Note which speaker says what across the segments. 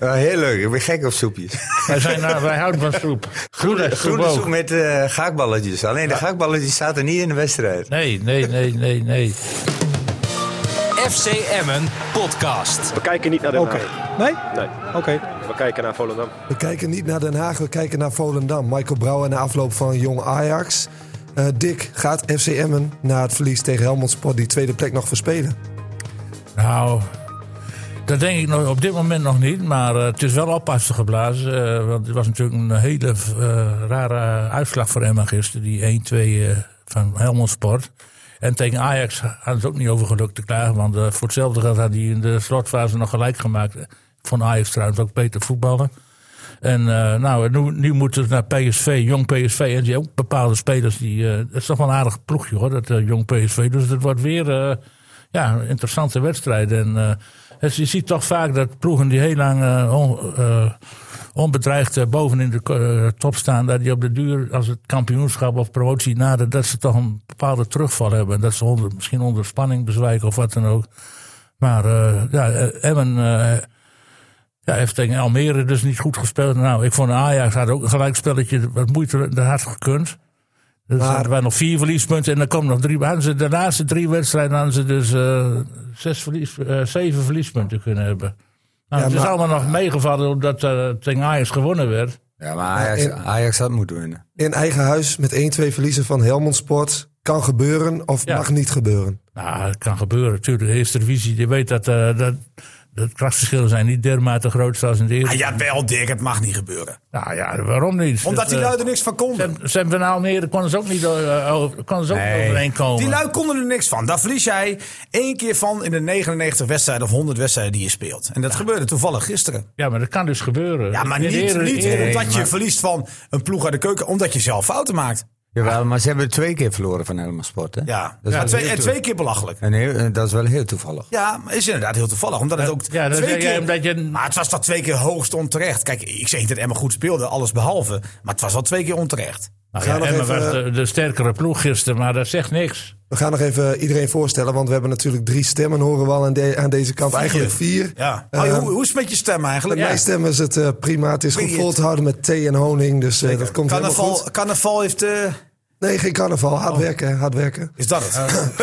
Speaker 1: Ja, heel leuk, ik ben gek op soepjes.
Speaker 2: Wij, zijn, eh, wij houden van soep. Groene,
Speaker 1: Groene soep
Speaker 2: soep ook.
Speaker 1: met eh, gaakballetjes. Alleen de gaakballetjes zaten niet in de wedstrijd.
Speaker 2: Nee, nee, nee, nee, nee.
Speaker 3: FC Emmen podcast.
Speaker 4: We kijken niet naar Den
Speaker 5: Oké.
Speaker 4: Haag.
Speaker 5: Nee?
Speaker 4: Nee,
Speaker 5: Oké.
Speaker 4: we kijken naar Volendam.
Speaker 6: We kijken niet naar Den Haag, we kijken naar Volendam. Michael Brouwer na afloop van Jong Ajax. Eh Dick, gaat FC Emmen na het verlies tegen Helmond Sport die tweede plek nog verspelen?
Speaker 2: Nou, dat denk ik nog, op dit moment nog niet. Maar eh, het is wel oppassen geblazen. eh, want het was natuurlijk een hele eh, rare uitslag voor Emma gisteren. Die 1-2 eh, van Helmond Sport. En tegen Ajax had het ook niet over geluk te klagen. Want eh, voor hetzelfde geld had hij in de slotfase nog gelijk gemaakt. Van Ajax trouwens ook beter voetballen. En eh, nou, nu, nu moeten we naar PSV, jong PSV. En die ook bepaalde spelers die. eh, het is toch wel een aardig ploegje hoor, dat eh, jong PSV. Dus het wordt weer eh, ja, een interessante wedstrijd. En eh, het- je ziet toch vaak dat ploegen die heel lang eh, on- eh, onbedreigd eh, bovenin de ko- eh, top staan. dat die op de duur, als het kampioenschap of promotie nadert. dat ze toch een bepaalde terugval hebben. Dat ze onder, misschien onder spanning bezwijken of wat dan ook. Maar eh, ja, eh, Emmen. eh, ja, heeft tegen Almere dus niet goed gespeeld. Nou, ik vond Ajax had ook een gelijkspelletje wat moeite dat had gekund. Dus
Speaker 6: Maar-
Speaker 2: hadden wij nog vier verliespunten en dan komen nog drie. Hadden ze de laatste drie wedstrijden hadden ze dus eh, zes verlies, eh, zeven verliespunten kunnen hebben. Nou,
Speaker 6: Ja,
Speaker 2: het is
Speaker 6: maar-
Speaker 2: allemaal nog meegevallen omdat eh tegen Ajax gewonnen werd.
Speaker 1: Ja, maar Ajax,
Speaker 6: Ja, en-
Speaker 1: Ajax had moeten winnen.
Speaker 6: In eigen huis met 1-2 verliezen van Helmond Sport. Kan gebeuren of
Speaker 2: Ja.
Speaker 6: mag niet gebeuren.
Speaker 2: Nou, het kan gebeuren natuurlijk. De eerste divisie, je weet dat, eh, dat, dat krachtverschillen zijn niet dermate groot zoals in de eerste.
Speaker 7: Ah, jawel, Dirk, het mag niet gebeuren.
Speaker 2: Nou ja, waarom niet?
Speaker 7: Omdat die
Speaker 2: eh,
Speaker 6: nou
Speaker 7: lui er niks van konden.
Speaker 2: Sam- Sam van Almere konden ze ook niet eh, over- konden ze ook niet overeenkomen.
Speaker 7: Die lui konden er niks van. Daar verlies jij één keer van in de 99 wedstrijden of 100 wedstrijden die je speelt. En dat gebeurde toevallig gisteren.
Speaker 2: Ja, maar dat kan dus gebeuren.
Speaker 7: Ja, maar
Speaker 2: In
Speaker 7: niet,
Speaker 2: de Eredivisie-
Speaker 7: niet
Speaker 2: Eredivisie-
Speaker 7: omdat je verliest van een ploeg uit de keuken, omdat je zelf fouten maakt.
Speaker 1: Jawel, maar ze hebben twee keer verloren van Helmond Sport. Hè?
Speaker 7: Ja,
Speaker 1: Dat is
Speaker 7: maar
Speaker 1: wel
Speaker 7: twee,
Speaker 1: heel
Speaker 7: en
Speaker 1: toe-
Speaker 7: twee keer belachelijk.
Speaker 1: en heel- en dat is wel heel toevallig.
Speaker 7: Ja, maar is inderdaad heel toevallig. Omdat het ook
Speaker 2: ja, dat
Speaker 7: twee
Speaker 2: zeg jij
Speaker 7: keer...
Speaker 2: omdat je-
Speaker 7: Maar het was toch twee keer hoogst onterecht. Kijk, ik zeg niet dat Emma goed speelde, alles behalve. Maar het was wel twee keer onterecht.
Speaker 2: Nou
Speaker 6: Ga
Speaker 2: ja,
Speaker 6: nog
Speaker 2: Emmen
Speaker 6: even-
Speaker 2: was de, de sterkere ploeg gisteren, maar dat zegt niks.
Speaker 6: We gaan nog even iedereen voorstellen, want we hebben natuurlijk drie stemmen, horen we al aan, de- aan deze kant. Eigenlijk vier.
Speaker 7: Ja.
Speaker 6: Eh,
Speaker 7: Oh, hoe, hoe is het met je stem eigenlijk?
Speaker 6: Mijn stem is het eh, prima. Het is goed
Speaker 7: Brilliant.
Speaker 6: vol te houden met thee en honing, dus eh, dat komt helemaal
Speaker 7: Carnaval, Oh.
Speaker 6: goed.
Speaker 7: carnaval heeft... eh,
Speaker 6: Nee, geen carnaval. Hard werken, hard werken.
Speaker 7: is dat het?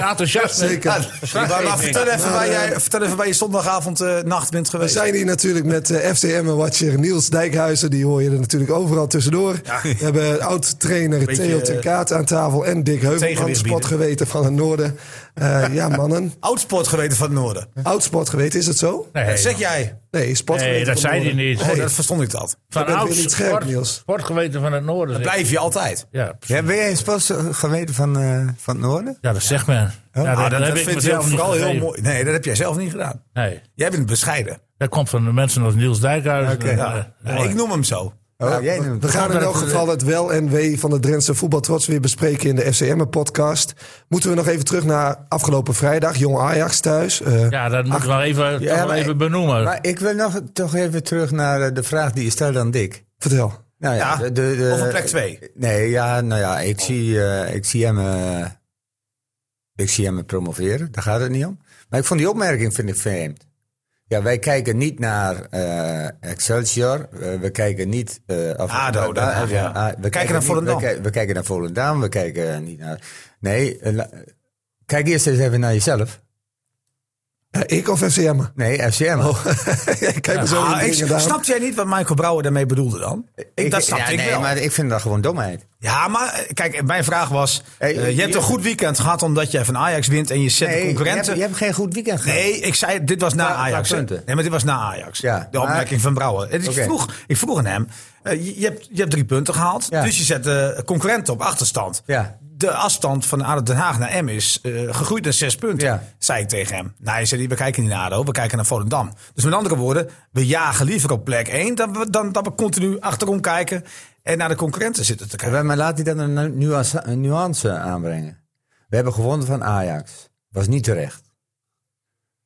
Speaker 2: Van een enthousiasme.
Speaker 6: Zeker.
Speaker 7: Maar, maar
Speaker 2: niks.
Speaker 7: Eh, vertel, even waar jij, vertel even waar je zondagavond eh, nacht bent
Speaker 6: We
Speaker 7: geweest.
Speaker 6: zijn hier natuurlijk met eh, FCM-watcher Niels Dijkhuizen. Die hoor je er natuurlijk overal tussendoor. We hebben oud-trainer
Speaker 7: Beetje,
Speaker 2: eh,
Speaker 6: Theo ten Kaat aan tafel. En Dick Heuvelman,
Speaker 7: tegenwicht
Speaker 6: sportgeweten van het Noorden. Eh, ja, mannen.
Speaker 7: Oudsport geweten van het noorden.
Speaker 6: Oud-sportgeweten, is het zo?
Speaker 2: Nee,
Speaker 7: zeg jij.
Speaker 6: Nee, sportgeweten
Speaker 2: Nee, dat
Speaker 6: van het
Speaker 2: zei hij
Speaker 6: Noorden.
Speaker 2: niet.
Speaker 7: Oh,
Speaker 2: Hey.
Speaker 7: dat verstond ik dat.
Speaker 2: van
Speaker 6: je bent
Speaker 2: oud
Speaker 6: weer niet scherp,
Speaker 2: sport,
Speaker 6: Niels.
Speaker 2: sportgeweten van het noorden. zeg.
Speaker 7: Blijf je altijd.
Speaker 2: Ja, precies.
Speaker 1: Ja, ben jij een sportgeweten van, eh, van het noorden?
Speaker 2: ja, dat zegt men. Ja,
Speaker 7: Ah, dat
Speaker 2: heb
Speaker 7: dat
Speaker 2: ik
Speaker 7: vind ik
Speaker 2: mezelf niet
Speaker 7: vooral heel
Speaker 2: gegeven.
Speaker 7: mooi. Nee, dat heb jij zelf niet gedaan.
Speaker 2: Nee,
Speaker 7: Jij bent bescheiden.
Speaker 2: dat komt van de mensen als Niels Dijkhuizen. en,
Speaker 7: Ja.
Speaker 2: eh,
Speaker 7: Ik noem hem zo.
Speaker 1: Oh, jij
Speaker 6: We-
Speaker 1: noemt
Speaker 6: We
Speaker 1: het.
Speaker 6: gaan in elk geval het wel en wee van de Drentse voetbaltrots weer bespreken in de FCM-podcast. Moeten we nog even terug naar afgelopen vrijdag, Jong Ajax thuis. Eh,
Speaker 2: ja, dat moet ik wel even,
Speaker 1: Ja,
Speaker 2: toch wel
Speaker 1: maar-
Speaker 2: even benoemen.
Speaker 1: Maar ik wil nog toch even terug naar eh, de vraag die je stelde aan Dick.
Speaker 6: Vertel.
Speaker 1: Nou ja,
Speaker 7: Ja,
Speaker 1: de, de, de-
Speaker 7: over plek twee. Oh.
Speaker 1: Nee, ja, nou ja, ik zie, eh, ik zie hem. eh, ik zie hem promoveren, daar gaat het niet om. Maar ik vond die opmerking vind ik vreemd. Ja, wij kijken niet naar eh, Excelsior. eh, we kijken niet... eh, of-
Speaker 7: ADO,
Speaker 1: eh,
Speaker 7: Den Haag,
Speaker 1: eh,
Speaker 7: ja.
Speaker 1: eh,
Speaker 7: We kijken naar
Speaker 1: niet-
Speaker 7: Volendam.
Speaker 1: We, kijken, we kijken naar Volendam, we kijken niet naar... Nee, eh, la- kijk eerst eens even naar jezelf.
Speaker 6: Eh, ik of FCM?
Speaker 1: Nee, FCM.
Speaker 6: Kijk me zo in de
Speaker 7: Ah, Oh. ik,
Speaker 6: ringen, Daan.
Speaker 7: snapte jij niet wat Michael Brouwer daarmee bedoelde dan? Ik, dat snapte
Speaker 1: ja,
Speaker 7: ik
Speaker 1: nee,
Speaker 7: wel.
Speaker 1: maar ik vind dat gewoon domheid.
Speaker 7: Ja, maar eh, kijk, mijn vraag was...
Speaker 1: Hey,
Speaker 7: eh, je hebt een
Speaker 1: je-
Speaker 7: goed weekend gehad omdat jij van Ajax wint en je zet de
Speaker 1: je
Speaker 7: concurrenten...
Speaker 1: hebt, je hebt geen goed weekend gehad.
Speaker 7: Nee, ik zei, dit was na
Speaker 1: Qua- qua
Speaker 7: Ajax. hè?
Speaker 1: punten.
Speaker 7: Nee, maar dit was na Ajax.
Speaker 1: Ja,
Speaker 7: de
Speaker 1: maar-
Speaker 7: opmerking van Brouwer. Het is-
Speaker 1: Oké.
Speaker 7: Ik, vroeg, ik vroeg aan hem, eh, je, je hebt, je hebt drie punten gehaald.
Speaker 1: Ja.
Speaker 7: Dus je zet de concurrenten op achterstand.
Speaker 1: Ja.
Speaker 7: De afstand van ADO Den Haag naar M is eh, gegroeid naar zes punten,
Speaker 1: Ja.
Speaker 7: zei ik tegen hem. Nou, hij zei, we kijken niet naar ADO, we kijken naar Volendam. Dus met andere woorden, we jagen liever op plek één... dan we, dan, dat we continu achterom kijken en naar de concurrenten zitten te kijken.
Speaker 1: Ja, Maar laat hij dan een nu- nuance, een nuance aanbrengen. We hebben gewonnen van Ajax. Was niet terecht.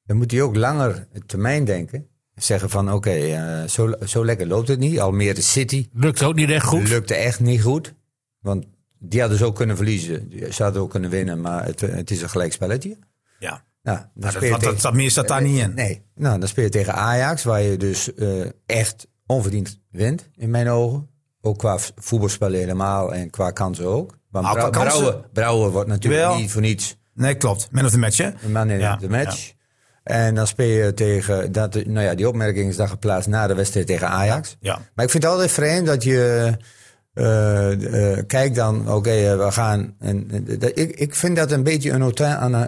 Speaker 1: Dan moet hij ook langer termijn denken. Zeggen van oké, eh, zo, zo lekker loopt het niet. Almere City
Speaker 2: Lukt ook niet echt goed.
Speaker 1: lukte echt niet goed. Want die hadden ze ook kunnen verliezen. Die- Ze hadden ook kunnen winnen, maar het, het is een gelijk spelletje.
Speaker 7: Ja.
Speaker 1: Nou, dan speel
Speaker 7: Dat,
Speaker 1: je
Speaker 7: dat,
Speaker 1: tegen-
Speaker 7: dat, dat meer staat daar niet in.
Speaker 1: Nee. Nou, dan speel je tegen Ajax, waar je dus eh, echt onverdiend wint, in mijn ogen. Ook qua v- voetbalspelen helemaal en qua kansen ook. Want
Speaker 7: Ah,
Speaker 1: Brou-
Speaker 7: qua kansen?
Speaker 1: Brouwer, Brouwer wordt natuurlijk
Speaker 7: Jawel.
Speaker 1: niet voor niets
Speaker 7: Nee, klopt. Man of the match, hè?
Speaker 1: een man in
Speaker 7: Ja,
Speaker 1: de match. En dan speel je tegen, dat, nou ja, die opmerking is dan geplaatst na de wedstrijd tegen Ajax.
Speaker 7: Ja.
Speaker 1: Maar ik vind het altijd vreemd dat je eh, eh, kijkt dan, oké, eh, we gaan. En, en dat- ik, ik vind dat een beetje een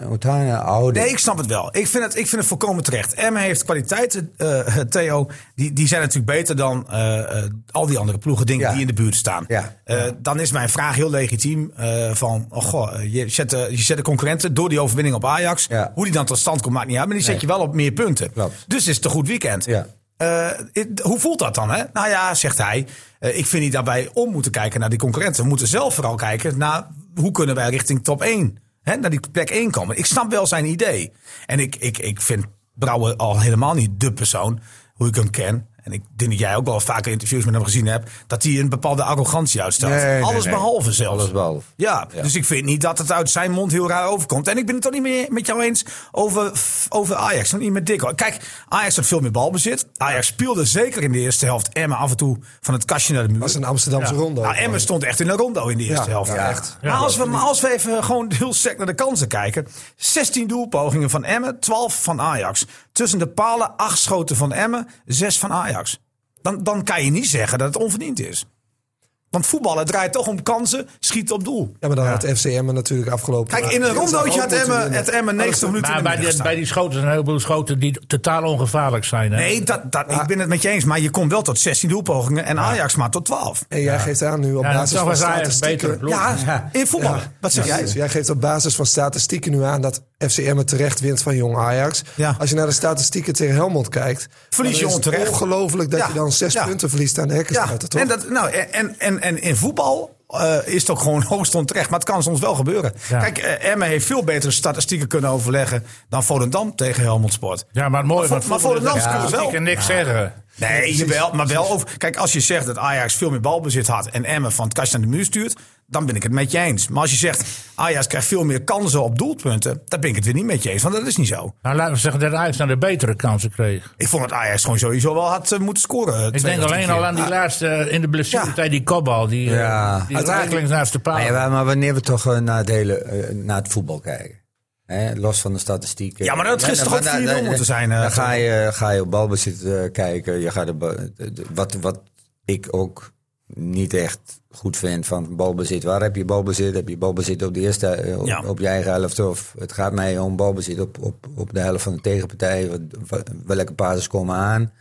Speaker 1: Otana houding.
Speaker 7: Nee, ik snap het wel. Ik vind het, ik vind het volkomen terecht. Emmen heeft kwaliteiten, eh, Theo. Die, die zijn natuurlijk beter dan eh, eh, al die andere ploegen dingen
Speaker 1: Ja.
Speaker 7: die in de buurt staan.
Speaker 1: Ja.
Speaker 7: Eh, dan is mijn vraag heel legitiem. eh, van, oh goh, eh, je zet, de, je zet de concurrenten door die overwinning op Ajax.
Speaker 1: Ja.
Speaker 7: Hoe die dan tot stand komt, maakt niet uit. Maar die zet je wel op meer punten.
Speaker 1: Klopt.
Speaker 7: Dus is het een goed weekend.
Speaker 1: Ja.
Speaker 7: Eh, it- hoe voelt dat dan? Hè? Nou ja, zegt hij. eh, ik vind niet dat wij om moeten kijken naar die concurrenten. We moeten zelf vooral kijken naar hoe kunnen wij richting top 1. Hè, naar die plek 1 komen. Ik snap wel zijn idee. En ik, ik, ik vind Brouwer al helemaal niet de persoon. Hoe ik hem ken. En ik denk dat jij ook wel vaker interviews met hem gezien hebt. Dat hij een bepaalde arrogantie uitstraalt.
Speaker 1: Nee, nee,
Speaker 7: Alles
Speaker 1: nee.
Speaker 7: behalve zelfs.
Speaker 1: Alles behalve.
Speaker 7: Ja,
Speaker 1: Ja.
Speaker 7: dus ik vind niet dat het uit zijn mond heel raar overkomt. En ik ben het toch niet meer met jou eens over, over Ajax. Nog niet met Dick. hoor. Kijk, Ajax had veel meer balbezit. Ajax speelde zeker in de eerste helft Emmen af en toe van het kastje naar de muur.
Speaker 6: was een Amsterdamse ronde.
Speaker 7: Nou, Emmen stond echt in een rondo in de eerste
Speaker 6: Ja,
Speaker 7: helft.
Speaker 6: ja, echt.
Speaker 7: Maar, als we, maar als we even gewoon heel sec naar de kansen kijken. 16 doelpogingen van Emmen, 12 van Ajax. Tussen de palen 8 schoten van Emmen, 6 van Ajax. Dan, dan kan je niet zeggen dat het onverdiend is. Want voetballen draait toch om kansen, schiet op doel.
Speaker 6: Ja, maar dan had FCM natuurlijk afgelopen.
Speaker 7: Kijk, in een rondootje had Emmen, het Emmen 90 minuten
Speaker 2: Maar
Speaker 7: in de
Speaker 2: bij,
Speaker 7: middag
Speaker 2: die,
Speaker 7: staan.
Speaker 2: bij die schoten zijn een heleboel schoten die totaal ongevaarlijk zijn. Hè?
Speaker 7: Nee, dat, dat, ik ben het met je eens. Maar je komt wel tot 16 doelpogingen en Ajax maar tot 12.
Speaker 6: En jij geeft aan nu op
Speaker 2: ja,
Speaker 6: basis
Speaker 2: dat
Speaker 6: van
Speaker 2: was Ajax
Speaker 6: statistieken.
Speaker 2: beter. ploeg.
Speaker 7: Ja, in voetbal.
Speaker 6: Ja.
Speaker 7: Wat zeg
Speaker 6: Ja,
Speaker 7: jij?
Speaker 6: dus jij geeft op basis van statistieken nu aan dat FCM het terecht wint van jong Ajax.
Speaker 7: Ja.
Speaker 6: Als je naar de statistieken tegen Helmond kijkt,
Speaker 7: Verlies
Speaker 6: dan
Speaker 7: je
Speaker 6: is het
Speaker 7: onterecht.
Speaker 6: Ongelooflijk dat
Speaker 7: Ja.
Speaker 6: je dan zes
Speaker 7: Ja.
Speaker 6: punten verliest aan de hekken.
Speaker 7: Ja, en, dat, nou, en, en, en in voetbal eh, is het ook gewoon hoogst onterecht. Maar het kan soms wel gebeuren.
Speaker 2: Ja.
Speaker 7: Kijk, eh, Emmen heeft veel betere statistieken kunnen overleggen... dan Volendam tegen Helmond Sport.
Speaker 2: Ja, maar mooi.
Speaker 7: Maar voor de Lans kunnen we wel.
Speaker 2: Ik kan niks zeggen.
Speaker 7: Nee, jawel, maar wel over. Kijk, als je zegt dat Ajax veel meer balbezit had en Emmen van het kastje naar de muur stuurt, dan ben ik het met je eens. Maar als je zegt Ajax krijgt veel meer kansen op doelpunten, dan ben ik het weer niet met je eens, want dat is niet zo.
Speaker 2: Nou, laten we zeggen dat Ajax naar de betere kansen kreeg.
Speaker 7: Ik vond dat Ajax gewoon sowieso wel had eh, moeten scoren.
Speaker 2: Ik denk alleen al aan die laatste eh, in de blessuretijd, die kopbal. Die, eh,
Speaker 1: Ah. Ja.
Speaker 2: die
Speaker 1: Uiteindelijk-
Speaker 2: rakelings naast de paal.
Speaker 1: Maar, ja, maar wanneer we toch eh, naar, het hele, eh, naar het voetbal kijken. Hè, los van de statistieken.
Speaker 7: Ja, maar dat had gisteren
Speaker 1: dan-
Speaker 7: ook
Speaker 1: dan- dan-
Speaker 7: 4-0 moeten zijn, eh,
Speaker 1: dan ga je, ga je op balbezit eh, kijken. Je gaat de ba- de- de- wat, wat ik ook niet echt goed vind van balbezit. Waar heb je balbezit? Heb je balbezit op de eerste, eh, op,
Speaker 7: Ja.
Speaker 1: op je eigen helft? Of het gaat mij om balbezit op, op, op de helft van de tegenpartij. Wat, wat- welke pases komen aan?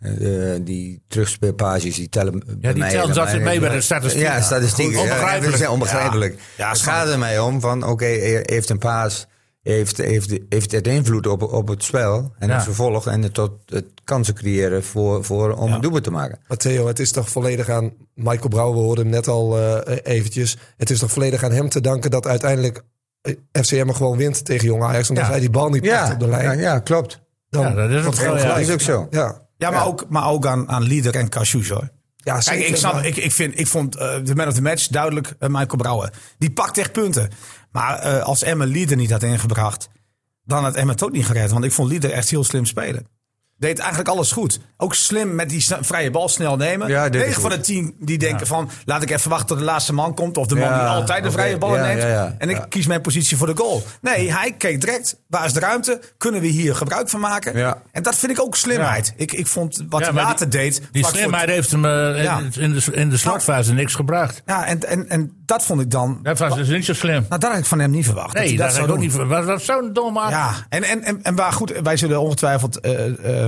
Speaker 1: Eh, eh, die terugspeelpages, die tellen bij
Speaker 2: die
Speaker 1: mij
Speaker 2: tellen
Speaker 1: helemaal
Speaker 2: altijd
Speaker 1: niet.
Speaker 2: mee bij de statistieken.
Speaker 1: Ja, statistieken.
Speaker 2: Goed,
Speaker 1: ja.
Speaker 2: onbegrijpelijk.
Speaker 1: Dat is onbegrijpelijk.
Speaker 7: Ja,
Speaker 1: het
Speaker 7: snap
Speaker 1: gaat er mij om van, oké, heeft een paas, heeft, heeft, heeft het invloed op, op het spel en
Speaker 2: Ja.
Speaker 1: het vervolg en het tot het kansen creëren voor, voor, om een doelpunt te maken.
Speaker 6: Matteo, het is toch volledig aan Michael Brouwer, we hoorden hem net al eh, eventjes. Het is toch volledig aan hem te danken dat uiteindelijk eh, FCM gewoon wint tegen jong Ajax. Omdat
Speaker 2: Ja.
Speaker 6: hij die bal niet pakt op de lijn.
Speaker 1: ja, ja, klopt.
Speaker 6: Dan-
Speaker 2: Ja, dat is
Speaker 6: Oh,
Speaker 2: ook zo, ja.
Speaker 1: Dat is ook zo.
Speaker 6: Ja.
Speaker 7: Ja, maar ook, maar ook aan, aan Lieder en Cassius hoor.
Speaker 6: Ja,
Speaker 7: Kijk,
Speaker 6: zeker,
Speaker 7: ik, snap,
Speaker 6: maar-
Speaker 7: ik, ik, vind, ik vond eh, de man of the match duidelijk eh, Michael Brouwer. Die pakt echt punten. Maar eh, als Emma Lieder niet had ingebracht, dan had Emma het ook niet gered. Want ik vond Lieder echt heel slim spelen. Deed eigenlijk alles goed. Ook slim met die sne- vrije bal snel nemen.
Speaker 1: Ja,
Speaker 7: Ja,
Speaker 1: dit is
Speaker 7: 9 van
Speaker 1: goed.
Speaker 7: de 10 die denken van... laat ik even wachten tot de laatste man komt. Of de man
Speaker 1: Ja,
Speaker 7: die altijd de
Speaker 1: oké.
Speaker 7: vrije ballen
Speaker 1: Ja,
Speaker 7: neemt.
Speaker 1: ja, ja.
Speaker 7: En ik
Speaker 1: Ja.
Speaker 7: kies mijn positie voor de goal. Nee, hij keek direct. Waar is de ruimte? Kunnen we hier gebruik van maken?
Speaker 1: Ja.
Speaker 7: En dat vind ik ook slimheid. Ik, ik vond wat
Speaker 2: Ja,
Speaker 7: hij
Speaker 2: maar die-
Speaker 7: later deed... vlak
Speaker 2: Die
Speaker 7: voor het-
Speaker 2: slimheid heeft hem eh, in,
Speaker 7: Ja.
Speaker 2: in de, in de slotfase niks gebracht.
Speaker 7: Ja, en, en, en dat vond ik dan.
Speaker 2: Dat was dus niet zo slim.
Speaker 7: Nou, dat had ik van hem niet verwacht. dat
Speaker 2: Nee,
Speaker 7: hij
Speaker 2: dat, zou
Speaker 7: zou
Speaker 2: ik ook
Speaker 7: doen.
Speaker 2: niet. ver- Was dat zo'n domme actie?
Speaker 7: Ja, en, en, en, en waar goed, wij zullen ongetwijfeld eh, eh,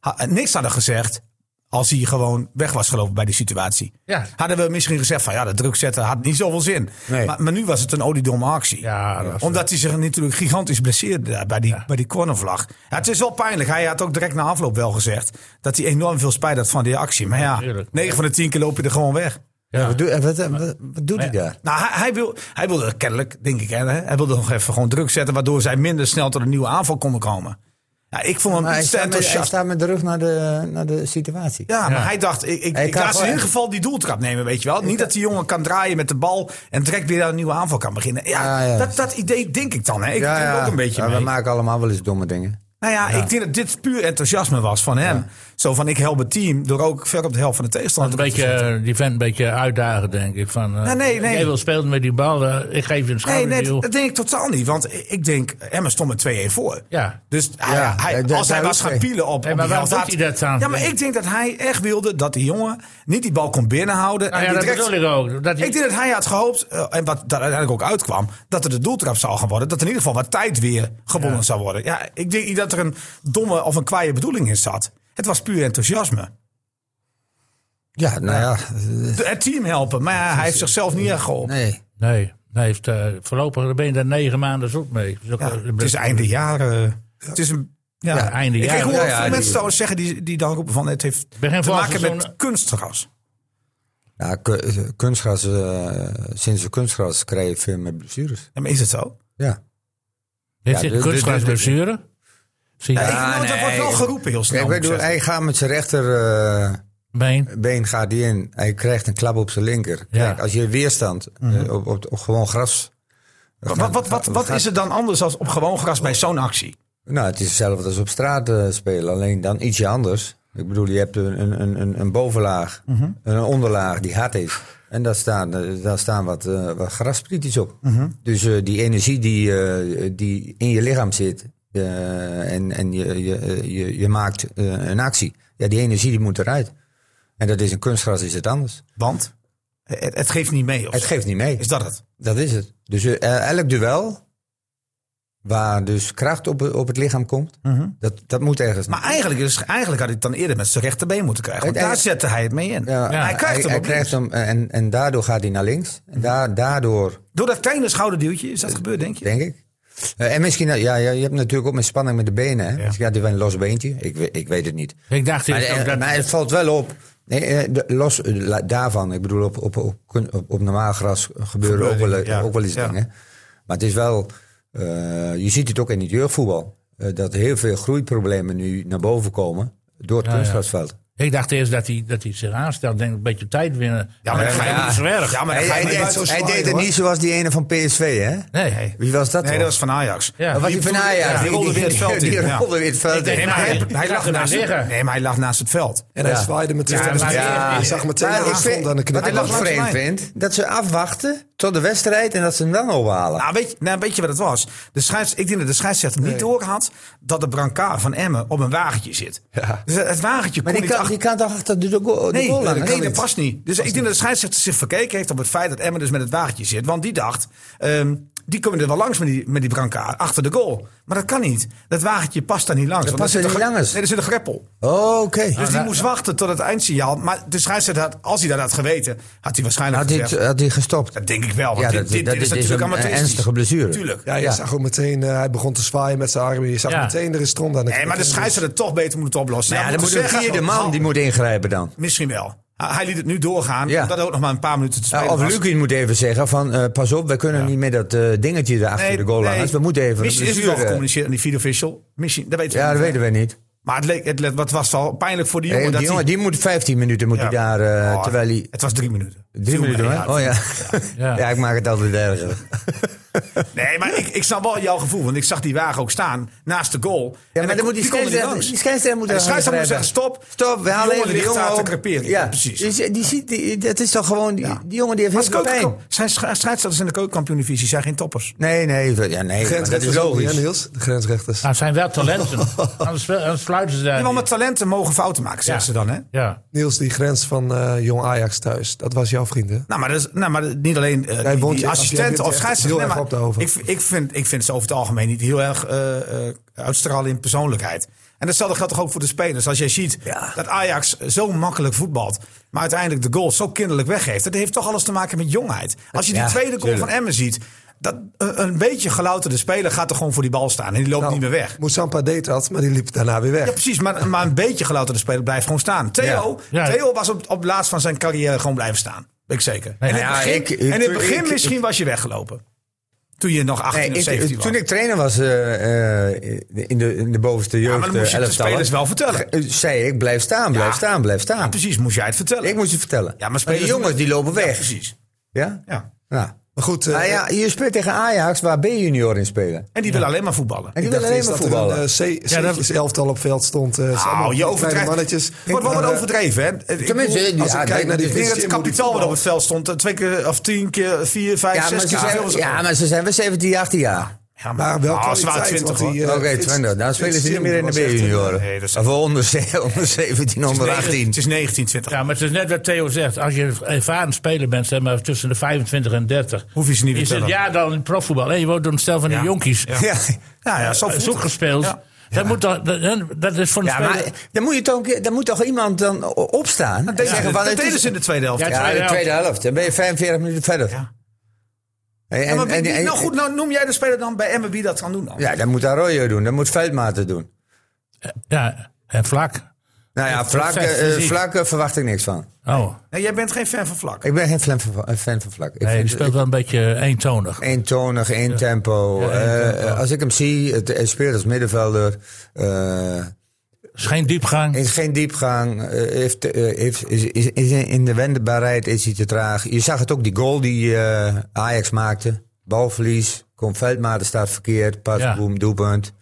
Speaker 7: ha- niks hadden gezegd. Als hij gewoon weg was gelopen bij die situatie.
Speaker 2: Ja.
Speaker 7: Hadden we misschien gezegd van ja, de druk zetten had niet zoveel zin.
Speaker 1: Nee.
Speaker 7: Maar, maar nu was het een oliedomme actie.
Speaker 2: Ja, dat was-
Speaker 7: Omdat hij zich natuurlijk gigantisch blesseerde daar bij die, bij die cornervlag. Ja, het is wel pijnlijk. Hij had ook direct na afloop wel gezegd dat hij enorm veel spijt had van die actie. Maar ja,
Speaker 2: tuurlijk.
Speaker 7: 9 van de 10 keer loop je er gewoon weg.
Speaker 2: Ja.
Speaker 1: Wat, doe- eh, wat, eh, wat, wat doet hij daar?
Speaker 7: Nou, hij, hij, wil, hij wilde kennelijk, denk ik, hè, hij wilde nog even gewoon druk zetten, waardoor zij minder snel tot een nieuwe aanval konden komen. Nou, ik vond hem
Speaker 1: Maar hij
Speaker 7: iets te
Speaker 1: staat, met, hij
Speaker 7: enthousiast.
Speaker 1: staat met de rug naar de, naar de situatie.
Speaker 7: Ja, maar
Speaker 2: Ja.
Speaker 7: hij dacht, ik, ik,
Speaker 1: Hij
Speaker 7: ik
Speaker 1: kan
Speaker 7: laat ze in
Speaker 1: gewoon-
Speaker 7: ieder geval die doeltrap nemen, weet je wel. Niet dat die jongen kan draaien met de bal en direct weer aan een nieuwe aanval kan beginnen. Ja,
Speaker 1: Ah, Ja, ja.
Speaker 7: Dat, dat idee denk ik dan. Hè. Ik
Speaker 1: Ja,
Speaker 7: denk
Speaker 1: ja.
Speaker 7: ook een beetje
Speaker 1: Ja,
Speaker 7: mee.
Speaker 1: We maken allemaal wel eens domme dingen.
Speaker 7: Nou ja, ik denk dat dit puur enthousiasme was van hem. Zo van, ik help het team door ook ver op de helft van de
Speaker 2: Want
Speaker 7: tegenstander
Speaker 2: een
Speaker 7: te
Speaker 2: beetje,
Speaker 7: zetten.
Speaker 2: eh, die vent een beetje uitdagen, denk ik. Van, eh,
Speaker 7: Nee, nee, nee.
Speaker 2: Jij wil spelen met die bal, eh, ik geef je een
Speaker 7: Nee, nee,
Speaker 2: schouderduw.
Speaker 7: dat dat denk ik totaal niet. Want ik- ik denk, Emma stond met 2-1 voor.
Speaker 2: ja.
Speaker 7: Dus hij,
Speaker 1: Ja,
Speaker 7: hij-
Speaker 1: dat-
Speaker 7: als hij
Speaker 1: daar
Speaker 7: was
Speaker 1: ook
Speaker 7: gaan
Speaker 1: mee.
Speaker 7: pielen op,
Speaker 2: Nee,
Speaker 7: op
Speaker 2: maar
Speaker 7: die
Speaker 2: waarom
Speaker 7: helft
Speaker 2: doet hij dat dan?
Speaker 7: Ja, maar ik denk dat hij echt wilde dat die jongen niet die bal kon binnenhouden.
Speaker 2: Nou
Speaker 7: en
Speaker 2: ja,
Speaker 7: die
Speaker 2: dat
Speaker 7: direct-
Speaker 2: bedoel ik ook. Dat hij-
Speaker 7: Ik denk dat hij had gehoopt, eh, en wat daar uiteindelijk ook uitkwam, dat er de doeltrap zou gaan worden. Dat er in ieder geval wat tijd weer gewonnen zou worden. Ja, ik denk niet dat er een domme of een kwaaie bedoeling in zat. Het was puur enthousiasme.
Speaker 1: Ja, nou ja.
Speaker 7: De- Het team helpen, maar ja, hij heeft zichzelf niet echt geholpen.
Speaker 1: Nee.
Speaker 2: Nee, hij heeft eh, voorlopig ben je daar negen maanden zoet mee. Dus ook,
Speaker 7: Ja,
Speaker 2: eh,
Speaker 7: het is einde jaren. Het is een. Ja,
Speaker 2: Ja, einde
Speaker 7: ik, ik
Speaker 2: jaren.
Speaker 7: hoor
Speaker 2: Ja,
Speaker 7: ook
Speaker 1: ja,
Speaker 7: veel
Speaker 1: die-
Speaker 7: mensen trouwens zeggen die, die dan roepen van het heeft
Speaker 2: Begin
Speaker 7: te
Speaker 2: van
Speaker 7: maken met
Speaker 2: seizoen-
Speaker 7: kunstgras.
Speaker 1: Ja, ku- eh, kunstgras, eh, sinds de kunstgras krijg je veel meer blessures.
Speaker 7: Ja, maar is het zo?
Speaker 1: Ja.
Speaker 2: Heeft
Speaker 1: Ja,
Speaker 2: hij een
Speaker 1: dit- dit-
Speaker 2: kunstgrasblessure? Zie je
Speaker 7: Ja,
Speaker 2: dat?
Speaker 7: ik, nou, dat
Speaker 1: nee.
Speaker 7: wordt wel geroepen heel snel.
Speaker 1: Kijk,
Speaker 7: moet
Speaker 1: wij
Speaker 7: ik
Speaker 1: doen,
Speaker 7: zeggen.
Speaker 1: hij gaat met zijn rechterbeen
Speaker 2: Been.
Speaker 1: gaat hij in. Hij krijgt een klap op zijn linker.
Speaker 2: Ja.
Speaker 1: Kijk, als je weerstand eh, op, op, op gewoon gras.
Speaker 7: wat wat, wat, wat is er dan anders als op gewoon gras bij zo'n actie?
Speaker 1: Nou, het is hetzelfde als op straat eh, spelen, alleen dan ietsje anders. Ik bedoel, je hebt een, een- een, een, een bovenlaag, een onderlaag die hard is. En daar staan, eh, daar staan wat, eh wat grasprietjes op. Dus eh, die energie die, eh, die in je lichaam zit eh, en, en je, je, eh, je, je maakt eh, een actie. Ja, die energie die moet eruit. En dat is in kunstgras is het anders.
Speaker 7: Want het, het geeft niet mee. Of
Speaker 1: Het
Speaker 7: zo.
Speaker 1: geeft niet mee.
Speaker 7: Is dat het?
Speaker 1: Dat is het. Dus eh, elk duel waar dus kracht op, op het lichaam komt, dat, dat moet ergens
Speaker 7: Mhm. Maar eigenlijk, is, eigenlijk had hij het dan eerder met zijn rechterbeen moeten krijgen. Want
Speaker 1: Het-
Speaker 7: daar
Speaker 1: het-
Speaker 7: zette hij het mee in.
Speaker 1: Ja,
Speaker 7: hij krijgt hem Mhm.
Speaker 1: hij
Speaker 7: opnieuw.
Speaker 1: krijgt hem eh, en, en daardoor gaat hij naar links. En da- daardoor,
Speaker 7: Door dat kleine schouderduwtje is dat gebeurd, denk je?
Speaker 1: denk ik. Eh, en misschien, ja, ja, je hebt natuurlijk ook met spanning met de benen. Hè? Ja. Dus ja, die een los beentje. Ik, we- ik weet het niet.
Speaker 2: Ik dacht
Speaker 1: Maar,
Speaker 2: eerst ook
Speaker 1: eh,
Speaker 2: dat...
Speaker 1: maar het valt wel op. Nee, eh, de- los eh, la- daarvan, ik bedoel, op, op, op, kun- op, op normaal gras gebeuren ook wel,
Speaker 7: ja.
Speaker 1: ook wel eens
Speaker 7: Ja.
Speaker 1: dingen. Maar het is wel, eh, je ziet het ook in het jeugdvoetbal. eh, dat heel veel groeiproblemen nu naar boven komen door het
Speaker 2: Ja, ja.
Speaker 1: kunstgrasveld.
Speaker 7: Ah,
Speaker 2: Ik dacht eerst dat hij, dat hij zich aanstelt. Denk een beetje tijd winnen.
Speaker 7: Ja, maar dan ga je
Speaker 2: dat
Speaker 7: niet
Speaker 2: is
Speaker 7: zo erg.
Speaker 2: erg.
Speaker 7: Ja, maar
Speaker 1: Hij,
Speaker 7: dan ga
Speaker 1: hij
Speaker 7: je niet
Speaker 1: deed,
Speaker 7: zo
Speaker 1: hij
Speaker 7: zwaaien,
Speaker 1: deed het
Speaker 7: hoor.
Speaker 1: niet zoals die ene van PSV, hè?
Speaker 2: Nee. Nou,
Speaker 1: Wie was dat
Speaker 7: Nee,
Speaker 1: toch?
Speaker 7: dat was van Ajax.
Speaker 2: Ja.
Speaker 1: Dat was die van Ajax.
Speaker 7: ja, die rolde weer het veld in,
Speaker 1: Die
Speaker 7: ja.
Speaker 1: rolde weer het veld
Speaker 2: Ik denk,
Speaker 1: in.
Speaker 7: Nee, maar hij,
Speaker 2: Nee,
Speaker 7: hij
Speaker 2: ik
Speaker 7: lag
Speaker 2: lag ernaast
Speaker 7: naast het,
Speaker 2: liggen.
Speaker 7: nee, maar hij lag naast het veld.
Speaker 6: En hij
Speaker 1: Ja.
Speaker 6: zwaaide meteen.
Speaker 2: Ja,
Speaker 6: Ja,
Speaker 2: maar-
Speaker 6: ja, ik zag meteen
Speaker 1: Maar
Speaker 6: de
Speaker 1: ik vind,
Speaker 6: aanval aan de
Speaker 1: wat ik
Speaker 6: knieën.
Speaker 1: ook
Speaker 7: langs
Speaker 1: vreemd
Speaker 7: mij.
Speaker 1: vind, dat ze afwachten tot de wedstrijd en dat ze hem dan ophalen.
Speaker 7: Nou weet, je, nou, weet je wat het was? De scheids, ik denk dat de scheidsrechter niet door had dat de brancard van Emmen op een wagentje zit. Dus het wagentje
Speaker 1: maar
Speaker 7: kon
Speaker 1: die
Speaker 7: niet
Speaker 1: kan,
Speaker 7: achter-
Speaker 1: die kan toch achter de, de goal de
Speaker 7: Nee,
Speaker 1: goal
Speaker 7: nee,
Speaker 1: hangen?
Speaker 7: nee,
Speaker 1: Kan
Speaker 7: dat
Speaker 1: niet.
Speaker 7: past niet. Dus ik denk dat de scheidsrechter zich verkeken heeft op het feit dat Emmen dus met het wagentje zit. Want die dacht, ehm, die komen er wel langs met die, met die brancard achter de goal. Maar dat kan niet. Dat wagentje past daar niet langs. want
Speaker 1: past er
Speaker 7: er zit
Speaker 1: niet
Speaker 7: een ge-
Speaker 1: langs.
Speaker 7: Nee, er zit een greppel.
Speaker 1: Oh, Oké.
Speaker 7: Dus die moest wachten tot het eindsignaal. Maar de scheidsrechter had, als hij dat had geweten, had hij waarschijnlijk
Speaker 1: Had hij
Speaker 7: gezegd...
Speaker 1: het- had hij gestopt?
Speaker 7: dat denk ik wel, want
Speaker 1: Ja,
Speaker 7: dit,
Speaker 1: dat-
Speaker 7: dit-
Speaker 1: dat
Speaker 7: dit is
Speaker 1: is
Speaker 7: natuurlijk
Speaker 1: een- een
Speaker 7: amateuristisch.
Speaker 1: ernstige blessure.
Speaker 7: Tuurlijk.
Speaker 6: Ja, je
Speaker 1: Ja.
Speaker 6: zag ook meteen, eh, hij begon te zwaaien met zijn armen. Je zag
Speaker 2: Ja.
Speaker 6: meteen, er is stront aan de Dus
Speaker 7: Nee, maar de
Speaker 6: knieën.
Speaker 7: scheidsrechter het toch beter moet oplossen.
Speaker 1: Nou Ja,
Speaker 7: Ja,
Speaker 1: dan
Speaker 7: moet
Speaker 1: moet een
Speaker 7: zeggen,
Speaker 1: vierde man die moet ingrijpen dan.
Speaker 7: Misschien wel. Ah, Hij liet het nu doorgaan.
Speaker 1: Ja.
Speaker 7: Dat ook nog maar een paar minuten te spelen
Speaker 1: Nou, of
Speaker 7: was.
Speaker 1: Lukin moet even zeggen van, eh, pas op, we kunnen niet meer dat eh, dingetje daar achter
Speaker 7: Nee,
Speaker 1: de goal
Speaker 7: nee.
Speaker 1: hangen. Dus we moeten even...
Speaker 7: Misschien
Speaker 1: de
Speaker 7: is het wel
Speaker 1: blessure-
Speaker 7: gecommuniceerd aan die video official. Misschien, dat weten we
Speaker 1: Ja, dat
Speaker 7: niet.
Speaker 1: weten we niet.
Speaker 7: Maar het, leek, het, le- wat was al pijnlijk voor die
Speaker 1: Hey,
Speaker 7: jongen.
Speaker 1: die,
Speaker 7: dat
Speaker 1: jongen,
Speaker 7: hij-
Speaker 1: die moet 15 minuten moet
Speaker 7: Ja.
Speaker 1: hij daar, eh,
Speaker 7: Oh,
Speaker 1: terwijl hij...
Speaker 7: Het was drie minuten.
Speaker 1: Drie
Speaker 7: Viel me,
Speaker 1: minuten,
Speaker 7: ja.
Speaker 1: hè? Oh ja.
Speaker 2: Ja.
Speaker 1: Ja. ik maak het altijd erger.
Speaker 7: Nee, maar ik, ik snap wel jouw gevoel. Want ik zag die wagen ook staan naast de goal.
Speaker 1: Ja,
Speaker 7: En
Speaker 1: maar dan moet die
Speaker 7: kon er niet
Speaker 1: scheidsrechter
Speaker 7: langs.
Speaker 1: die scheidsrechter moet
Speaker 7: En
Speaker 1: er
Speaker 7: de scheidsrechter moet
Speaker 1: ingrijpen.
Speaker 7: zeggen, stop.
Speaker 1: Stop, we
Speaker 7: Die
Speaker 1: halen even
Speaker 7: jongen
Speaker 1: de
Speaker 7: ligt
Speaker 1: jongen
Speaker 7: daar te
Speaker 1: op.
Speaker 7: creperen. Ja,
Speaker 1: Ja,
Speaker 7: precies.
Speaker 1: Die, die ziet, die, dat is toch gewoon... Die, die jongen die heeft
Speaker 7: Maar
Speaker 1: heel veel pijn.
Speaker 7: zijn scheidsrechters in de keukenkampioen-divisie zijn geen toppers.
Speaker 1: Nee, nee, ja, nee, maar dat is
Speaker 6: Grensrechters ook niet, hè,
Speaker 1: logisch.
Speaker 6: Niels? De grensrechters.
Speaker 2: Nou, het zijn wel talenten. anders, wel- anders fluiten ze daar
Speaker 7: Iemand met
Speaker 2: niet.
Speaker 7: talenten mogen fouten maken, zeggen ze dan. Hè?
Speaker 2: Ja.
Speaker 6: Niels, die grens van eh, Jong Ajax thuis. Dat was jouw vriend, hè?
Speaker 7: Nou, maar, dat is, nou, maar niet alleen eh, die,
Speaker 6: woont
Speaker 7: die
Speaker 6: in- jij
Speaker 7: assistent
Speaker 6: bent
Speaker 7: of
Speaker 6: echt heel
Speaker 7: scheidsrechter.
Speaker 6: erg
Speaker 7: Nee,
Speaker 6: op
Speaker 7: maar
Speaker 6: de over.
Speaker 7: ik, ik, vind, ik vind ze over het algemeen niet heel erg eh, eh, uitstralen in persoonlijkheid. En datzelfde geldt toch ook voor de spelers. Als jij ziet dat Ajax zo makkelijk voetbalt, maar uiteindelijk de goal zo kinderlijk weggeeft. Dat heeft toch alles te maken met jongheid. Als je die
Speaker 1: Ja,
Speaker 7: tweede goal
Speaker 1: tuurlijk.
Speaker 7: van Emmen ziet, dat, een- een beetje gelouterde speler gaat er gewoon voor die bal staan. En die loopt niet meer weg.
Speaker 6: Nou, Moussampa deed dat, maar die liep daarna weer weg.
Speaker 7: Ja, precies. Maar, maar een beetje gelouterde speler blijft gewoon staan. Theo,
Speaker 2: Ja. Ja.
Speaker 7: Theo was op, op het laatst van zijn carrière gewoon blijven staan. Ben ik zeker. en in
Speaker 1: ja,
Speaker 7: het begin,
Speaker 1: ik- ik-
Speaker 7: en in het begin
Speaker 1: ik-
Speaker 7: misschien was je weggelopen. Toen je nog 18
Speaker 1: Nee,
Speaker 7: of
Speaker 1: ik-
Speaker 7: 17 was.
Speaker 1: toen ik trainer was eh, eh, in, de, in de bovenste jeugd. eh,
Speaker 7: ja, maar dan moest je het de
Speaker 1: elftallen,
Speaker 7: spelers wel vertellen.
Speaker 1: eh, Zei ik, blijf staan, blijf staan, blijf staan.
Speaker 7: Precies, moest jij het vertellen.
Speaker 1: Ik moest het vertellen.
Speaker 7: ja, maar
Speaker 1: maar die
Speaker 7: spelers...
Speaker 1: jongens die lopen
Speaker 7: Ja,
Speaker 1: weg.
Speaker 7: precies.
Speaker 1: Ja?
Speaker 7: Ja.
Speaker 1: Ja.
Speaker 6: Maar goed, eh,
Speaker 1: Nou ja, je speelt tegen Ajax waar B-junior in spelen.
Speaker 7: En die willen alleen maar voetballen.
Speaker 1: En die
Speaker 6: ik dacht
Speaker 1: willen alleen
Speaker 6: eerst
Speaker 1: maar
Speaker 6: dat er een
Speaker 1: voetballen.
Speaker 6: eh, C,
Speaker 2: Ja, dat-
Speaker 6: C'tjes elftal op veld stond. eh, ze allemaal
Speaker 7: Nou, je
Speaker 6: kleine
Speaker 7: overdrijft.
Speaker 6: mannetjes. eh,
Speaker 7: Wordt wel wat overdreven, hè? Ik bedoel,
Speaker 1: eh, Tenminste, ja,
Speaker 6: als ik
Speaker 1: ja,
Speaker 6: kijk naar die
Speaker 1: dus-
Speaker 7: Ik denk dat het
Speaker 6: Jim moet die
Speaker 7: kapitaal wat op
Speaker 6: voetballen.
Speaker 7: het veld stond. eh, Twee keer of tien keer, vier, vijf,
Speaker 1: Ja, maar,
Speaker 7: zes
Speaker 1: ze
Speaker 7: keer.
Speaker 1: zijn,
Speaker 7: zoveel
Speaker 1: ja, maar ze zijn wel 17, 18 jaar.
Speaker 7: Ja,
Speaker 6: Maar wel
Speaker 7: Ah, ze waren
Speaker 6: kwaliteit, want
Speaker 7: 20 hoor.
Speaker 6: die, eh,
Speaker 1: Oké,
Speaker 6: Fitz-
Speaker 1: 20. Dan spelen
Speaker 6: Fitz
Speaker 1: ze niet
Speaker 6: Jim
Speaker 1: meer in de
Speaker 6: was echt een-
Speaker 1: B-junioren.
Speaker 7: eh, nee, dat is-
Speaker 1: of onder, ze- onder 17, onder
Speaker 7: Het is
Speaker 1: 18.
Speaker 7: Het is 19, 20.
Speaker 2: Ja, maar het is net wat Theo zegt. Als je ervaren speler bent, zeg maar tussen de 25 en 30.
Speaker 7: Hoef je ze niet
Speaker 2: Is
Speaker 7: te
Speaker 2: het
Speaker 7: vertellen.
Speaker 2: ja dan in profvoetbal? Hé, je wordt door een stel van de
Speaker 7: Ja.
Speaker 2: jonkies.
Speaker 7: Ja. Nou
Speaker 1: Ja,
Speaker 7: Ja, ja, zo
Speaker 2: eh,
Speaker 7: voelt
Speaker 2: zoek
Speaker 7: het.
Speaker 2: gespeeld.
Speaker 7: Ja.
Speaker 2: Dat, moet toch, dat, dat is voor een
Speaker 1: ja
Speaker 2: speler...
Speaker 1: maar dan moet, je toch, dan moet toch iemand dan o- opstaan? en
Speaker 7: Dat deden
Speaker 1: zeggen
Speaker 7: ze-
Speaker 1: van,
Speaker 7: dat
Speaker 1: het
Speaker 7: deden
Speaker 1: is-
Speaker 7: ze in de tweede helft.
Speaker 2: Ja,
Speaker 7: Ja,
Speaker 1: Ja, in de
Speaker 2: helft.
Speaker 1: tweede helft. Dan ben je 45 minuten verder.
Speaker 7: Ja.
Speaker 1: En, en,
Speaker 7: maar wie- wie-
Speaker 1: en-
Speaker 7: nou goed, nou noem jij de speler dan bij Emmen wie dat kan doen dan.
Speaker 1: Ja, dat moet Arroyo doen. Dat moet Veldmaten doen.
Speaker 2: Ja, en vlak.
Speaker 1: Nou ja,
Speaker 2: Dat
Speaker 1: vlak,
Speaker 2: zegt
Speaker 1: eh,
Speaker 2: fysiek.
Speaker 1: vlak eh, verwacht ik niks van.
Speaker 2: Oh,
Speaker 7: Nee, jij bent geen fan van Vlak.
Speaker 1: Ik ben geen fan van, eh, fan van vlak. Ik
Speaker 2: nee, die
Speaker 1: vind-
Speaker 2: speelt wel een beetje eentonig.
Speaker 1: Eentonig, één tempo.
Speaker 2: Ja, één
Speaker 1: Eh,
Speaker 2: tempo.
Speaker 1: eh, als ik hem zie, het, hij speelt als middenvelder. eh,
Speaker 2: Is geen diepgang.
Speaker 1: heeft geen diepgang. eh, heeft, eh, heeft, is, is, is in de wendbaarheid is hij te traag. Je zag het ook, die goal die eh, Ajax maakte. Balverlies, komt Veldmaten staat verkeerd. Pas,
Speaker 2: Ja.
Speaker 1: boem, doelpunt. Het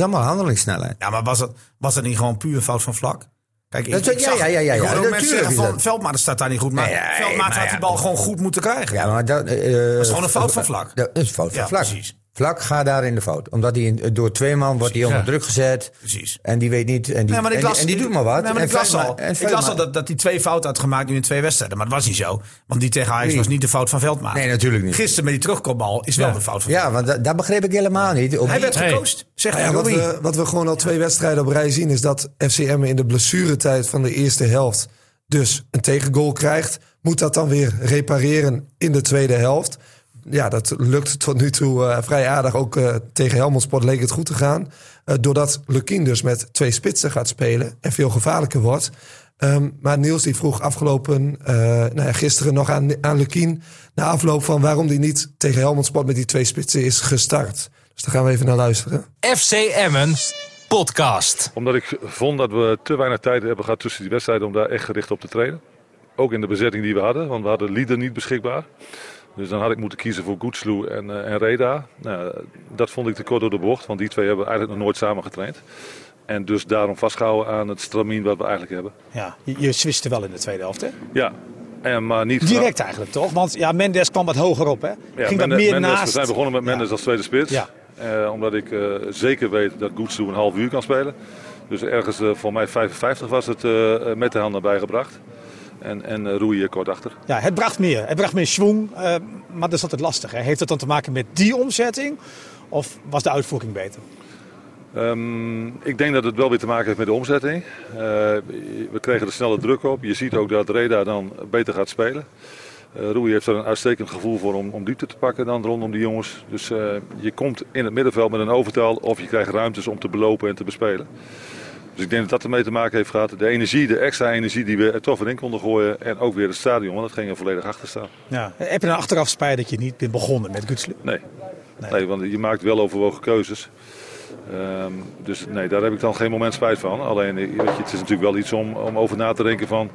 Speaker 1: is allemaal handelingssnelheid.
Speaker 7: Ja, maar was dat, was dat niet gewoon puur fout van Vlak? Kijk, ik,
Speaker 1: Dat-
Speaker 7: ik
Speaker 1: ja,
Speaker 7: zag
Speaker 1: ja, ja, ja,
Speaker 7: ik hoorde
Speaker 1: ja,
Speaker 7: ook mensen
Speaker 1: natuurlijk
Speaker 7: zeggen
Speaker 1: is
Speaker 7: van
Speaker 1: dat.
Speaker 7: Veldmaat staat daar niet goed. Maar
Speaker 1: Nee, ja,
Speaker 7: Veldmaat
Speaker 1: maar
Speaker 7: had
Speaker 1: ja,
Speaker 7: die bal gewoon goed moeten krijgen.
Speaker 1: Ja, maar dat, eh,
Speaker 7: is gewoon een fout van Vlak.
Speaker 1: Dat is een fout van
Speaker 7: Ja,
Speaker 1: vlak.
Speaker 7: precies.
Speaker 1: Vlak gaat daar in de fout. Omdat hij in- door twee man wordt hij onder
Speaker 2: ja.
Speaker 1: druk gezet.
Speaker 7: Precies.
Speaker 1: En die weet niet. En die,
Speaker 7: Nee, maar ik
Speaker 1: en die-
Speaker 7: las-
Speaker 1: en die doet maar wat.
Speaker 7: Nee, maar
Speaker 1: En
Speaker 7: ik las
Speaker 1: Veldma-
Speaker 7: al,
Speaker 1: en
Speaker 7: ik
Speaker 1: Veldma-
Speaker 7: las al dat, dat die twee fouten had gemaakt nu in twee wedstrijden. Maar dat was niet zo. Want die tegen Ajax
Speaker 1: Nee.
Speaker 7: was niet de fout van Veldmaat.
Speaker 1: Nee, natuurlijk niet.
Speaker 7: Gisteren met die terugkoopbal is wel
Speaker 2: Ja.
Speaker 7: de fout van
Speaker 1: Ja, want da- dat begreep ik helemaal niet. Op
Speaker 7: Hij eh,
Speaker 1: die-
Speaker 7: werd
Speaker 2: Hey.
Speaker 7: gecoacht. Zeg
Speaker 6: Nou ja, wat,
Speaker 7: Robbie.
Speaker 6: we, wat we gewoon al twee wedstrijden op rij zien... is dat FCM in de blessuretijd van de eerste helft... dus een tegengoal krijgt. Moet dat dan weer repareren in de tweede helft. Ja, dat lukt tot nu toe eh, vrij aardig. Ook eh, tegen Helmond Sport leek het goed te gaan. Eh, doordat Lukien dus met twee spitsen gaat spelen... en veel gevaarlijker wordt... Ehm, maar Niels die vroeg afgelopen, eh, nou ja, gisteren nog aan, aan Lukien... na afloop van waarom die niet tegen Helmond Sport met die twee spitsen is gestart. Dus daar gaan we even naar luisteren.
Speaker 3: FC Emmen podcast.
Speaker 5: Omdat ik vond dat we te weinig tijd hebben gehad tussen die wedstrijden om daar echt gericht op te trainen. Ook in de bezetting die we hadden, want we hadden Lieder niet beschikbaar. Dus dan had ik moeten kiezen voor Goetsloe en, eh, en Reda. Nou, dat vond ik te kort door de bocht, want die twee hebben eigenlijk nog nooit samen getraind. En dus daarom vastgehouden aan het stramien wat we eigenlijk hebben.
Speaker 8: Ja, je, je switchte wel in de tweede helft, hè?
Speaker 5: Ja, en, maar niet...
Speaker 8: Direct eigenlijk, toch? Want ja, Mendes kwam wat hoger op, hè?
Speaker 5: Ja,
Speaker 8: Ging
Speaker 5: Mendes-
Speaker 8: dat meer
Speaker 5: Mendes,
Speaker 8: naast?
Speaker 5: We zijn begonnen met Mendes als tweede spits.
Speaker 8: Ja.
Speaker 5: Eh, omdat ik eh, zeker weet dat Goetsu een half uur kan spelen. Dus ergens eh, voor mij 55 was het eh, eh, met de hand naar bij gebracht. En, en eh Roei hier kort achter.
Speaker 8: Ja, het bracht meer. Het bracht meer schwung, eh, maar dat is altijd lastig. Hè? Heeft dat dan te maken met die omzetting? Of was de uitvoering beter?
Speaker 5: Ehm, ik denk dat het wel weer te maken heeft met de omzetting. Eh, we kregen er snelle druk op. Je ziet ook dat Reda dan beter gaat spelen. Eh Roei heeft er een uitstekend gevoel voor om, om diepte te pakken dan rondom die jongens. Dus eh, je komt in het middenveld met een overtal of je krijgt ruimtes om te belopen en te bespelen. Dus ik denk dat dat ermee te maken heeft gehad. De energie, de extra energie die we er toch weer in konden gooien. En ook weer het stadion, want dat ging er volledig achter staan.
Speaker 8: Ja. Heb je dan achteraf spijt dat je niet bent begonnen met Gutslu?
Speaker 5: Nee. nee. want je maakt wel overwogen keuzes. Ehm, dus nee, daar heb ik dan geen moment spijt van. Alleen, eh, weet je, het is natuurlijk wel iets om, om over na te denken van...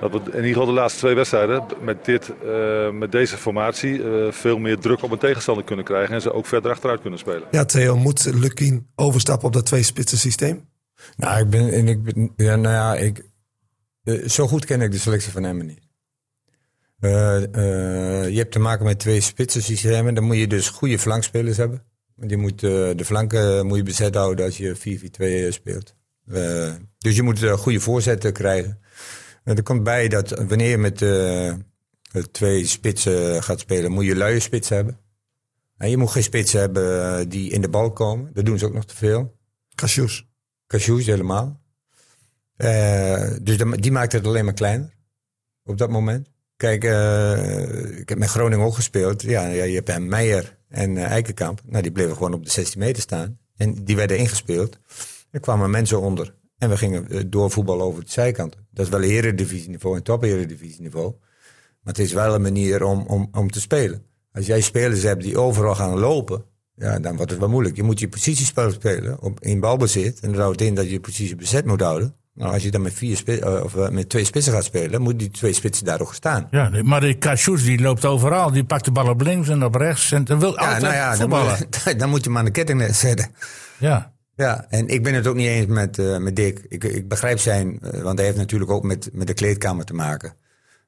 Speaker 5: dat we in ieder geval de laatste twee wedstrijden met, dit, eh, met deze formatie... eh, veel meer druk op een tegenstander kunnen krijgen... en ze ook verder achteruit kunnen spelen.
Speaker 6: Ja, Theo, moet Lukien overstappen op dat twee-spitsen systeem?
Speaker 1: Nou, ik ben, en ik ben- ja, nou ja, ik, eh, zo goed ken ik de selectie van Emmen niet. Eh, eh, je hebt te maken met twee spitsensystemen. Dan moet je dus goede flankspelers hebben. Want je moet, eh, de flanken moet je bezet houden als je 4-4-2 speelt. Eh, dus je moet eh, goede voorzetten krijgen. En er komt bij dat wanneer je met eh, twee spitsen gaat spelen, moet je luie spitsen hebben. En je moet geen spitsen hebben eh, die in de bal komen. Dat doen ze ook nog te veel.
Speaker 6: Cassius.
Speaker 1: Cassius helemaal. Eh, dus dan- die maakt het alleen maar kleiner op dat moment. Kijk, eh, ik heb met Groningen ook gespeeld. Ja, ja, je hebt hem Meijer en eh, Eikenkamp. Nou, die bleven gewoon op de 16 meter staan. En die werden ingespeeld. Er kwamen mensen onder. En we gingen eh, door voetbal over de zijkant. Dat is wel eredivisieniveau en top eredivisieniveau. Maar het is wel een manier om, om, om te spelen. Als Als jij spelers hebt die overal gaan lopen, ja, dan wordt het wel moeilijk. Je moet je positiespel spelen op, in balbezit. En dat houdt in dat je je positie bezet moet houden. Nou, als je dan met, vier spi- eh, of eh, met twee spitsen gaat spelen, moeten die twee spitsen daar ook staan.
Speaker 2: Ja, die- maar die Kajus die loopt overal. Die pakt de bal op links en op rechts. En dan wil altijd
Speaker 1: nou dan moet,
Speaker 2: voetballen.
Speaker 1: je, dan moet je hem aan de ketting zetten.
Speaker 2: Ja.
Speaker 1: Ja, en ik ben het ook niet eens met, eh, met Dick. Ik, ik begrijp zijn, eh, want hij heeft natuurlijk ook met, met de kleedkamer te maken.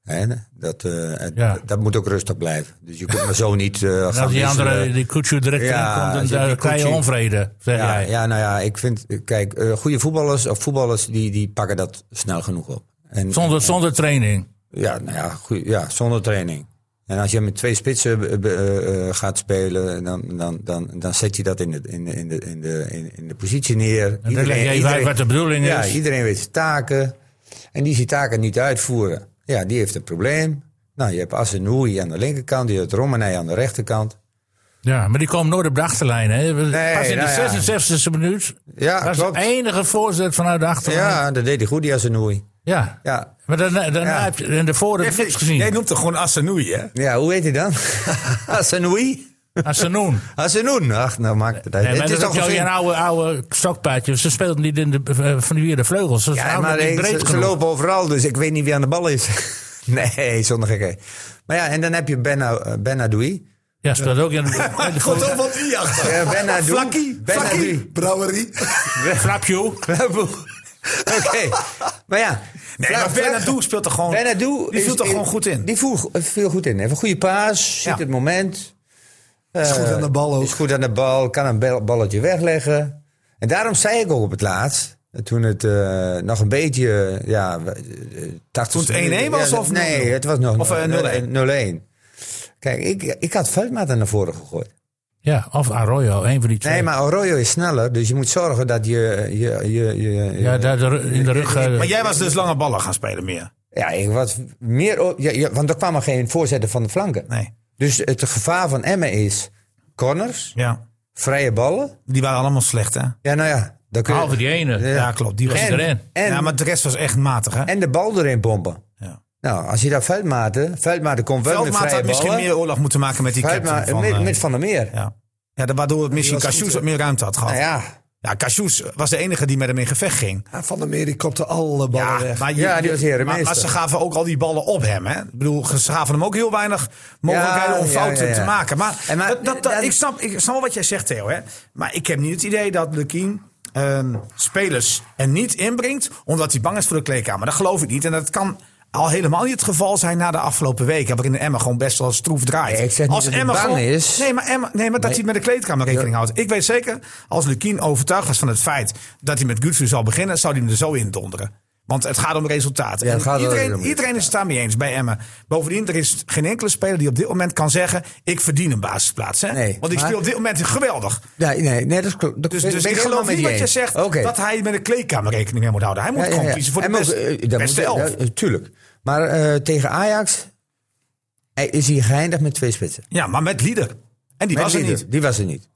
Speaker 1: Hè? Dat, eh, het-
Speaker 2: Ja.
Speaker 1: dat moet ook rustig blijven. Dus je kunt maar zo niet eh,
Speaker 2: En
Speaker 1: gaan
Speaker 2: als die
Speaker 1: wisselen.
Speaker 2: andere, die Kutsu direct
Speaker 1: Ja,
Speaker 2: ja,
Speaker 1: als
Speaker 2: komt,
Speaker 1: je
Speaker 2: dan
Speaker 1: die
Speaker 2: eh, krijg je
Speaker 1: Kutsu-
Speaker 2: onvrede, zeg
Speaker 1: ja,
Speaker 2: jij.
Speaker 1: ja, nou ja, ik vind, eh, kijk, eh, goede voetballers of voetballers die, die pakken dat snel genoeg op. En,
Speaker 2: Zonder, zonder training.
Speaker 1: Ja, nou ja, goeie- ja, zonder training. En als je met twee spitsen eh, be- eh, eh, gaat spelen, dan, dan, dan, dan zet je dat in de, in de, in de, in de, in- in de positie neer.
Speaker 2: En dan leg je even uit wat de bedoeling
Speaker 1: ja,
Speaker 2: is.
Speaker 1: iedereen weet zijn taken. En die zijn taken niet uitvoeren. Ja, die heeft een probleem. Nou, je hebt Asenoui aan de linkerkant, je hebt Romanei aan de rechterkant.
Speaker 2: Ja, maar die komen nooit op de achterlijn. Hè. We-
Speaker 1: Nee,
Speaker 2: Pas in
Speaker 1: nou ja.
Speaker 2: de 66e minuut.
Speaker 1: Ja,
Speaker 2: dat is
Speaker 1: klopt.
Speaker 2: de enige voorzet vanuit de achterlijn. Ja.
Speaker 1: Ja, dat deed hij goed, die Asenoui. Ja.
Speaker 2: Maar daarna, daarna
Speaker 1: Ja.
Speaker 2: heb je en daarvoor heb je niks
Speaker 7: Jij
Speaker 2: gezien.
Speaker 7: noemt er gewoon Assanoui, hè?
Speaker 1: Ja, hoe heet hij dan? Asenoui?
Speaker 2: Asanoen.
Speaker 1: Asenoun. Ach, nou maakt het uit.
Speaker 2: Ah, Nee, maar
Speaker 1: het is
Speaker 2: dat
Speaker 1: toch
Speaker 2: is ook
Speaker 1: een
Speaker 2: een oude, oude stokpaardje. Ze speelden niet in de, eh, van die weer de vleugels. Ze
Speaker 1: Ja,
Speaker 2: houden
Speaker 1: maar
Speaker 2: niet
Speaker 1: eh,
Speaker 2: breed
Speaker 1: ze, ze
Speaker 2: genoeg.
Speaker 1: lopen overal, dus ik weet niet wie aan de bal is. nee, zonder gekheid. Maar ja, en dan heb je Benna- eh, Benadoui.
Speaker 2: Ja, speelt ook in de...
Speaker 6: Komt ook wat die achter.
Speaker 1: Eh, Benadoui.
Speaker 6: Flakkie, Flakkie,
Speaker 1: Benadoui.
Speaker 6: Brouwerie.
Speaker 2: Flapje.
Speaker 1: Oké. Maar ja.
Speaker 7: Nee, maar Bernardo speelt er gewoon...
Speaker 1: Benadou
Speaker 7: die viel er gewoon goed in.
Speaker 1: Die viel, viel goed in. Heeft een goede paas, ziet
Speaker 7: Ja.
Speaker 1: het moment. Eh,
Speaker 6: Is goed aan de bal ook.
Speaker 1: Is goed aan de bal, kan een bel- balletje wegleggen. En daarom zei ik ook op het laatst, eh, toen het eh, nog een beetje... eh, Ja, eh, dacht-
Speaker 7: Toen het 1-1 was
Speaker 1: Ja,
Speaker 7: of
Speaker 1: Nee,
Speaker 7: 0-0?
Speaker 1: het was nog
Speaker 7: Of, eh, 0-1.
Speaker 1: 0-1. Kijk, ik, ik had Veldmaat naar voren gegooid.
Speaker 2: Ja, of Arroyo, een van die twee.
Speaker 1: Nee, maar Arroyo is sneller, dus je moet zorgen dat je... je, je, je
Speaker 2: Ja, daar de ru- in de rug. eh,
Speaker 7: Maar jij was dus lange ballen gaan spelen meer.
Speaker 1: ja, ik was meer... op- Ja, ja, want er kwamen geen voorzetten van de flanken.
Speaker 7: Nee.
Speaker 1: Dus het gevaar van Emmen is corners,
Speaker 7: Ja.
Speaker 1: vrije ballen.
Speaker 7: Die waren allemaal slecht, hè?
Speaker 1: Ja, nou ja. Dan kun je-
Speaker 2: Behalve die ene.
Speaker 1: Ja.
Speaker 7: Ja, klopt. Die was
Speaker 2: En-
Speaker 7: erin.
Speaker 1: en-
Speaker 7: ja, maar de rest was echt matig, hè?
Speaker 1: En de bal erin pompen.
Speaker 7: Ja.
Speaker 1: Nou, als je daar Veldmaten... Veldmaten komt wel met
Speaker 7: Veldmaat
Speaker 1: vrije
Speaker 7: had misschien
Speaker 1: ballen.
Speaker 7: meer oorlog moeten maken met die captain
Speaker 1: Veldma-
Speaker 7: van...
Speaker 1: met,
Speaker 7: eh,
Speaker 1: met Van der Meer.
Speaker 7: ja. ja, da- waardoor het misschien
Speaker 6: was goed,
Speaker 7: Cassius
Speaker 6: hè?
Speaker 7: wat meer ruimte had gehad.
Speaker 1: Nou ja,
Speaker 7: Ja, Cassius was de enige die met hem in gevecht ging.
Speaker 6: Ja, Van der Meer die kopte alle ballen weg.
Speaker 7: maar,
Speaker 1: Ja, die was herenmeester.
Speaker 7: maar, maar ze gaven ook al die ballen op hem. Hè? Ik bedoel, ze gaven hem ook heel weinig mogelijkheden
Speaker 1: Ja,
Speaker 7: om
Speaker 1: ja,
Speaker 7: fouten
Speaker 1: ja, ja.
Speaker 7: te maken. Maar,
Speaker 1: En maar-
Speaker 7: dat, dat, dat-
Speaker 1: dan-
Speaker 7: ik, snap, ik snap wel wat jij zegt, Theo. Hè? Maar ik heb niet het idee dat Lukien ehm, spelers er niet inbrengt... omdat hij bang is voor de kleedkamer. Dat geloof ik niet. En dat kan al helemaal niet het geval zijn na de afgelopen weken... waarin Emma gewoon best wel stroef draait.
Speaker 1: Nee, ik zeg niet
Speaker 7: als
Speaker 1: dat hij
Speaker 7: Emma
Speaker 1: bang
Speaker 7: gewoon,
Speaker 1: is.
Speaker 7: Nee, maar, Emma, nee, maar dat hij met de kleedkamer rekening houdt. Ik weet zeker, als Lukien overtuigd was van het feit... dat hij met Gutsu zal beginnen, zou hij hem er zo in donderen. Want het gaat om resultaten.
Speaker 1: Ja, het
Speaker 7: En
Speaker 1: gaat wel
Speaker 7: iedereen,
Speaker 1: om-
Speaker 7: iedereen is het daarmee eens bij Emmen. Bovendien, er is geen enkele speler die op dit moment kan zeggen... ik verdien een basisplaats. Hè?
Speaker 1: Nee,
Speaker 7: Want ik
Speaker 1: maar-
Speaker 7: speel op dit moment geweldig.
Speaker 1: ja, nee, nee, dat, is klopt. dat
Speaker 7: Dus,
Speaker 1: ben
Speaker 7: dus
Speaker 1: ben
Speaker 7: ik
Speaker 1: helemaal
Speaker 7: geloof
Speaker 1: met
Speaker 7: niet wat je
Speaker 1: eens.
Speaker 7: zegt...
Speaker 1: Oké.
Speaker 7: dat hij met de kleedkamer rekening mee moet houden. Hij moet
Speaker 1: Ja, ja,
Speaker 7: gewoon
Speaker 1: ja.
Speaker 7: kiezen voor de
Speaker 1: En ook,
Speaker 7: best-
Speaker 1: eh,
Speaker 7: beste,
Speaker 1: dat moet-
Speaker 7: elf.
Speaker 1: ja, tuurlijk. Maar eh, tegen Ajax eh, is hij geëindigd met twee spitsen.
Speaker 7: ja, maar met Lieder. En die
Speaker 1: Met
Speaker 7: was er
Speaker 1: Lieder.
Speaker 7: niet.
Speaker 1: Die was er niet.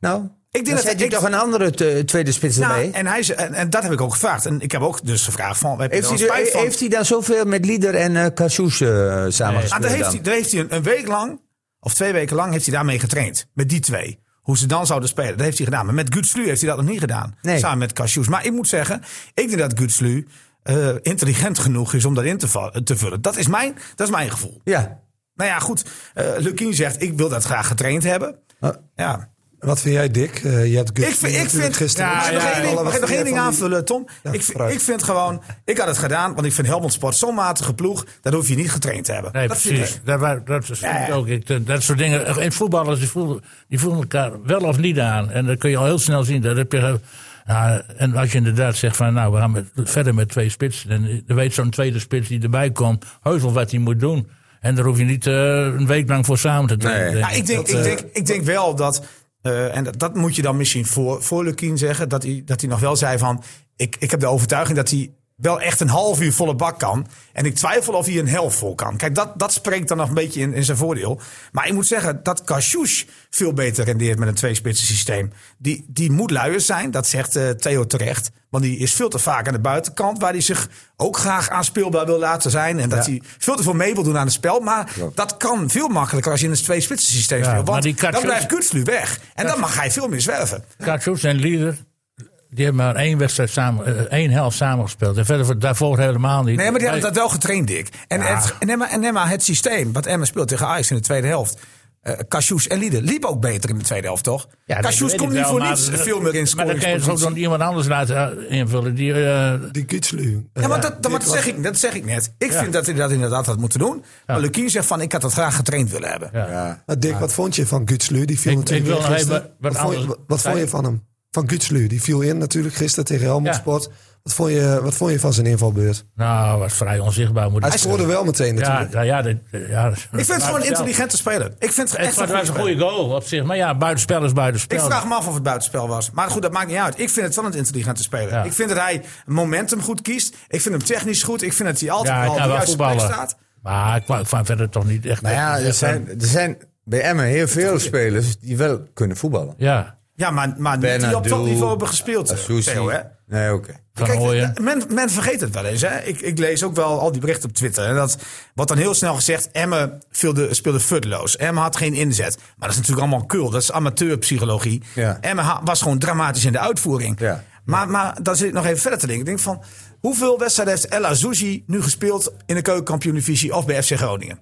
Speaker 1: Nou, ik
Speaker 7: denk
Speaker 1: dan
Speaker 7: dat-
Speaker 1: zet je
Speaker 7: ik-
Speaker 1: toch een andere te- tweede spits
Speaker 7: Nou,
Speaker 1: erbij.
Speaker 7: en, hij, is- en, en dat heb ik ook gevraagd. En ik heb ook dus gevraagd van... Heb je
Speaker 1: Heeft
Speaker 7: er
Speaker 1: hij,
Speaker 7: wel
Speaker 1: de-
Speaker 7: spijt van?
Speaker 1: heeft hij dan zoveel met Lieder en eh Cassius eh,
Speaker 7: Ah,
Speaker 1: samengespeeld
Speaker 7: daar heeft,
Speaker 1: dan?
Speaker 7: hij, daar heeft hij een, een week lang, of twee weken lang, heeft hij daarmee getraind. Met die twee. Hoe ze dan zouden spelen, dat heeft hij gedaan. Maar met Gutslu heeft hij dat nog niet gedaan.
Speaker 1: Nee.
Speaker 7: Samen met Cassius. Maar ik moet zeggen, ik denk dat Gutslu eh, intelligent genoeg is om dat in te, va- te vullen. Dat is, mijn, dat is mijn gevoel.
Speaker 1: Ja.
Speaker 7: Nou ja, goed. eh Lukien zegt, ik wil dat graag getraind hebben.
Speaker 1: Eh,
Speaker 7: Ja.
Speaker 6: Wat vind jij, Dick? Eh, je hebt Guts
Speaker 7: Ik vind, ik
Speaker 6: Ah. natuurlijk
Speaker 7: vind
Speaker 6: gisteren...
Speaker 7: Mag ik nog
Speaker 2: ja,
Speaker 7: één
Speaker 2: ja.
Speaker 7: ding- mag ik nog één ding
Speaker 6: Van die-
Speaker 7: aanvullen, Tom?
Speaker 6: Ja,
Speaker 7: ik, vind-
Speaker 6: vooruit.
Speaker 7: ik vind gewoon, ik had het gedaan, want ik vind Helmond Sport zo'n matige ploeg. Dat hoef je niet getraind te hebben.
Speaker 2: Nee,
Speaker 7: Dat vind ik.
Speaker 2: precies. Dat, wa- dat, is ook, ik- dat- dat soort dingen. En voetballers die voelen, die voelen elkaar wel of niet aan. En dat kun je al heel snel zien. Dat heb je, eh, ja, en als je inderdaad zegt van nou, we gaan met, verder met twee spitsen. En dan weet zo'n tweede spits die erbij komt, heus wel wat hij moet doen. En daar hoef je niet eh, een week lang voor samen te trainen.
Speaker 1: Nee.
Speaker 2: denk
Speaker 7: Ja, ik denk,
Speaker 2: eh,
Speaker 7: ik denk, ik denk wel dat. eh, en dat, dat moet je dan misschien voor, voor Lukien zeggen. Dat hij, dat hij nog wel zei van. Ik, ik heb de overtuiging dat hij wel echt een half uur volle bak kan. En ik twijfel of hij een helft vol kan. Kijk, dat, dat spreekt dan nog een beetje in, in zijn voordeel. Maar ik moet zeggen dat Cassius veel beter rendeert met een tweespitsen systeem. Die, die moet luier zijn, dat zegt eh, Theo terecht. Want die is veel te vaak aan de buitenkant, waar hij zich ook graag aanspeelbaar wil laten zijn. En dat hij veel te veel mee wil doen aan het spel. Maar dat kan veel makkelijker als je in een tweespitsen systeem
Speaker 2: Ja,
Speaker 7: speelt.
Speaker 2: maar
Speaker 7: Want
Speaker 2: die
Speaker 7: dan
Speaker 2: Cassius-
Speaker 7: blijft Kutslu weg. En dan mag hij veel meer zwerven.
Speaker 2: Katsoes en Lieder, die hebben maar één wedstrijd samen, eh, één helft samengespeeld. En verder voor- daarvoor helemaal niet.
Speaker 7: Nee, maar die
Speaker 2: Hij-
Speaker 7: hadden dat wel getraind, Dick. En, het, en, Emma, en Emma, het systeem wat Emma speelt tegen Ajax in de tweede helft. eh Cassius en Lieder liepen ook beter in de tweede helft, toch?
Speaker 2: Ja,
Speaker 7: Ja,
Speaker 2: dat weet
Speaker 7: Cassius
Speaker 2: ik
Speaker 7: komt niet
Speaker 2: wel,
Speaker 7: voor
Speaker 2: maar
Speaker 7: niets
Speaker 2: dat-
Speaker 7: veel meer in
Speaker 2: Maar dan kan je het ook
Speaker 7: scoringspositie.
Speaker 2: dan iemand anders laten eh, invullen. Die, eh,
Speaker 6: Die Eh, Kutslu.
Speaker 7: Ja, want dat, dat, maar dat, zeg ik, dat zeg ik net. Ik vind dat hij dat inderdaad had moeten doen. Maar Lukien zegt van, ik had dat graag getraind willen hebben.
Speaker 6: Maar Dick, wat vond je van Gutslu? Die viel
Speaker 2: Ik-
Speaker 6: natuurlijk
Speaker 2: ik wil
Speaker 6: in
Speaker 2: nog
Speaker 6: gisteren.
Speaker 2: even wat
Speaker 6: vond je,
Speaker 2: anders-
Speaker 6: wat vond je van hem? Van Gutslu, die viel in natuurlijk gisteren tegen Helmond
Speaker 2: Ja.
Speaker 6: Sport. Wat vond, je, wat vond je van zijn invalbeurt?
Speaker 2: nou, was vrij onzichtbaar. Moet ik
Speaker 6: Hij scoorde wel meteen
Speaker 2: Ja,
Speaker 6: natuurlijk.
Speaker 2: nou ja, dat- ja,
Speaker 7: Ik vind het gewoon een intelligente speler. Ik vind het
Speaker 2: Het
Speaker 7: echt
Speaker 2: was was een goede
Speaker 7: speler.
Speaker 2: goal op zich. Maar ja, buitenspel is buitenspel.
Speaker 7: Ik vraag me af of het buitenspel was. Maar goed, dat maakt niet uit. Ik vind het wel een intelligente speler.
Speaker 2: Ja.
Speaker 7: Ik vind dat hij momentum goed kiest. Ik vind hem technisch goed. Ik vind dat hij altijd
Speaker 2: ja, hij
Speaker 7: wel op
Speaker 2: kan
Speaker 7: de
Speaker 2: wel
Speaker 7: juiste plek
Speaker 2: voetballen.
Speaker 7: staat.
Speaker 2: Maar ik kwam ik kwam verder toch niet echt...
Speaker 1: Nou ja, er zijn, er zijn bij Emmen heel veel spelers die wel kunnen voetballen.
Speaker 2: Ja,
Speaker 7: Ja, maar, maar niet die op
Speaker 1: Bernardo,
Speaker 7: topniveau hebben gespeeld. eh,
Speaker 1: Asusi.
Speaker 7: Theo, hè?
Speaker 1: Nee, oké.
Speaker 2: Van
Speaker 7: Kijk,
Speaker 2: Hooyen.
Speaker 7: men, men vergeet het wel eens. Hè? Ik, ik lees ook wel al die berichten op Twitter. En dat wat dan heel snel gezegd, Emme speelde, speelde futloos. Emme had geen inzet. Maar dat is natuurlijk allemaal kul. Dat is amateurpsychologie.
Speaker 1: Ja.
Speaker 7: Emme ha- was gewoon dramatisch in de uitvoering.
Speaker 1: Ja.
Speaker 7: Maar, maar dan zit ik nog even verder te denken. Ik denk van, hoeveel wedstrijden heeft Ella Zouzi nu gespeeld in de keukenkampioen-divisie of bij FC Groningen?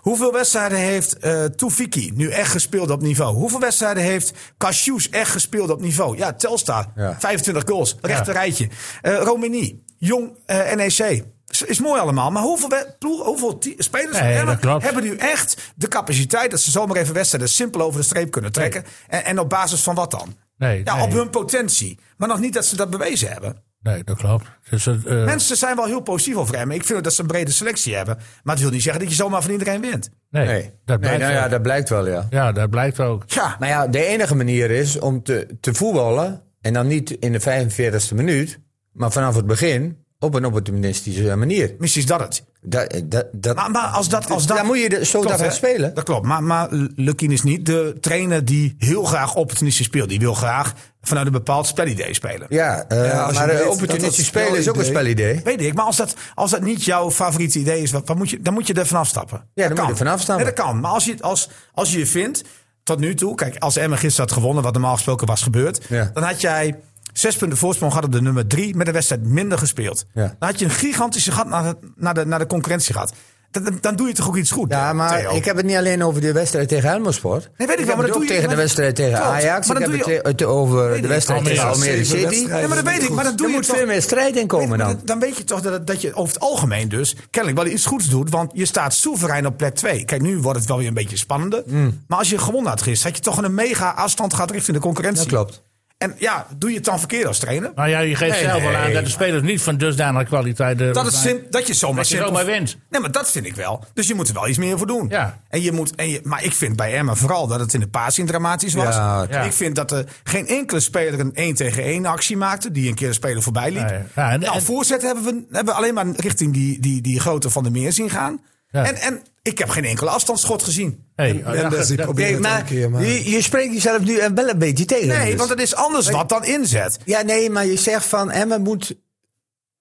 Speaker 7: Hoeveel wedstrijden heeft eh Toefiki nu echt gespeeld op niveau? Hoeveel wedstrijden heeft Cassius echt gespeeld op niveau? Ja, Telstar,
Speaker 1: Ja.
Speaker 7: 25 goals, rechter rijtje. Eh Romani, jong eh, NEC. Is, is mooi allemaal, maar hoeveel, we- ploeg- hoeveel ti- spelers van
Speaker 2: Nee,
Speaker 7: Emmen
Speaker 2: dat klopt.
Speaker 7: hebben nu echt de capaciteit dat ze zomaar even wedstrijden simpel over de streep kunnen trekken? En, en op basis van wat dan?
Speaker 2: Nee,
Speaker 7: ja,
Speaker 2: nee.
Speaker 7: op hun potentie. Maar nog niet dat ze dat bewezen hebben.
Speaker 2: nee, dat klopt. Dus, het, eh,
Speaker 7: Mensen zijn wel heel positief over Emmen. Ik vind dat ze een brede selectie hebben. Maar het wil niet zeggen dat je zomaar van iedereen wint.
Speaker 2: nee,
Speaker 1: Nee,
Speaker 2: dat
Speaker 1: nee
Speaker 2: blijkt
Speaker 1: nou ja,
Speaker 2: ook.
Speaker 1: dat blijkt wel, ja.
Speaker 2: Ja, dat blijkt ook.
Speaker 7: Ja,
Speaker 1: Maar ja, de enige manier is om te, te voetballen. En dan niet in de 45e minuut, maar vanaf het begin op een opportunistische manier.
Speaker 7: misschien is dat het.
Speaker 1: Dat, eh, dat, dat,
Speaker 7: Maar, maar als dat, als dat...
Speaker 1: Dus Dan moet je de- zo
Speaker 7: Klopt,
Speaker 1: daarvan
Speaker 7: hè?
Speaker 1: spelen.
Speaker 7: Dat klopt. Maar, maar Lukin is niet de trainer die heel graag opportunistisch speelt. Die wil graag vanuit een bepaald spelidee spelen.
Speaker 1: ja, eh,
Speaker 6: Ja, als je
Speaker 1: maar
Speaker 6: weet
Speaker 1: eh,
Speaker 6: dat
Speaker 1: opportunistisch
Speaker 6: dat
Speaker 1: spelen is ook een spelidee.
Speaker 7: Weet ik, maar als dat, als dat niet jouw favoriete idee is, wat, wat moet je, dan moet je er vanaf stappen.
Speaker 1: dan
Speaker 7: Dat
Speaker 1: moet je
Speaker 7: kan.
Speaker 1: er vanaf stappen.
Speaker 7: Nee, dat kan. Maar als je, het- als, als je je vindt, tot nu toe, kijk, als Emma gisteren had gewonnen, wat normaal gesproken was gebeurd,
Speaker 1: Ja.
Speaker 7: dan had jij zes punten voorsprong gehad op de nummer drie, met een wedstrijd minder gespeeld.
Speaker 1: Ja.
Speaker 7: Dan had je een gigantische gat naar, de- naar, de, naar de concurrentie gehad. Dat- Dan, dan doe je toch ook iets goed. eh,
Speaker 1: Ja, maar
Speaker 7: Theo?
Speaker 1: ik heb het niet alleen over de wedstrijd tegen Helmersport.
Speaker 7: Nee, weet ik
Speaker 1: heb
Speaker 7: wel, maar dat
Speaker 1: het ook
Speaker 7: doe je
Speaker 1: tegen de
Speaker 7: maar-
Speaker 1: wedstrijd tegen
Speaker 7: Klopt,
Speaker 1: Ajax.
Speaker 7: maar
Speaker 1: ik
Speaker 7: dat
Speaker 1: heb
Speaker 7: doe
Speaker 1: het
Speaker 7: je-
Speaker 1: te- het over
Speaker 7: Weet
Speaker 1: de
Speaker 7: ik.
Speaker 1: wedstrijd tegen
Speaker 2: Almere.
Speaker 1: Almere
Speaker 6: Zeven
Speaker 1: City.
Speaker 6: wedstrijden.
Speaker 7: Ja, maar dat weet ik. Maar dat doe
Speaker 1: Er
Speaker 7: je
Speaker 1: moet
Speaker 7: toch-
Speaker 1: veel meer strijd in komen
Speaker 7: Nee, maar
Speaker 1: dan.
Speaker 7: Dan weet je toch dat, dat je over het algemeen dus kennelijk wel iets goeds doet. Want je staat soeverein op plek 2. Kijk, nu wordt het wel weer een beetje spannender.
Speaker 1: Hmm.
Speaker 7: Maar als je gewonnen had gisteren, had je toch een mega afstand gehad richting de concurrentie.
Speaker 1: Dat klopt.
Speaker 7: En ja, doe je het dan verkeerd als trainer?
Speaker 2: Nou ja, je geeft
Speaker 1: Nee,
Speaker 2: zelf al aan
Speaker 1: nee.
Speaker 2: dat de spelers niet van dusdanige kwaliteit... eh,
Speaker 7: Dat, is
Speaker 2: zijn.
Speaker 7: sim, dat je zomaar
Speaker 2: Dat je
Speaker 7: simpel-
Speaker 2: zomaar wint.
Speaker 7: Nee, maar dat vind ik wel. Dus je moet er wel iets meer voor doen.
Speaker 2: Ja.
Speaker 7: En je moet, en je, maar ik vind bij Emma vooral dat het in de passing dramatisch was.
Speaker 1: Ja,
Speaker 2: ja.
Speaker 7: Ik vind dat er geen enkele speler een 1 tegen 1 actie maakte. Die een keer de speler voorbij liep.
Speaker 2: Nee, ja, en-
Speaker 7: nou,
Speaker 2: en-
Speaker 7: voorzet hebben we, hebben we alleen maar richting die, die, die grote van de meer zien gaan.
Speaker 2: Ja.
Speaker 7: En, en ik heb geen enkele afstandsschot gezien.
Speaker 2: Hey,
Speaker 6: En
Speaker 2: ja,
Speaker 6: Mendes, die
Speaker 2: dat-
Speaker 6: probeert
Speaker 1: Nee,
Speaker 6: het maar,
Speaker 1: maar
Speaker 6: een keer. Maar,
Speaker 1: je, je spreekt jezelf nu eh, wel een beetje tegen.
Speaker 7: Nee,
Speaker 1: dus.
Speaker 7: want het is anders wat dan inzet.
Speaker 1: Ja, nee, maar je zegt van Emmen moet,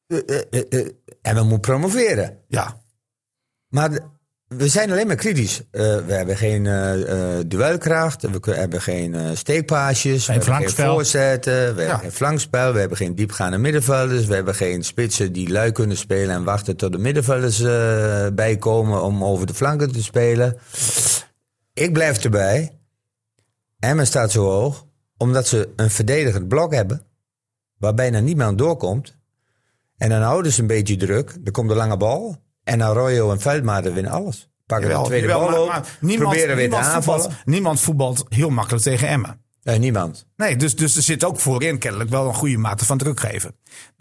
Speaker 1: eh, eh, eh, eh, Emmen moet promoveren.
Speaker 7: Ja.
Speaker 1: Maar d- we zijn alleen maar kritisch. Eh, we hebben geen eh, eh, duelkracht, we kun- hebben geen eh, steekpaasjes, we hebben geen
Speaker 2: flankspel.
Speaker 1: voorzetten, we hebben
Speaker 7: Ja.
Speaker 1: geen flankspel, we hebben geen diepgaande middenvelders, we hebben geen spitsen die lui kunnen spelen en wachten tot de middenvelders eh, bijkomen om over de flanken te spelen. Ik blijf erbij. Emmen staat zo hoog omdat ze een verdedigend blok hebben waar bijna niemand doorkomt. En dan houden ze een beetje druk. Dan komt de lange bal. En Arroyo en Veldmaten winnen alles. Pakken
Speaker 7: Jawel,
Speaker 1: de tweede
Speaker 7: jawel,
Speaker 1: bal
Speaker 7: maar-
Speaker 1: op.
Speaker 7: maar niemand,
Speaker 1: proberen weer te
Speaker 7: niemand
Speaker 1: aanvallen.
Speaker 7: voetbalt- niemand voetbalt heel makkelijk tegen Emmen.
Speaker 1: Nee, niemand.
Speaker 7: Nee, dus, dus er zit ook voorin kennelijk wel een goede mate van druk geven.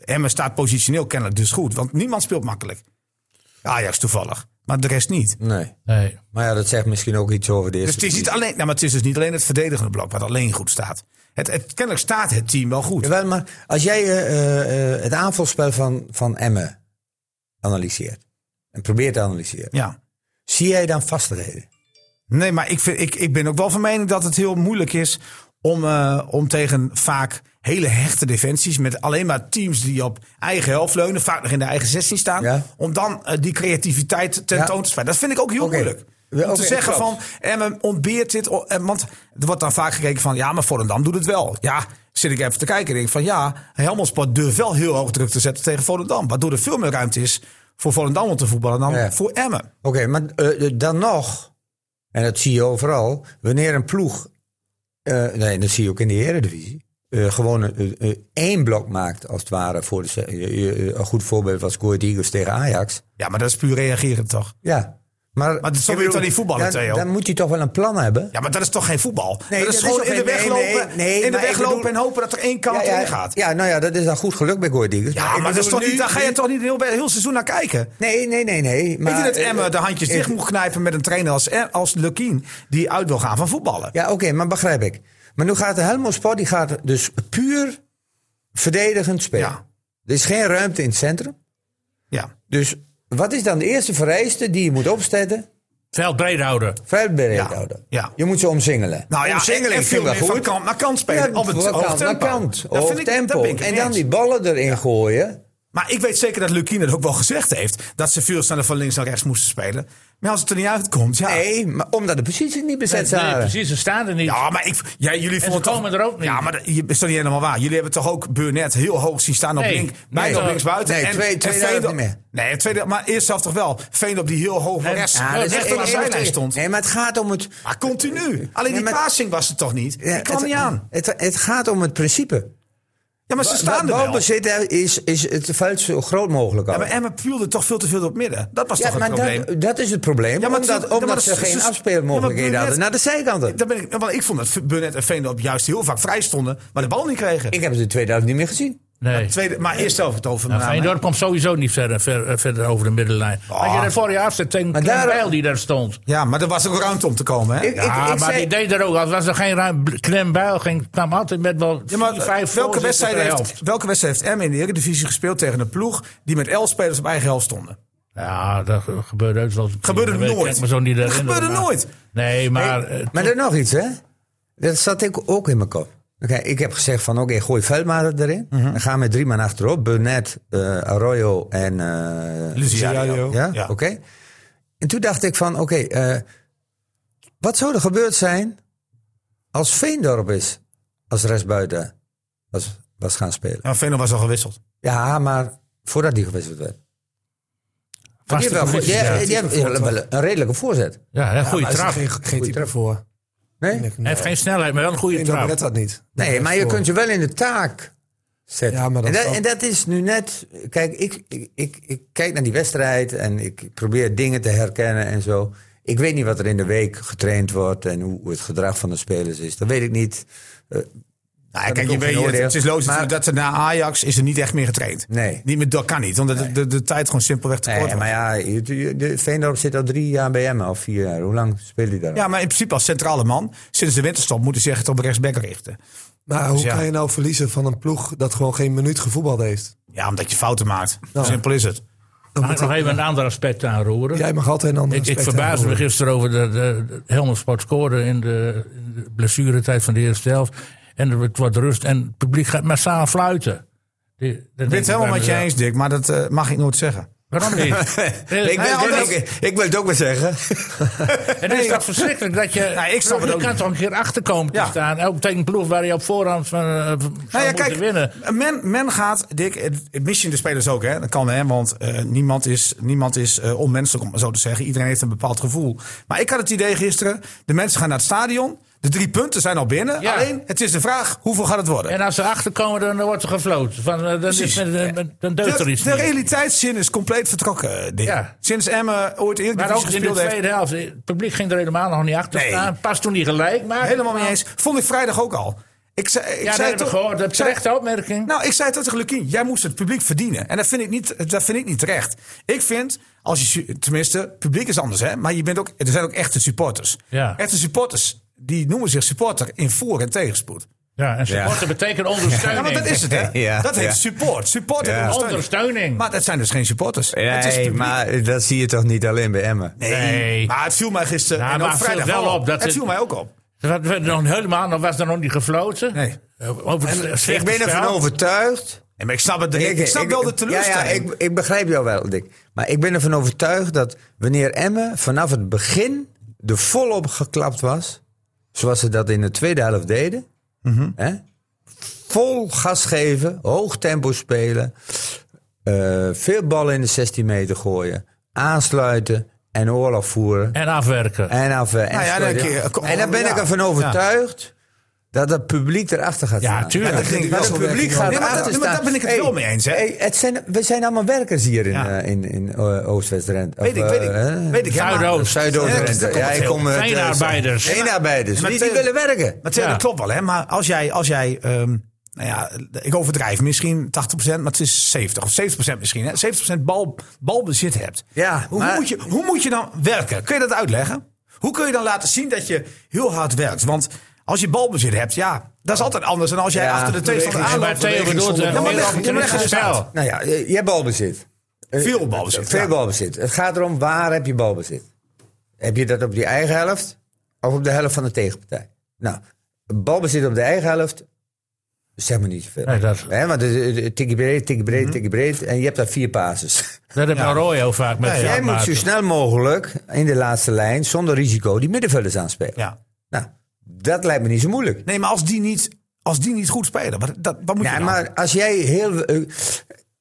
Speaker 7: Emmen staat positioneel kennelijk dus goed, want niemand speelt makkelijk. Ajax toevallig, maar de rest niet.
Speaker 1: Nee.
Speaker 2: Nee.
Speaker 1: Maar ja, dat zegt misschien ook iets over de
Speaker 7: Dus
Speaker 1: eerste.
Speaker 7: het is, niet alleen, nou, maar het is dus niet alleen het verdedigende blok wat alleen goed staat. Het, het, kennelijk staat het team wel goed.
Speaker 1: Jawel, maar als jij eh, eh, eh, het aanvalspel van, van Emmen analyseert en probeert te analyseren,
Speaker 7: Ja.
Speaker 1: zie jij dan vastigheden?
Speaker 7: Nee, maar ik, vind, ik, ik ben ook wel van mening dat het heel moeilijk is om, eh, om tegen vaak hele hechte defensies met alleen maar teams die op eigen helft leunen, vaak nog in de eigen 16 staan,
Speaker 1: Ja.
Speaker 7: om dan eh, die creativiteit
Speaker 1: Ja.
Speaker 7: tentoon te spreiden. Dat vind ik ook heel
Speaker 1: Oké.
Speaker 7: moeilijk. Om
Speaker 1: Ja, oké,
Speaker 7: te zeggen
Speaker 1: klopt.
Speaker 7: van, Emmen ontbeert dit, o- eh, want er wordt dan vaak gekeken van, ja, maar Volendam doet het wel. Ja, zit ik even te kijken en denk ik van, ja, Helmelsport durft wel heel hoog druk te zetten tegen Volendam, waardoor er veel meer ruimte is voor Volendam om te voetballen dan
Speaker 1: Ja.
Speaker 7: voor Emmen.
Speaker 1: Oké, maar eh, eh, dan nog, en dat zie je overal, wanneer een ploeg, eh, nee, dat zie je ook in de Eredivisie, eh, gewoon een- eh, eh, één blok maakt als het ware voor de. se- eh, eh, een goed voorbeeld was Goed Eagles tegen Ajax.
Speaker 7: Ja, maar dat is puur reageren toch?
Speaker 1: Ja. Maar,
Speaker 7: Maar zo
Speaker 1: ik
Speaker 7: wil je
Speaker 1: bedoel,
Speaker 7: toch niet voetballen,
Speaker 1: dan-
Speaker 7: Theo?
Speaker 1: Dan moet je toch wel een plan hebben.
Speaker 7: Ja, maar dat is toch geen voetbal?
Speaker 1: Nee,
Speaker 7: dat is gewoon
Speaker 1: ook
Speaker 7: in de
Speaker 1: geen-
Speaker 7: weg
Speaker 1: nee,
Speaker 7: lopen,
Speaker 1: nee, nee,
Speaker 7: in de
Speaker 1: maar
Speaker 7: weg
Speaker 1: ik
Speaker 7: lopen
Speaker 1: bedoel-
Speaker 7: en hopen dat er één kant in gaat. Ja,
Speaker 1: ja, nou ja, dat is dan goed geluk bij Goed Eagles. ik
Speaker 7: maar dat is
Speaker 1: bedoel
Speaker 7: toch niet,
Speaker 1: nu-
Speaker 7: daar ga je toch niet heel, heel seizoen naar kijken?
Speaker 1: Nee, nee, nee, nee. Maar,
Speaker 7: Weet je dat
Speaker 1: eh,
Speaker 7: Emmen de handjes
Speaker 1: eh,
Speaker 7: dicht moet knijpen met een trainer als, eh, als Lukien... die uit wil gaan van voetballen?
Speaker 1: Ja, oké, maar begrijp ik. Maar nu gaat de Helmelsport, die gaat dus puur verdedigend spelen.
Speaker 7: Ja.
Speaker 1: Er is geen ruimte in het centrum.
Speaker 7: Ja.
Speaker 1: Dus wat is dan de eerste vereiste die je moet opstellen?
Speaker 2: Veld breed houden.
Speaker 1: Vrijheid breed
Speaker 7: Ja,
Speaker 1: houden.
Speaker 7: ja.
Speaker 1: Je moet ze omzingelen.
Speaker 7: Nou ja, en,
Speaker 1: Omsingelen vind
Speaker 7: en
Speaker 1: ik
Speaker 7: veel
Speaker 1: wel
Speaker 7: meer van
Speaker 1: goed.
Speaker 7: kant naar kant spelen. op het
Speaker 1: van
Speaker 7: hoog
Speaker 1: kant naar
Speaker 7: tempo.
Speaker 1: kant,
Speaker 7: Dat
Speaker 1: hoog
Speaker 7: vind ik- daar
Speaker 1: tempo.
Speaker 7: ben ik het
Speaker 1: en
Speaker 7: mee
Speaker 1: dan
Speaker 7: eens.
Speaker 1: die ballen erin gooien.
Speaker 7: Maar ik weet zeker dat Lukien het ook wel gezegd heeft... dat ze veel sneller van links naar rechts moesten spelen. Maar als het er niet uitkomt, ja...
Speaker 1: Nee, maar omdat de posities niet bezet
Speaker 2: Nee,
Speaker 1: waren.
Speaker 2: precies, ze staan er niet.
Speaker 7: Ja, maar ik, ja, jullie vonden toch-
Speaker 2: komen er ook niet.
Speaker 7: Ja, maar dat je- is toch niet helemaal waar. Jullie hebben toch ook Burnett heel hoog zien staan op
Speaker 2: Nee,
Speaker 7: link,
Speaker 2: nee.
Speaker 7: bijna op
Speaker 2: Nee,
Speaker 7: linksbuiten.
Speaker 1: nee,
Speaker 7: en,
Speaker 1: twee-
Speaker 7: en
Speaker 1: tweede helft
Speaker 7: Veendorp-
Speaker 1: niet meer.
Speaker 7: Nee, tweede, maar eerst zelf toch wel. Veendorp die heel hoog
Speaker 2: Nee,
Speaker 7: rechts,
Speaker 2: ja, dat
Speaker 7: rechts
Speaker 2: is
Speaker 7: rechter
Speaker 2: één-
Speaker 7: aan de
Speaker 2: één-
Speaker 7: zijlijn stond.
Speaker 1: Nee, maar het gaat om het...
Speaker 7: Maar continu. Alleen
Speaker 1: Nee,
Speaker 7: die
Speaker 1: maar-
Speaker 7: passing was het toch niet?
Speaker 1: Ja,
Speaker 7: Ik kwam
Speaker 1: het-
Speaker 7: niet aan.
Speaker 1: Het, het gaat om het principe.
Speaker 7: Ja, maar ze staan er wel.
Speaker 1: balbezit hè, is, is het veld zo groot mogelijk
Speaker 7: Ja,
Speaker 1: houden.
Speaker 7: maar Emma puurde toch veel te veel op midden. Dat was
Speaker 1: Ja,
Speaker 7: toch het
Speaker 1: maar
Speaker 7: probleem.
Speaker 1: dat, dat is het probleem.
Speaker 7: Ja,
Speaker 1: omdat
Speaker 7: maar het- ja, maar
Speaker 1: omdat
Speaker 7: dat
Speaker 1: ze
Speaker 7: is-
Speaker 1: geen
Speaker 7: dus-
Speaker 1: afspeelmogelijkheden
Speaker 7: ja, maar
Speaker 1: hadden. Nou, Naar de
Speaker 7: Burnett-
Speaker 1: zijkanten.
Speaker 7: Daar ben ik, want ik vond dat Burnett en Veendorp juist heel vaak vrij stonden, maar de bal niet kregen.
Speaker 1: Ik heb ze in 2000 niet meer gezien.
Speaker 2: nee.
Speaker 7: Tweede, maar eerst zelf het over.
Speaker 2: Nou,
Speaker 7: met name.
Speaker 2: Feyenoord komt sowieso niet verder, ver- eh, verder over de middenlijn. Als je
Speaker 7: Ah.
Speaker 2: dat vorig jaar afzet tegen
Speaker 1: Maar
Speaker 2: Clem
Speaker 1: daarom-
Speaker 2: Bijl die daar stond.
Speaker 7: Ja, maar er was ook ruimte om te komen. Hè?
Speaker 1: Ik, ik,
Speaker 2: Ja,
Speaker 1: ik
Speaker 2: maar
Speaker 1: zei,
Speaker 2: die deed er ook. Als was er geen ruim, Clem Bijl ging, kwam altijd met wel
Speaker 7: Ja, maar
Speaker 2: vier, vijf
Speaker 7: welke,
Speaker 2: voorzetten
Speaker 7: wedstrijd
Speaker 2: per
Speaker 7: heeft,
Speaker 2: helft.
Speaker 7: welke wedstrijd heeft M in de Eredivisie gespeeld tegen een ploeg die met elf spelers op eigen helft stonden?
Speaker 2: Ja, dat ge- gebeurde ook wel.
Speaker 7: Gebeurde
Speaker 2: Ik
Speaker 7: nooit.
Speaker 2: kan me zo niet
Speaker 7: Dat
Speaker 2: herinneren,
Speaker 7: gebeurde
Speaker 2: maar-
Speaker 7: nooit.
Speaker 2: Nee, maar... eh,
Speaker 1: maar er nog iets, hè? Dat zat ik ook in mijn kop. Oké, ik heb gezegd van oké, gooi Veldmaat erin.
Speaker 7: Mhm.
Speaker 1: Dan gaan we met drie man achterop. Burnett, eh, Arroyo en eh,
Speaker 2: Oh,
Speaker 7: Luciano.
Speaker 1: Ja, oké. En toen dacht ik van, oké, eh, wat zou er gebeurd zijn als Veendorp is als rechtsbuiten was, was gaan spelen?
Speaker 7: En Veno Nou, was al
Speaker 1: Nou,
Speaker 7: gewisseld.
Speaker 1: Ja, maar voordat die gewisseld werd. Die
Speaker 2: vaste
Speaker 1: heeft wel goed-
Speaker 2: positie,
Speaker 1: die-
Speaker 2: ja.
Speaker 1: die heeft wel een redelijke voorzet.
Speaker 2: Ja, een goede
Speaker 6: Maar is er
Speaker 2: trap.
Speaker 6: geen,
Speaker 2: Hij
Speaker 6: geen type voor.
Speaker 1: Nee?
Speaker 6: Nee.
Speaker 2: heeft geen snelheid, maar wel een goede
Speaker 6: Veendorp
Speaker 2: trap.
Speaker 6: redt dat niet.
Speaker 1: nee, maar je kunt je wel in de taak zetten.
Speaker 6: Ja, maar dat
Speaker 1: en, dat,
Speaker 6: is ook-
Speaker 1: en dat is nu net... Kijk, ik, ik, ik, ik kijk naar die wedstrijd en ik probeer dingen te herkennen en zo. Ik weet niet wat er in de week getraind wordt en hoe hoe het gedrag van de spelers is. Dat weet ik niet.
Speaker 7: Nou,
Speaker 1: Dat
Speaker 7: kijk,
Speaker 1: is
Speaker 7: je
Speaker 1: ook geen
Speaker 7: weet,
Speaker 1: oordeel.
Speaker 7: het is logisch
Speaker 1: Maar-
Speaker 7: natuurlijk dat er na Ajax is er niet echt meer getraind.
Speaker 1: Nee.
Speaker 7: Niet meer, dat kan niet, omdat de, de, de tijd gewoon simpelweg te kort
Speaker 1: Nee,
Speaker 7: was.
Speaker 1: maar ja, je- je- de Veendorp zit al drie jaar bij hem, al vier jaar. Hoe lang speelt hij daar? al?
Speaker 7: Ja, maar in principe als centrale man, sinds de winterstop, moet hij zich het op rechtsback richten.
Speaker 6: Maar hoe
Speaker 7: ja.
Speaker 6: kan je nou verliezen van een ploeg dat gewoon geen minuut gevoetbald heeft?
Speaker 7: Ja, omdat je fouten maakt. Simpel is het.
Speaker 2: Mag ik nog even een ander aspect aanroeren?
Speaker 6: Jij mag altijd een ander
Speaker 2: Ah, oh, Ik, ik
Speaker 6: aspect
Speaker 2: verbaasde me
Speaker 6: aanroeren.
Speaker 2: gisteren over dat de, Helmersport scoorde in de, in de blessuretijd van de eerste helft. En er wordt- wordt rust en het publiek gaat massaal fluiten. Die- dat denk
Speaker 7: Ik ben het helemaal
Speaker 2: bij
Speaker 7: met je
Speaker 2: mezelf.
Speaker 7: eens, Dick, maar dat eh, mag ik nooit zeggen.
Speaker 2: Waarom niet? Eh,
Speaker 1: ik, wil,
Speaker 2: Nee,
Speaker 1: het
Speaker 2: omdat-
Speaker 1: ook- ik, ik wil het ook maar zeggen.
Speaker 2: Het is toch verschrikkelijk dat je...
Speaker 7: Nee, ik snap het
Speaker 2: je
Speaker 7: ook
Speaker 2: kan
Speaker 7: niet.
Speaker 2: toch een keer achter komen te
Speaker 7: Ja.
Speaker 2: staan. Ook tegen een ploeg waar je op voorhand van, eh, zou
Speaker 7: Nou ja,
Speaker 2: moeten
Speaker 7: kijk,
Speaker 2: winnen.
Speaker 7: Men, men gaat, Dick, het- misschien de spelers ook, hè? dat kan hè, want eh, niemand is, niemand is eh, onmenselijk om het zo te zeggen. Iedereen heeft een bepaald gevoel. Maar ik had het idee gisteren, de mensen gaan naar het stadion, de drie punten zijn al binnen.
Speaker 2: Ja.
Speaker 7: Alleen, het is de vraag, hoeveel gaat het worden?
Speaker 2: En als ze achterkomen, dan wordt er gefloten. Van, eh, dan, is,
Speaker 7: Precies.
Speaker 2: men- men- men- dan deugt er
Speaker 7: de,
Speaker 2: iets
Speaker 7: de
Speaker 2: niet.
Speaker 7: realiteitszin is compleet vertrokken, eh, Dick.
Speaker 2: Ja.
Speaker 7: Sinds Emmen ooit eerder
Speaker 2: Maar ook in de
Speaker 7: gespeeld heeft.
Speaker 2: tweede helft. Het publiek ging er helemaal nog niet achter
Speaker 7: Nee.
Speaker 2: staan. Pas toen niet gelijk, maar...
Speaker 7: Helemaal mee eens. Vond ik vrijdag ook al. Ik zei, ik
Speaker 2: Ja, dat
Speaker 7: zei
Speaker 2: hebben we
Speaker 7: toch-
Speaker 2: gehoord. Dat
Speaker 7: ik
Speaker 2: is
Speaker 7: zei-
Speaker 2: terechte opmerking.
Speaker 7: Nou, ik zei het ook tegen Lukien. Jij moest het publiek verdienen. En dat vind ik niet, dat vind ik niet terecht. Ik vind, als je, tenminste, het publiek is anders, hè? maar je bent ook, er zijn ook echte supporters.
Speaker 2: Ja.
Speaker 7: Echte supporters, die noemen zich supporter in voor- en tegenspoed.
Speaker 2: Ja, en supporten betekent ondersteuning.
Speaker 7: Ja, want dat is het, hè?
Speaker 1: Ja,
Speaker 7: dat heet
Speaker 1: ja.
Speaker 7: support. Support
Speaker 1: Ja.
Speaker 7: en ondersteuning.
Speaker 2: Ondersteuning.
Speaker 7: Maar dat zijn dus geen supporters. het is
Speaker 1: Nee,
Speaker 7: publiek.
Speaker 1: maar dat zie je toch niet alleen bij Emmen?
Speaker 7: Nee.
Speaker 2: Nee.
Speaker 7: Maar het viel mij gisteren
Speaker 2: Ja,
Speaker 7: en
Speaker 2: maar
Speaker 7: ook
Speaker 2: het viel
Speaker 7: vrijdag
Speaker 2: wel
Speaker 7: al
Speaker 2: op dat
Speaker 7: het
Speaker 2: het-
Speaker 7: viel mij ook op.
Speaker 2: Wat werd nog helemaal, nog was er nog niet gefloten.
Speaker 7: Nee.
Speaker 2: Eh, Over het slechte
Speaker 1: Ik ben ervan
Speaker 2: spel.
Speaker 1: overtuigd.
Speaker 7: Nee, maar ik snap, het, ik, snap wel de teleurstelling.
Speaker 1: Ja, ja, ik, ik begrijp jou wel, Dick. Maar ik ben ervan overtuigd dat wanneer Emmen vanaf het begin er volop geklapt was, zoals ze dat in de tweede helft deden,
Speaker 7: Mhm.
Speaker 1: hè, vol gas geven, hoog tempo spelen, eh, veel ballen in de 16 meter gooien, aansluiten en oorlog voeren.
Speaker 2: En afwerken.
Speaker 1: En, af, eh, en,
Speaker 7: Nou ja, dan
Speaker 1: scoren.
Speaker 7: een keer- kom-
Speaker 1: en dan ben
Speaker 7: ja.
Speaker 1: ik ervan overtuigd dat het publiek erachter gaat
Speaker 2: Ja,
Speaker 1: staan.
Speaker 2: tuurlijk.
Speaker 1: Dat
Speaker 7: ging wel
Speaker 1: het
Speaker 7: zo
Speaker 1: publiek
Speaker 7: werken,
Speaker 1: gaat
Speaker 7: joh. Nee, maar
Speaker 1: erachter
Speaker 7: dat- maar
Speaker 1: staan.
Speaker 7: daar ben ik het
Speaker 1: Hey,
Speaker 7: wel mee eens, hè.
Speaker 1: hey, het zijn, we zijn allemaal werkers hier in,
Speaker 7: Ja.
Speaker 1: eh, in, in eh, Oost-West-Drenthe.
Speaker 7: Weet ik,
Speaker 1: Of,
Speaker 7: weet ik.
Speaker 1: eh, hè?
Speaker 7: Weet ik, hè, maar-
Speaker 2: Zuidoost.
Speaker 7: Ja, dus
Speaker 1: Zuidoost-Drenthe.
Speaker 7: daar komt
Speaker 1: Ja,
Speaker 7: het
Speaker 1: ik
Speaker 7: heel-
Speaker 1: kom uit, eh,
Speaker 2: Veenarbeiders.
Speaker 1: Veenarbeiders.
Speaker 7: Maar
Speaker 1: Die, die
Speaker 7: tegen-
Speaker 1: willen werken.
Speaker 7: Maar Theo,
Speaker 2: Ja.
Speaker 7: dat klopt wel, hè? Maar als jij, als jij ehm, nou ja, ik overdrijf misschien 80%, maar het is 70 of 70% misschien, hè? 70% bal, balbezit hebt.
Speaker 1: Ja,
Speaker 7: hoe,
Speaker 1: maar-
Speaker 7: moet je, hoe moet je dan werken? Kun je dat uitleggen? Hoe kun je dan laten zien dat je heel hard werkt? Want als je balbezit hebt, ja, dat is altijd anders dan als jij
Speaker 1: Ja,
Speaker 7: achter de tegenstander
Speaker 2: En
Speaker 7: aanloopt.
Speaker 2: waar Theo bedoelt, eh,
Speaker 7: Ja, maar
Speaker 2: meer
Speaker 7: leg-
Speaker 2: op het
Speaker 7: ja, maar leg
Speaker 2: rechte
Speaker 7: het eens uit.
Speaker 2: spel.
Speaker 1: Nou ja, je, je hebt balbezit. Eh,
Speaker 7: Veel balbezit,
Speaker 1: Veel
Speaker 7: ja.
Speaker 1: balbezit. Het gaat erom waar heb je balbezit. Heb je dat op die eigen helft of op de helft van de tegenpartij? Nou, balbezit op de eigen helft, zeg maar niet zoveel.
Speaker 2: Nee, dat-
Speaker 1: Hè, want het is, eh, tikkie breed, tikkie breed,
Speaker 7: Mhm.
Speaker 1: tikkie breed. En je hebt daar vier pases.
Speaker 2: Dat heb je Arroyo vaak met
Speaker 1: Jij moet zo
Speaker 2: veldmaten.
Speaker 1: snel mogelijk in de laatste lijn, zonder risico, die middenvelders aanspelen.
Speaker 7: Ja.
Speaker 1: Nou, dat lijkt me niet zo moeilijk.
Speaker 7: Nee, maar als die niet, als die niet goed spelen, wat, dat, wat moet
Speaker 1: Nee,
Speaker 7: je nou? dan?
Speaker 1: maar als jij heel. eh,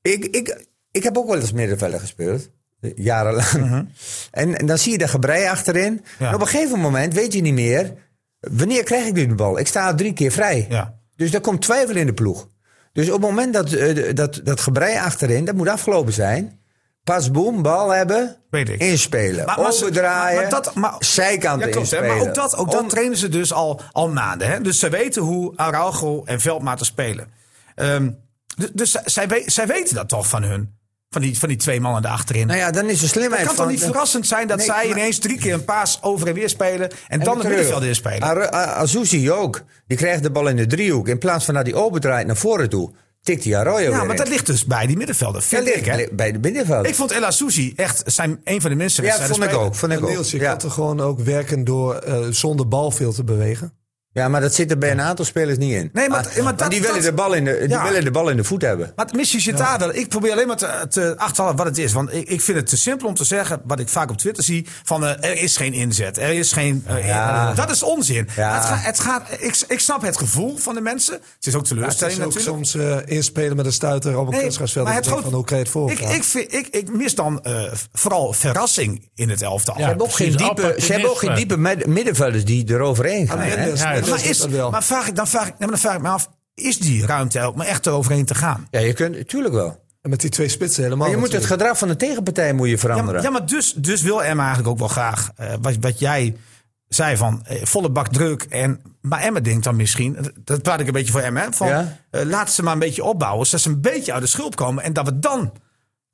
Speaker 1: ik, ik, ik heb ook wel eens middenvelder gespeeld. eh, Jarenlang.
Speaker 7: Mhm.
Speaker 1: en, en dan zie je dat gebrei achterin. En op een gegeven moment weet je niet meer. Wanneer krijg ik nu de bal? Ik sta drie keer vrij.
Speaker 7: Ja.
Speaker 1: Dus daar komt twijfel in de ploeg. Dus op het moment dat eh, de- dat, dat gebrei achterin, dat moet afgelopen zijn. Pas boem, bal hebben,
Speaker 7: Weet ik.
Speaker 1: inspelen, overdraaien,
Speaker 7: maar dat- maar-
Speaker 1: zijkanten
Speaker 7: Ja, klopt, hè.
Speaker 1: inspelen.
Speaker 7: Maar ook dat, ook dat
Speaker 1: Om-
Speaker 7: trainen ze dus al, al maanden. Hè? Dus ze weten hoe Araujo en Veldmaten spelen. Ehm, dus dus zij- zij, we- zij weten dat toch van hun. Van die, van die twee mannen daarachterin.
Speaker 1: nou ja, dan is de
Speaker 7: het
Speaker 1: slimheid
Speaker 7: kan toch
Speaker 1: van-
Speaker 7: niet verrassend zijn dat
Speaker 1: Nee,
Speaker 7: zij
Speaker 1: maar-
Speaker 7: ineens drie keer een paas over en weer spelen. En, dan het
Speaker 1: terug.
Speaker 7: middenveld inspelen.
Speaker 1: Aru- eh, A- Azuzi ook. Die krijgt de bal in de driehoek. In plaats van naar die opendraait naar voren toe, tikt die Arroyo weer
Speaker 7: Ja, maar
Speaker 1: in.
Speaker 7: dat ligt dus bij die middenvelden.
Speaker 1: Dat
Speaker 7: Vind ik,
Speaker 1: ligt
Speaker 7: hè?
Speaker 1: bij de binnenveld.
Speaker 7: Ik vond El Azuzi echt zijn, een van de minste
Speaker 1: ja, vond ik ook. Vond ik ook.
Speaker 6: Niels, je
Speaker 1: Ja.
Speaker 6: kan er gewoon ook werken door eh, zonder bal veel te bewegen.
Speaker 1: ja, maar dat zit er bij een aantal spelers niet in.
Speaker 7: Nee, maar- maar
Speaker 1: want
Speaker 7: dat-
Speaker 1: die, willen,
Speaker 7: dat-
Speaker 1: de bal in de, die
Speaker 7: Ja.
Speaker 1: willen de bal in de voet hebben.
Speaker 7: Maar missie zit daar dan. Ik probeer alleen maar te, te achterhalen wat het is. Want ik, ik vind het te simpel om te zeggen, wat ik vaak op Twitter zie, van eh, er is geen inzet. Er is geen... eh,
Speaker 1: Ja.
Speaker 7: eh, dat is onzin.
Speaker 1: Ja.
Speaker 7: Maar Het gaat, het gaat, ik, ik snap het gevoel van de mensen. Het is ook
Speaker 6: Het
Speaker 7: teleurstelling
Speaker 6: is ook
Speaker 7: natuurlijk.
Speaker 6: soms eh, inspelen met een stuiter op een
Speaker 7: Nee,
Speaker 6: kunstgrasveld.
Speaker 7: maar
Speaker 6: Dat je
Speaker 7: het
Speaker 6: denkt
Speaker 7: groot-
Speaker 6: van hoe krijg je het voor
Speaker 7: Ik,
Speaker 6: elkaar?
Speaker 7: ik, vind, ik, ik mis dan eh, vooral verrassing in het elftal.
Speaker 2: Ja.
Speaker 1: Ze hebben ook geen
Speaker 2: precies,
Speaker 1: diepe, ze hebben ook geen
Speaker 2: opportunisme.
Speaker 1: diepe med- middenvelders die eroverheen gaan.
Speaker 6: Ah,
Speaker 1: hè?
Speaker 6: Mendes,
Speaker 2: Ja,
Speaker 6: Mendes
Speaker 7: Maar,
Speaker 6: doet
Speaker 7: is,
Speaker 6: dat wel.
Speaker 7: maar vraag ik, dan, vraag ik, nee, maar dan vraag ik me af, is die ruimte ook maar echt eroverheen te gaan?
Speaker 1: Ja, je kunt, tuurlijk
Speaker 7: Oh,
Speaker 1: wel.
Speaker 6: En met die twee spitsen helemaal.
Speaker 1: Maar je moet het
Speaker 6: natuurlijk.
Speaker 1: gedrag van de tegenpartij moet je
Speaker 7: Ja,
Speaker 1: veranderen.
Speaker 7: maar, ja, maar dus, dus wil Emma eigenlijk ook wel graag. eh, wat, wat jij zei van eh, volle bak druk. En, maar Emma denkt dan misschien. eh, Dat praat ik een beetje voor Emma. hè, Van,
Speaker 1: Ja.
Speaker 7: eh, laat ze maar een beetje opbouwen. Zodat ze een beetje uit de schulp komen. En dat we dan.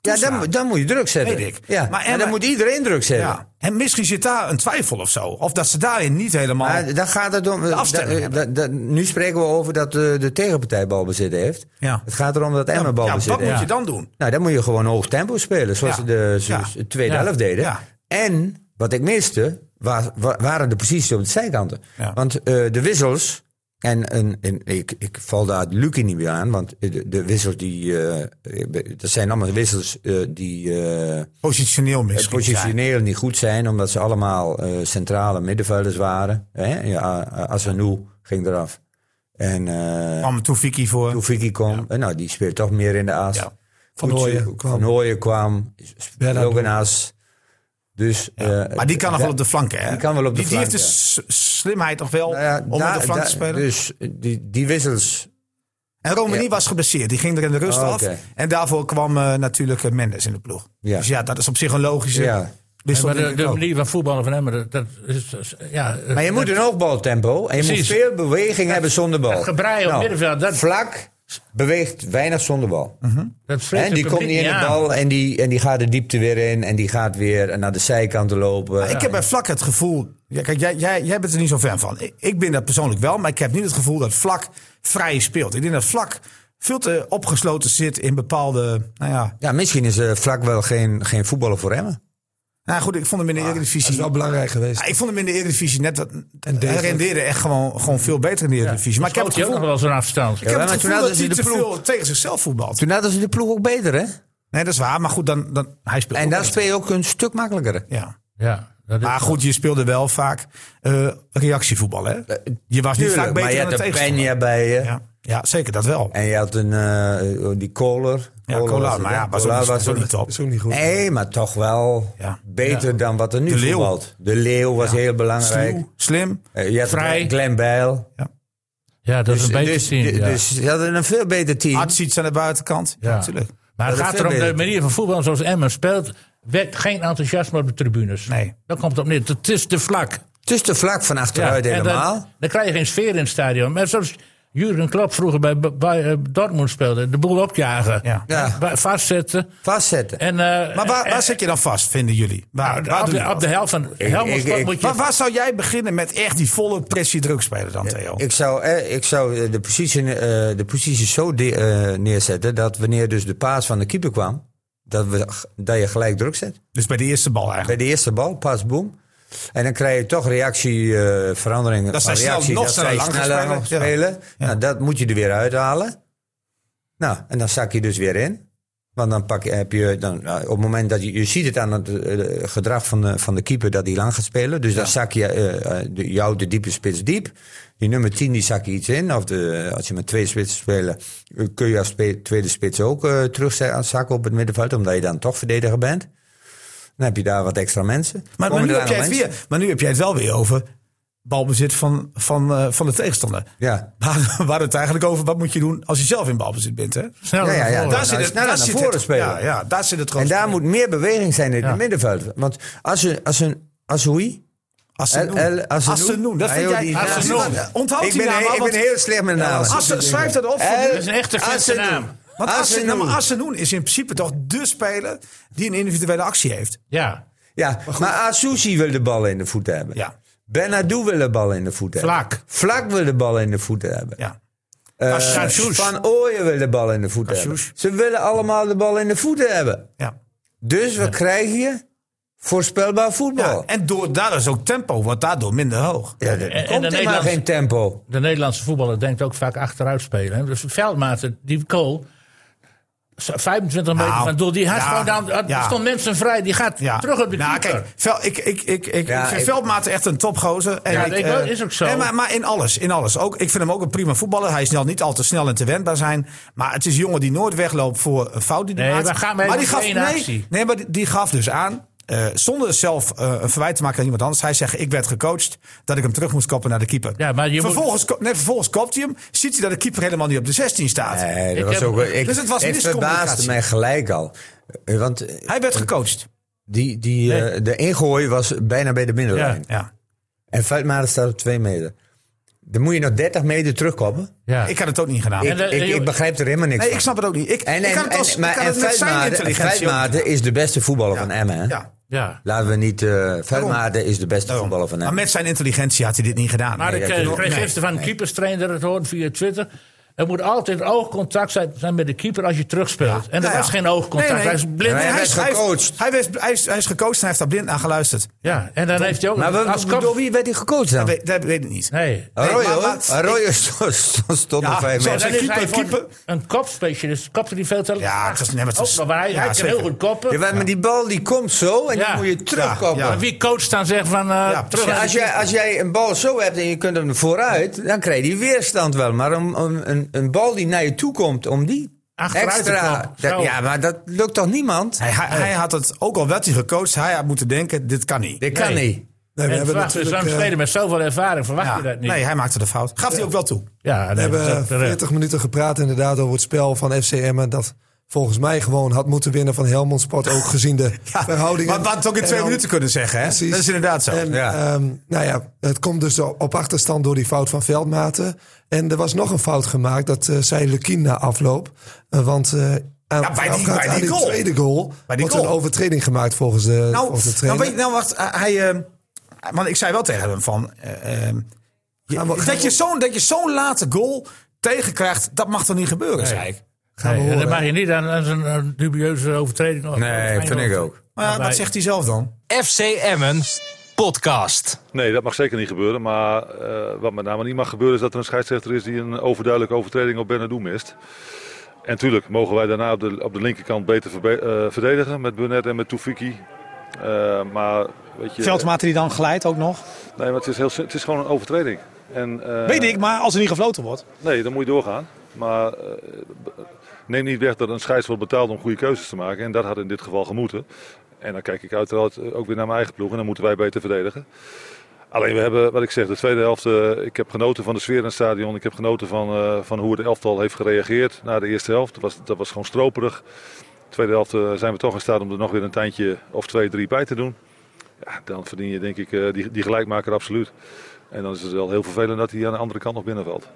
Speaker 1: Ja,
Speaker 7: toeslaan.
Speaker 1: dan, dan moet je druk zetten.
Speaker 7: Weet ik.
Speaker 1: Ja,
Speaker 7: Maar
Speaker 1: maar,
Speaker 7: Emma-
Speaker 1: dan moet iedereen druk zetten.
Speaker 7: Ja. En misschien zit daar een twijfel of zo. Of dat ze daarin niet helemaal.
Speaker 1: Maar Ah, dan gaat het om. eh,
Speaker 7: afstelling
Speaker 1: da-
Speaker 7: hebben.
Speaker 1: da- da- nu spreken we over dat eh, de tegenpartij balbezit heeft.
Speaker 7: Ja.
Speaker 1: Het gaat erom dat Emmen
Speaker 7: ja,
Speaker 1: balbezit
Speaker 7: wat moet
Speaker 1: heeft.
Speaker 7: je dan doen?
Speaker 1: Nou, dan moet je gewoon hoog tempo spelen, zoals
Speaker 7: Ja.
Speaker 1: ze de, ze-
Speaker 7: Ja.
Speaker 1: de tweede
Speaker 2: Ja.
Speaker 1: helft deden.
Speaker 7: Ja.
Speaker 1: En wat ik miste, wa- wa- waren de posities op de zijkanten.
Speaker 7: Ja.
Speaker 1: Want eh, de wissels. En, en, en ik, ik val daar Lucie niet meer aan, want de, de wissels die. eh, dat zijn allemaal wissels eh, die. eh,
Speaker 7: Positioneel
Speaker 1: het
Speaker 7: misschien. zijn.
Speaker 1: positioneel niet goed zijn, omdat ze allemaal eh, centrale middenvelders waren. Hè? Ja, A- A- Asanu ging eraf. En eh
Speaker 7: Kwam Toefiki voor.
Speaker 1: Toefiki kwam. Eh, nou, die speelt toch meer in de as.
Speaker 7: Ja.
Speaker 6: Van
Speaker 1: Koetje-
Speaker 6: Hooijen kwam.
Speaker 1: Van Hooijen kwam.
Speaker 6: Bernardo.
Speaker 1: Ook een as. Dus, eh,
Speaker 7: Maar die kan nog wel op de flanken. Hè?
Speaker 1: Die kan wel op de
Speaker 7: die, die heeft de
Speaker 1: flanken.
Speaker 7: s- slimheid nog wel
Speaker 1: Nou ja,
Speaker 7: om
Speaker 1: daar-
Speaker 7: op de flank
Speaker 1: daar-
Speaker 7: te spelen.
Speaker 1: Dus eh, die, die wissels.
Speaker 7: En Romani
Speaker 1: Ja.
Speaker 7: was geblesseerd. Die ging er in de rust
Speaker 1: Oh,
Speaker 7: af.
Speaker 1: oké.
Speaker 7: En daarvoor kwam eh, natuurlijk eh, Mendes in de ploeg.
Speaker 1: Ja.
Speaker 7: Dus ja, dat is op zich een logische
Speaker 1: Ja.
Speaker 7: wissel.
Speaker 2: Maar
Speaker 7: denk
Speaker 2: de,
Speaker 7: ik
Speaker 2: de
Speaker 7: ook.
Speaker 2: manier van voetballen van Emmen, dat- dat is... is- Ja,
Speaker 1: Maar je moet een hoogbaltempo. En je
Speaker 2: Precies.
Speaker 1: moet veel beweging hebben zonder bal. Nou,
Speaker 2: gebrei op middenveld, dat-
Speaker 1: Vlak. beweegt weinig zonder bal.
Speaker 2: Dat
Speaker 1: Hè,
Speaker 2: vreet het
Speaker 1: die komt
Speaker 2: publiek
Speaker 1: niet in de
Speaker 2: aan.
Speaker 1: bal en die, en die gaat de diepte weer in. En die gaat weer naar de zijkanten lopen.
Speaker 7: Ik heb bij Vlak het gevoel. Ja, kijk, jij, jij, jij bent er niet zo fan van. Ik, ik ben dat persoonlijk wel, maar ik heb niet het gevoel dat Vlak vrij speelt. Ik denk dat Vlak veel te opgesloten zit in bepaalde. Nou ja,
Speaker 1: Ja, misschien is eh, Vlak wel geen, geen voetballer voor hem.
Speaker 7: nou goed, ik vond hem in de
Speaker 1: Ah,
Speaker 6: Dat is
Speaker 7: Eredivisie.
Speaker 6: wel belangrijk geweest.
Speaker 7: Ja, ik vond hem in de Eredivisie net wat. Hij
Speaker 6: degelijk.
Speaker 7: rendeerde echt gewoon, gewoon veel beter in de Eredivisie. maar ik heb
Speaker 2: Schoot
Speaker 7: het
Speaker 2: hij ook
Speaker 7: gevoel,
Speaker 2: nog wel zo'n afstand.
Speaker 7: ik heb
Speaker 1: Ja,
Speaker 7: het
Speaker 1: maar toen
Speaker 7: gevoel
Speaker 1: hadden
Speaker 7: dat
Speaker 1: ze
Speaker 7: hij te
Speaker 1: de ploeg-
Speaker 7: veel tegen zichzelf voetbalt.
Speaker 1: Toen hadden ze de ploeg ook beter, hè?
Speaker 7: Nee, dat is waar, maar goed, dan, dan, hij speelt.
Speaker 1: En
Speaker 7: ook
Speaker 1: daar
Speaker 7: beter.
Speaker 1: speel je ook een stuk makkelijker.
Speaker 7: Ja.
Speaker 2: Ja, dat is
Speaker 7: Maar goed, je speelde wel vaak eh, reactievoetbal, hè? Je was niet vaak
Speaker 1: Tuurlijk,
Speaker 7: beter
Speaker 1: maar je
Speaker 7: dan
Speaker 1: had de
Speaker 7: de tegenstander.
Speaker 1: Peña bij je.
Speaker 7: Ja. ja, zeker, dat wel.
Speaker 1: En je had een, eh, die Kohler.
Speaker 7: Ja, Cola, maar ja, was ook,
Speaker 1: Kohler
Speaker 7: niet- was ook niet top.
Speaker 6: Dat is ook niet goed.
Speaker 1: Nee, maar toch wel
Speaker 7: Ja.
Speaker 1: beter dan wat er nu
Speaker 7: De Leeuw.
Speaker 1: voetbalt. De Leeuw was heel belangrijk.
Speaker 7: Sluw, slim.
Speaker 1: Eh, Je had
Speaker 2: Vrij.
Speaker 1: Glenn Bijl.
Speaker 2: Ja, dat is een beter
Speaker 1: dus,
Speaker 2: team.
Speaker 1: dus-
Speaker 2: ja.
Speaker 1: dus je had een veel beter team.
Speaker 7: Artsiets aan de buitenkant. Ja,
Speaker 2: Ja.
Speaker 7: natuurlijk.
Speaker 2: maar het
Speaker 1: dat
Speaker 2: gaat
Speaker 1: is veel
Speaker 2: erom de
Speaker 1: beter.
Speaker 2: manier van voetbal zoals Emmen speelt. Wekt geen enthousiasme op de tribunes.
Speaker 7: Nee.
Speaker 2: Dat komt het op neer. Het is te vlak.
Speaker 1: Het is te Dus vlak van achteruit
Speaker 2: en dan-
Speaker 1: helemaal.
Speaker 2: Dan, krijg je geen sfeer in het stadion. Maar zoals Jurgen Klopp vroeger bij, bij eh, Dortmund speelde. De boel opjagen.
Speaker 7: Ja.
Speaker 1: Ja.
Speaker 2: Ba- Vastzetten.
Speaker 1: Vastzetten.
Speaker 2: En, eh, Nou,
Speaker 7: Maar waar,
Speaker 2: en-
Speaker 7: waar zit je dan vast, vinden jullie? Waar, waar,
Speaker 2: op,
Speaker 7: doe je
Speaker 2: de,
Speaker 7: dat?
Speaker 2: op de helft van Helmond
Speaker 1: ik-
Speaker 2: Sport
Speaker 1: ik-
Speaker 2: moet je...
Speaker 7: Waar, waar zou jij beginnen met echt die volle pressiedruk spelen dan, Theo?
Speaker 1: Ik zou, eh, ik zou eh, de, positie, eh, de positie zo de- eh, neerzetten dat wanneer dus de paas van de keeper kwam, dat, we, dat je gelijk druk zet.
Speaker 7: Dus bij de eerste bal
Speaker 1: Bij
Speaker 7: eigenlijk.
Speaker 1: de eerste bal, pas, boom. En dan krijg je toch reactieveranderingen. verandering
Speaker 7: Dat
Speaker 1: van
Speaker 7: zij snel-
Speaker 1: reactie,
Speaker 7: nog
Speaker 1: dat
Speaker 7: sneller
Speaker 1: zij
Speaker 7: lang gaan
Speaker 1: sneller
Speaker 7: spelen.
Speaker 1: nog
Speaker 7: Ja.
Speaker 1: spelen.
Speaker 7: Ja.
Speaker 1: Nou, dat moet je er weer uithalen. Nou, en dan zak je dus weer in. Want dan pak je, heb je, dan, nou, op het moment dat je, je ziet het aan het eh, gedrag van de, van de keeper dat hij lang gaat spelen. Dus dan zak je eh, eh, de, jou de diepe spits diep. Die nummer 10 die zak je iets in. Of de, als je met twee spitsen spelen, eh, kun je als spe- tweede spits ook eh terug zakken op het middenveld. Omdat je dan toch verdediger bent. Dan heb je daar wat extra mensen.
Speaker 7: Maar, maar,
Speaker 1: Komen
Speaker 7: nu
Speaker 1: er
Speaker 7: heb jij het
Speaker 1: allemaal
Speaker 7: weer, maar nu heb jij het wel weer over balbezit van, van, eh, van de tegenstander.
Speaker 1: mensen? Ja.
Speaker 7: Waar, waar het eigenlijk over, wat moet je doen als je zelf in balbezit bent, hè?
Speaker 2: Sneller
Speaker 1: Ja, ja,
Speaker 2: naar
Speaker 1: ja.
Speaker 2: voren.
Speaker 1: Dat-
Speaker 7: Daar
Speaker 1: nou,
Speaker 7: zit het,
Speaker 1: sneller
Speaker 7: daar
Speaker 1: naar
Speaker 7: zit
Speaker 1: voren
Speaker 7: het,
Speaker 1: spelen.
Speaker 7: Ja, ja, daar zit het
Speaker 1: En
Speaker 7: grootste
Speaker 1: daar
Speaker 7: probleem.
Speaker 1: moet meer beweging zijn in
Speaker 2: Ja.
Speaker 1: het middenveld. Want als een, als een, als hoe?
Speaker 7: Assenoen.
Speaker 1: El- El- Assenoen.
Speaker 7: Assenoen, dat vind
Speaker 1: Ah, joh,
Speaker 7: jij...
Speaker 1: die-
Speaker 7: Assenoen. Onthoud
Speaker 1: Ik
Speaker 7: die
Speaker 1: ben,
Speaker 7: naam,
Speaker 1: heel- ik ben
Speaker 7: maar, Nou, want-
Speaker 1: heel slecht met namen.
Speaker 7: Assen, schrijf dat op. voor
Speaker 1: El-
Speaker 7: nu.
Speaker 2: Dat is een echte Griekse
Speaker 1: Assenoen.
Speaker 2: naam.
Speaker 7: Want Assen, nou,
Speaker 1: Assenoen.
Speaker 7: maar Assenoen is in principe toch de speler die een individuele actie heeft.
Speaker 2: Ja,
Speaker 1: Ja, maar Asusi wil de bal in de voeten hebben.
Speaker 7: Ja.
Speaker 1: Bernardo wil de bal in de voeten hebben.
Speaker 2: vlak.
Speaker 1: Vlak wil de bal in de voeten hebben.
Speaker 7: Ja.
Speaker 1: Eh,
Speaker 2: Cassius.
Speaker 1: Van Ooyen wil de bal in de voeten
Speaker 7: Cassius.
Speaker 1: hebben. Ze willen allemaal de bal in de voeten hebben.
Speaker 7: Ja.
Speaker 1: Dus wat krijg je? Voorspelbaar voetbal.
Speaker 7: ja. En door, daar is ook tempo, wordt daardoor minder hoog.
Speaker 1: Ja, er
Speaker 2: en de
Speaker 1: komt helemaal
Speaker 2: Nederlandse-
Speaker 1: geen tempo.
Speaker 2: De Nederlandse voetballer denkt ook vaak achteruit spelen. hè. Dus Veldmaten, die goal... z- 25 meter
Speaker 7: Nou,
Speaker 2: van het doel. Die had
Speaker 7: ja,
Speaker 2: gewoon dan, er
Speaker 7: ja.
Speaker 2: stond mensen vrij. Die gaat
Speaker 7: Ja.
Speaker 2: terug op de
Speaker 7: nou,
Speaker 2: keeper.
Speaker 7: kijk, Vel- ik, ik, ik, ik,
Speaker 1: Ja,
Speaker 7: ik vind
Speaker 1: ik-
Speaker 7: Veldmaat echt een topgozer. En
Speaker 2: Ja, ik wel,
Speaker 7: eh,
Speaker 2: is ook zo.
Speaker 7: nee, maar, maar in alles, in alles. Ook, ik vind hem ook een prima voetballer. Hij zal niet al te snel en te wendbaar zijn. Maar het is een jongen die nooit wegloopt voor een fout die hij
Speaker 2: Nee,
Speaker 7: maakt.
Speaker 2: maar ga maar
Speaker 7: die
Speaker 2: even
Speaker 7: gaf,
Speaker 2: één actie.
Speaker 7: nee, nee, maar die, die gaf dus aan... eh, zonder zelf eh, een verwijt te maken aan iemand anders. Hij zegt, ik werd gecoacht dat ik hem terug moest koppen naar de keeper.
Speaker 2: Ja, maar je moet-
Speaker 7: vervolgens, ko- nee, vervolgens kopt hij hem. Ziet hij dat de keeper helemaal niet op de 16 staat.
Speaker 1: Nee,
Speaker 2: Ik
Speaker 1: dat was
Speaker 2: heb-
Speaker 1: ook, ik,
Speaker 7: Dus het was
Speaker 1: ik
Speaker 7: miscommunicatie.
Speaker 1: verbaasde mij gelijk al. Eh, Want eh,
Speaker 7: Hij werd gecoacht.
Speaker 1: die, die, eh, de ingooi was bijna bij de middenlijn.
Speaker 7: Ja.
Speaker 1: En Veldmaat staat op twee meter. Dan moet je nog 30 meter terugkomen.
Speaker 2: Ja.
Speaker 7: Ik had het ook niet gedaan.
Speaker 1: Ik,
Speaker 2: En de-
Speaker 1: ik, ik begrijp er helemaal niks
Speaker 7: Nee, ik
Speaker 1: van.
Speaker 7: snap het ook niet. Ik,
Speaker 1: En,
Speaker 7: ik kan
Speaker 1: en,
Speaker 7: het als,
Speaker 1: en,
Speaker 7: ik
Speaker 1: maar
Speaker 7: kan
Speaker 1: en
Speaker 7: het met zijn
Speaker 1: Veldmaat- en
Speaker 7: intelligentie ook niet.
Speaker 1: Veldmaat is de beste voetballer van Emmen. hè?
Speaker 7: Ja,
Speaker 2: ja.
Speaker 1: Laten we niet... eh Veldmaat is de beste
Speaker 7: daarom.
Speaker 1: voetballer van
Speaker 7: maar
Speaker 1: Emmen.
Speaker 7: met zijn intelligentie had hij dit niet gedaan.
Speaker 2: Maar
Speaker 7: Nee,
Speaker 2: ik
Speaker 7: dat
Speaker 2: eh,
Speaker 7: is-
Speaker 2: kreeg
Speaker 7: nee.
Speaker 2: gisteren van een keeperstrainer het horen via Twitter. Er moet altijd oogcontact zijn, zijn met de keeper als je terugspeelt. En er
Speaker 7: Nou ja.
Speaker 2: was geen oogcontact.
Speaker 7: Nee, nee.
Speaker 2: Hij is blind.
Speaker 1: Nee,
Speaker 7: hij
Speaker 1: werd
Speaker 7: is hij is-
Speaker 1: gecoacht.
Speaker 7: Hij is- hij is- hij is gecoacht en hij heeft daar blind naar geluisterd.
Speaker 2: Ja, en dan heeft hij ook...
Speaker 1: Maar we-
Speaker 2: als kop-
Speaker 1: door wie werd hij gecoacht dan?
Speaker 7: Dat weet- Dat weet ik niet.
Speaker 2: Nee.
Speaker 1: Arroyo,
Speaker 7: Nee, maar-
Speaker 1: hoor.
Speaker 7: maar-
Speaker 1: Arroyo stond, stond- stond
Speaker 7: Ja,
Speaker 1: op vijf
Speaker 7: zo-
Speaker 1: meter.
Speaker 2: Dan is
Speaker 7: keeper-
Speaker 2: hij gewoon
Speaker 7: keeper-
Speaker 2: Een kopspecialist. Kopte die veel te...
Speaker 7: Ja, het is- nee, maar het
Speaker 2: Ook
Speaker 7: is-
Speaker 2: nog, maar hij,
Speaker 7: ja,
Speaker 2: hij kan
Speaker 7: zeker.
Speaker 2: heel goed koppen.
Speaker 1: Ja, maar die bal die komt zo en
Speaker 2: Ja.
Speaker 1: die moet je terugkomen.
Speaker 7: Ja, ja.
Speaker 2: Maar wie coacht dan zegt van... eh, terug
Speaker 1: Ja,
Speaker 2: naar
Speaker 1: als,
Speaker 2: de-
Speaker 1: jij, als jij een bal zo hebt en je kunt hem vooruit, dan krijg je die weerstand wel. Maar een, een, een, een bal die naar je toe komt, om die
Speaker 2: Achteruit te
Speaker 1: extra...
Speaker 2: komen,
Speaker 1: dat-
Speaker 2: zo.
Speaker 1: ja, maar dat lukt toch niemand?
Speaker 7: Hij, hij, hij had het, ook al werd hij gecoacht, hij had moeten denken, dit kan niet.
Speaker 1: Dit kan
Speaker 2: Nee.
Speaker 1: niet.
Speaker 6: Nee, we
Speaker 2: en
Speaker 6: hebben
Speaker 2: verwacht, dus
Speaker 6: natuurlijk
Speaker 2: zo'n
Speaker 6: eh,
Speaker 2: speler met zoveel ervaring verwacht
Speaker 7: Ja,
Speaker 2: je dat niet.
Speaker 7: nee, hij maakte de fout. Gaf hij ook wel toe.
Speaker 2: ja,
Speaker 6: we
Speaker 2: nee, dat is
Speaker 6: hebben
Speaker 2: ook terecht.
Speaker 6: 40 minuten gepraat inderdaad over het spel van FCM. Dat volgens mij gewoon had moeten winnen van Helmond Sport. Ook gezien de verhoudingen.
Speaker 7: Maar we hadden het ook in
Speaker 6: En
Speaker 7: twee
Speaker 6: dan-
Speaker 7: minuten kunnen zeggen, hè?
Speaker 6: Precies.
Speaker 7: Dat is inderdaad zo.
Speaker 6: En,
Speaker 1: ja.
Speaker 6: ehm, nou ja, het komt dus op achterstand door die fout van Veldmaten. En er was nog een fout gemaakt, dat eh zei Lukien na afloop. Eh, want eh, aan,
Speaker 7: Ja, bij die-
Speaker 6: voorafgaand
Speaker 7: bij
Speaker 6: aan
Speaker 7: die goal.
Speaker 6: tweede goal
Speaker 7: Bij die
Speaker 6: wordt
Speaker 7: goal.
Speaker 6: een overtreding gemaakt volgens de,
Speaker 7: nou,
Speaker 6: volgens de
Speaker 7: nou,
Speaker 6: trainer.
Speaker 7: weet je, nou, wacht. eh, Hij, eh, want ik zei wel tegen hem van... eh, eh, je-
Speaker 6: Gaan we- gaan
Speaker 7: dat je
Speaker 6: we-
Speaker 7: zo'n dat je zo'n late goal tegenkrijgt, dat mag toch niet gebeuren, zei ik.
Speaker 2: Nee, en dat
Speaker 6: horen.
Speaker 2: mag je niet aan, aan zo'n eh, dubieuze overtreding.
Speaker 1: Nee, vind ik ook.
Speaker 7: Maar ja,
Speaker 2: Maar
Speaker 7: wat
Speaker 2: wij-
Speaker 7: zegt hij zelf dan?
Speaker 3: FC Emmen podcast.
Speaker 5: Nee, dat mag zeker niet gebeuren. Maar eh, wat met name niet mag gebeuren is dat er een scheidsrechter is die een overduidelijke overtreding op Bernardo mist. En tuurlijk mogen wij daarna op de, op de linkerkant beter verbe- eh, verdedigen met Burnett en met Toefiki. Eh, maar weet je,
Speaker 8: Veldmaten die dan glijdt ook nog.
Speaker 5: Nee, maar het is, heel, sim- het is gewoon een overtreding. En, eh,
Speaker 8: Weet ik, maar als er niet gefloten wordt.
Speaker 5: Nee, dan moet je doorgaan. Maar eh, b- neem niet weg dat een scheids wordt betaald om goede keuzes te maken. En dat had in dit geval gemoeten. En dan kijk ik uiteraard eh, ook weer naar mijn eigen ploeg. En dan moeten wij beter verdedigen. Alleen we hebben, wat ik zeg, de tweede helft. eh, ik heb genoten van de sfeer in het stadion. Ik heb genoten van, eh, van hoe het elftal heeft gereageerd na de eerste helft. Dat was, dat was gewoon stroperig. De tweede helft eh, zijn we toch in staat om er nog weer een tandje of twee, drie bij te doen. Ja, dan verdien je denk ik eh, die, die gelijkmaker absoluut. En dan is het wel heel vervelend dat hij aan de andere kant nog binnenvalt.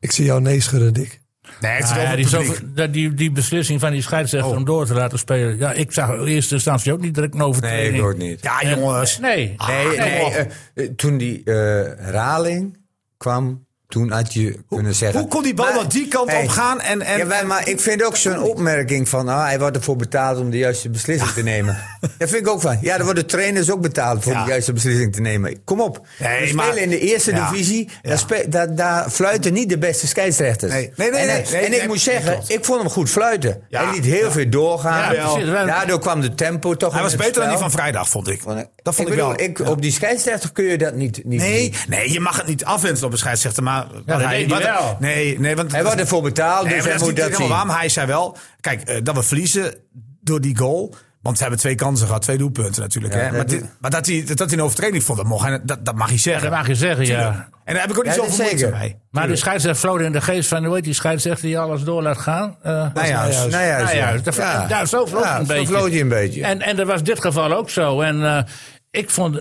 Speaker 6: Ik zie jou nee schudden, Dick.
Speaker 7: Nee, het is
Speaker 2: Ah,
Speaker 7: over
Speaker 2: ja,
Speaker 7: het
Speaker 2: die,
Speaker 7: publiek.
Speaker 2: zoveel- dat- die, die beslissing van die scheidsrechter om door te laten spelen. Ja, ik zag in eerste instantie ook niet direct een
Speaker 1: Nee,
Speaker 2: overtreding.
Speaker 1: ik hoor het niet.
Speaker 7: Ja,
Speaker 2: En-
Speaker 7: jongens.
Speaker 2: Nee.
Speaker 1: Nee,
Speaker 2: Ah,
Speaker 1: nee,
Speaker 2: kom op.
Speaker 1: eh, eh, toen die eh, herhaling kwam, toen had je kunnen zeggen...
Speaker 7: Hoe kon die bal
Speaker 1: Maar-
Speaker 7: nou die kant
Speaker 1: Hey.
Speaker 7: op gaan? En, en,
Speaker 1: ja, wij- maar ik vind ook zo'n opmerking van, ah, hij wordt ervoor betaald om de juiste beslissing te nemen. Dat vind ik ook van. Ja, er worden trainers ook betaald voor
Speaker 7: Ja.
Speaker 1: de juiste beslissing te nemen. Kom op.
Speaker 7: Nee,
Speaker 1: We spelen
Speaker 7: maar-
Speaker 1: in de eerste
Speaker 7: Ja.
Speaker 1: divisie, daar, spe- daar, daar fluiten niet de beste scheidsrechters.
Speaker 7: Nee. Nee, nee,
Speaker 1: en eh,
Speaker 7: nee,
Speaker 1: en-
Speaker 7: nee,
Speaker 1: en ik
Speaker 7: nee,
Speaker 1: moet
Speaker 7: nee,
Speaker 1: zeggen,
Speaker 7: klopt.
Speaker 1: ik vond hem goed fluiten.
Speaker 7: Ja.
Speaker 1: Hij liet heel veel doorgaan.
Speaker 2: Ja, precies.
Speaker 1: Daardoor kwam de tempo toch
Speaker 7: hij
Speaker 1: in
Speaker 7: was
Speaker 1: het
Speaker 7: beter dan die
Speaker 1: spel.
Speaker 7: van vrijdag, vond ik. Dat vond ik,
Speaker 1: bedoel,
Speaker 7: wel.
Speaker 1: Ik, Op die scheidsrechter kun je dat niet. niet
Speaker 7: Nee,
Speaker 1: niet.
Speaker 7: nee, je mag het niet afwenden op een scheidsrechter, maar... maar
Speaker 2: dat
Speaker 7: hij-
Speaker 2: deed hij
Speaker 7: wat-
Speaker 2: wel.
Speaker 7: Nee, nee, want...
Speaker 1: Hij wordt ervoor betaald,
Speaker 7: Nee,
Speaker 1: dus
Speaker 7: maar
Speaker 1: hij
Speaker 7: dat is
Speaker 1: moet
Speaker 7: niet
Speaker 1: dat zien.
Speaker 7: helemaal waarom. Hij zei wel, kijk, eh, dat we verliezen door die goal... Want ze hebben twee kansen gehad, twee doelpunten natuurlijk. hè? Maar, dit- maar dat, hij, dat hij een overtreding vond, dat, mocht hij, dat, dat mag hij
Speaker 2: Ja,
Speaker 7: zeggen.
Speaker 2: dat mag je zeggen, ja.
Speaker 7: Tuurlijk. En daar heb ik ook niet
Speaker 1: Ja, dat
Speaker 7: zoveel moeite
Speaker 1: zeker.
Speaker 7: mee.
Speaker 2: Maar de scheidsrechter vloot in de geest van, hoe heet die scheidsrechter die alles door laat gaan? Eh,
Speaker 7: Nou ja,
Speaker 1: Nou ja,
Speaker 2: Nou ja,
Speaker 1: zo.
Speaker 2: dat-
Speaker 1: Ja.
Speaker 2: ja, zo vloot
Speaker 1: Ja,
Speaker 2: het een
Speaker 1: zo
Speaker 2: beetje.
Speaker 1: vloot hij een beetje.
Speaker 2: En, en dat was dit geval ook zo. En eh, ik vond...